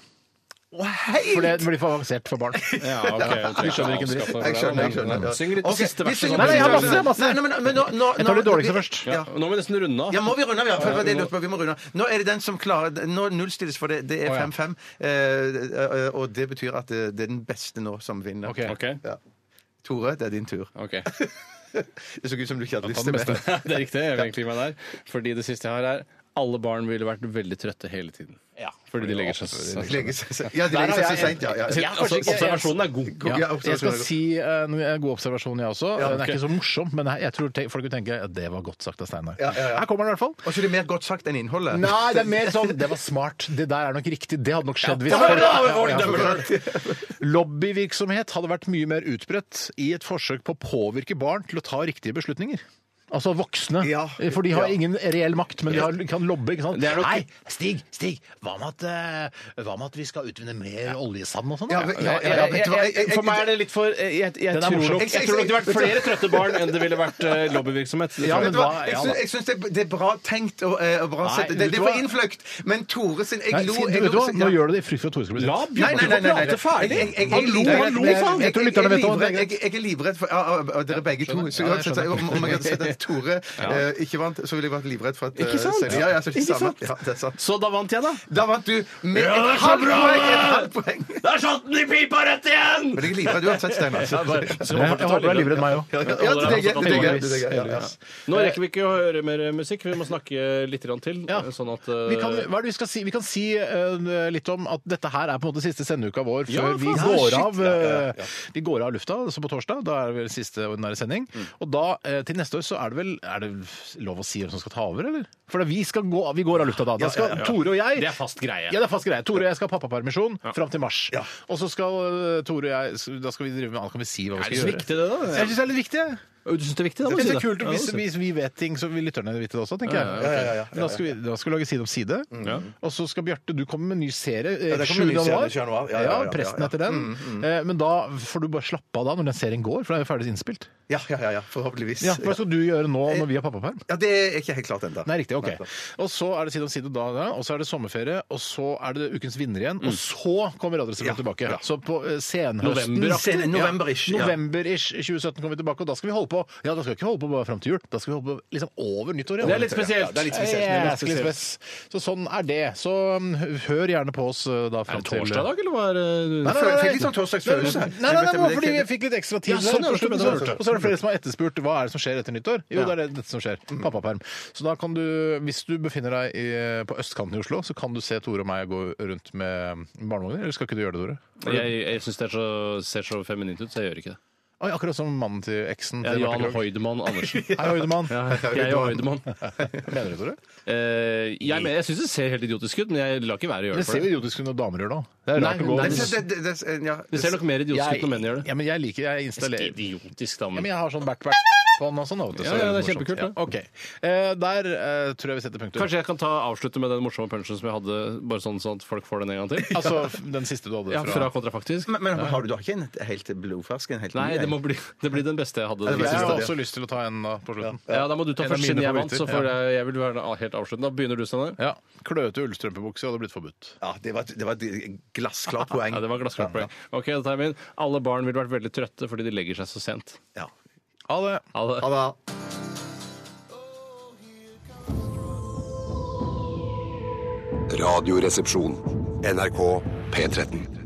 For det blir for avansert for barn. Ja, ok, ok. Vi skjønner ikke en dritt. Jeg skjønner. jeg skjønner. Syng litt på Ok, siste vi verset, da. synger på Nei, nei, jeg har siste masse, verset. masse. Nei, nei, men, men nå, nå, Jeg tar det nå- dårligste først. Ja, Ja. nå må vi nesten runde av. Ja, må vi runde av? Ja, for det var det vi jeg må- lurte på. Vi må runde av. Nå er det den som klarer Nå nullstilles, for det, det er Å, ja. 5-5. eh, eh, Og det betyr at det, det er den beste nå som vinner. Ok. Ok, Ja. Tore, det er din tur. ok. Det så ut som du ikke hadde lyst Ta den til beste. mer. Det er riktig. Jeg vil egentlig meg der. Fordi det siste jeg har, er alle barn ville vært veldig trøtte hele tiden. Fordi de legger seg Legge seg- Ja, de Der legger seg har så jeg- seint, ja. ja. Altså, Observasjonen er god. Ja, absolutt. Jeg skal si eh, en en god observasjon, jeg også. Eh, Ja, Den er ok. ikke så morsom, men jeg jeg tror te- folk vil tenke at det var godt sagt av Steinar. Ja, ja, ja. Her kommer den i hvert fall. Og så er det mer godt sagt enn innholdet. Nei, det er mer sånn Det var smart. Det der er nok riktig. Det hadde nok skjedd hvis var bra, det Ja, var det, det var ja, Lobbyvirksomhet hadde vært mye mer utbredt i et forsøk på å påvirke barn til å ta riktige beslutninger. Altså voksne. Ja. For de har Ja. ingen reell makt, men de har, kan lobbe. ikke sant? Det er nok- Nei, Stig, Stig, hva med at, eh, hva med at vi skal utvinne mer oljesand og sånn? Ja, da? men- ja, ja, ja, vet du hva, jeg- jeg- jeg- For meg er det litt for Jeg, jeg, jeg, Den er tror, morsom. nok, jeg tror nok det ville vært flere trøtte barn enn det ville vært eh, lobbyvirksomhet. Ja, Det tror men jeg. Vet du hva? hva- Jeg ja syns- da. Jeg syns det, det er bra tenkt og, eh, og bra Nei, sett. Det, vet det du var hva? innfløkt, men Tore sin Jeg Nei, lo si- jeg vet du lo- hva? Nå gjør du det i frykt for at Tore skal bli La sint. Bjørn- Bjørte få prate ferdig. Jeg- jeg- jeg- Han lo, jeg- han lo, jeg- faen. jeg- Jeg tror lytterne vet hva han jeg- jeg- tenker. jeg- Jeg er livredd for ah, ah, Dere er begge to. Så Ja, jeg uansett skjønner. om, om jeg hadde sett at Tore eh, ikke vant, så ville jeg vært livredd for at eh, Ikke sant? Steinar- Ja, ja, så Ikke samme. sant? Ja, det er sant. Så da vant jeg, da? Da vant du med Ja, det er et så halvt bra! poeng! Et halvt poeng. Der satt den i pipa rett igjen! Men jeg er livredd uansett, Steinar. Jeg Så- jeg håper du er livredd meg òg. Ja, det er greit, det er greit, det er greit, det er greit, ja, ja. Nå rekker vi ikke å høre mer musikk. Vi må snakke litt grann til. Ja. Sånn at eh, Vi kan, hva er det vi skal si? Vi kan si eh, litt om at dette her er på en måte siste sendeuka vår Ja, før vi, faen, går shit. av, eh, vi går av lufta, så på torsdag. Da er det vel siste ordinære sending. Mm. Og da, eh, til neste år, så er det vel er det lov å si hvem som skal ta over, eller? For da vi, skal gå, av- vi går av lufta da. Da skal Tore og jeg Det er fast greie. Ja, det er fast greie. Tore og jeg skal ha pappapermisjon fram til mars. Og så skal eh, Tore og jeg Da skal vi drive med annet. Kan vi si hva vi Er det skal så gjøre? viktig, det, da? Jeg syns det er litt viktig. jeg. Du syns det er viktig, da? Jeg må du synes si det er kult, Ja, hvis, da må du si det. hvis vi vet ting, så vil lytterne vite det også, tenker jeg. Men Da skal vi da skal vi lage Side om side. Og så skal Bjarte, du komme med en ny serie eh, Mm. Ja, det 7. kommer en ny serie januar. 7. januar. Ja, ja, ja, ja, Presten ja. Mm, etter den. Eh, Men da får du bare slappe av da, når den serien går, for da er jo ferdig innspilt. Ja, ja, ja, ja. Forhåpentligvis. Ja, hva skal du gjøre nå når vi har pappaperm? Ja, det er ikke helt klart ennå. Nei, riktig. ok. Og så er det Side om side da, da, og så er det sommerferie, og så er det Ukens vinner igjen, Mm. og så kommer Radioresepsjonen tilbake. Så på eh, senhøsten November-aktig. Ja, November-ish, ja. November-ish 2017 kommer vi tilbake, og da skal vi holde på på Ja, da skal vi ikke holde på bare fram til jul. Da skal vi holde på liksom over nyttår. ja. Det er litt spesielt. Ja, det er litt spesielt. Det er litt Jæsklig spesielt. spes. Så sånn er det. Så um, hør gjerne på oss uh, da Er fram det til torsdag i dag, eller hva er det? Nei, nei, nei, nei. Fikk litt sånn torsdagsfølelse. Nei, nei, nei, nei, men fordi vi fikk litt ekstra tid. Ja, sånn, ja, der på slutten, skjønner, så- skjønner. Og så er det flere som har etterspurt hva er det som skjer etter nyttår. Jo, Ja. Mm. det er det- dette som skjer. Pappaperm. Så da kan du, hvis du befinner deg i, på østkanten i Oslo, så kan du se Tore og meg gå rundt med barnevogner. Eller skal ikke du gjøre det, Tore? Jeg, jeg syns det er så, ser så feminint ut, så jeg gjør ikke det. Oi, akkurat som mannen til eksen Jeg til er Barte Jan Krogh. Høydemann Andersen. Hei, Høydemann. Jeg er Høydemann. Mener du, Tore? Eh, jeg men- jeg syns det ser helt idiotisk ut, men jeg lar ikke være å gjøre Det det ser for jo det. idiotisk ut når damer gjør det òg. Det er Nei, rart å gå nei, det- det- Det ser nok mer idiotisk ut når menn gjør det. Ja, men jeg liker Jeg Det installerer er Idiotisk, da. Ja, men men- jeg har sånn backpack på den og sånn. da, vet du, Ja, så ja, det er morsomt. kjempekult, det. Ja, ok. Eh, der eh, tror jeg vi setter punktum. Kanskje jeg kan ta avslutte med den morsomme punchen som jeg hadde, bare sånn, sånn at folk får den en gang til? Altså f- den siste du hadde Ja, fra Mm, fra Kontrafaktisk. Men, men har du, du har ikke en helt blodfersk en? Helt Nei, ny, det må bli, det blir den beste jeg hadde. det den blir Jeg siste. har Ja. også lyst til å ta en da, på slutten. Ja, da må du ta En av først, mine siden jeg vant, så favoritter, får ja. jeg, jeg vil være helt avsluttende. Da begynner du, Steinar. Ja. Kløete ullstrømpebukse hadde blitt forbudt. Ja, det var, det var et glassklart poeng. Ja, det var glassklart poeng. Ok, da tar jeg min. Alle barn ville vært veldig trøtte fordi de legger seg så sent. Ja. Ha det! Ha det. Ha det. Radioresepsjon. NRK P13.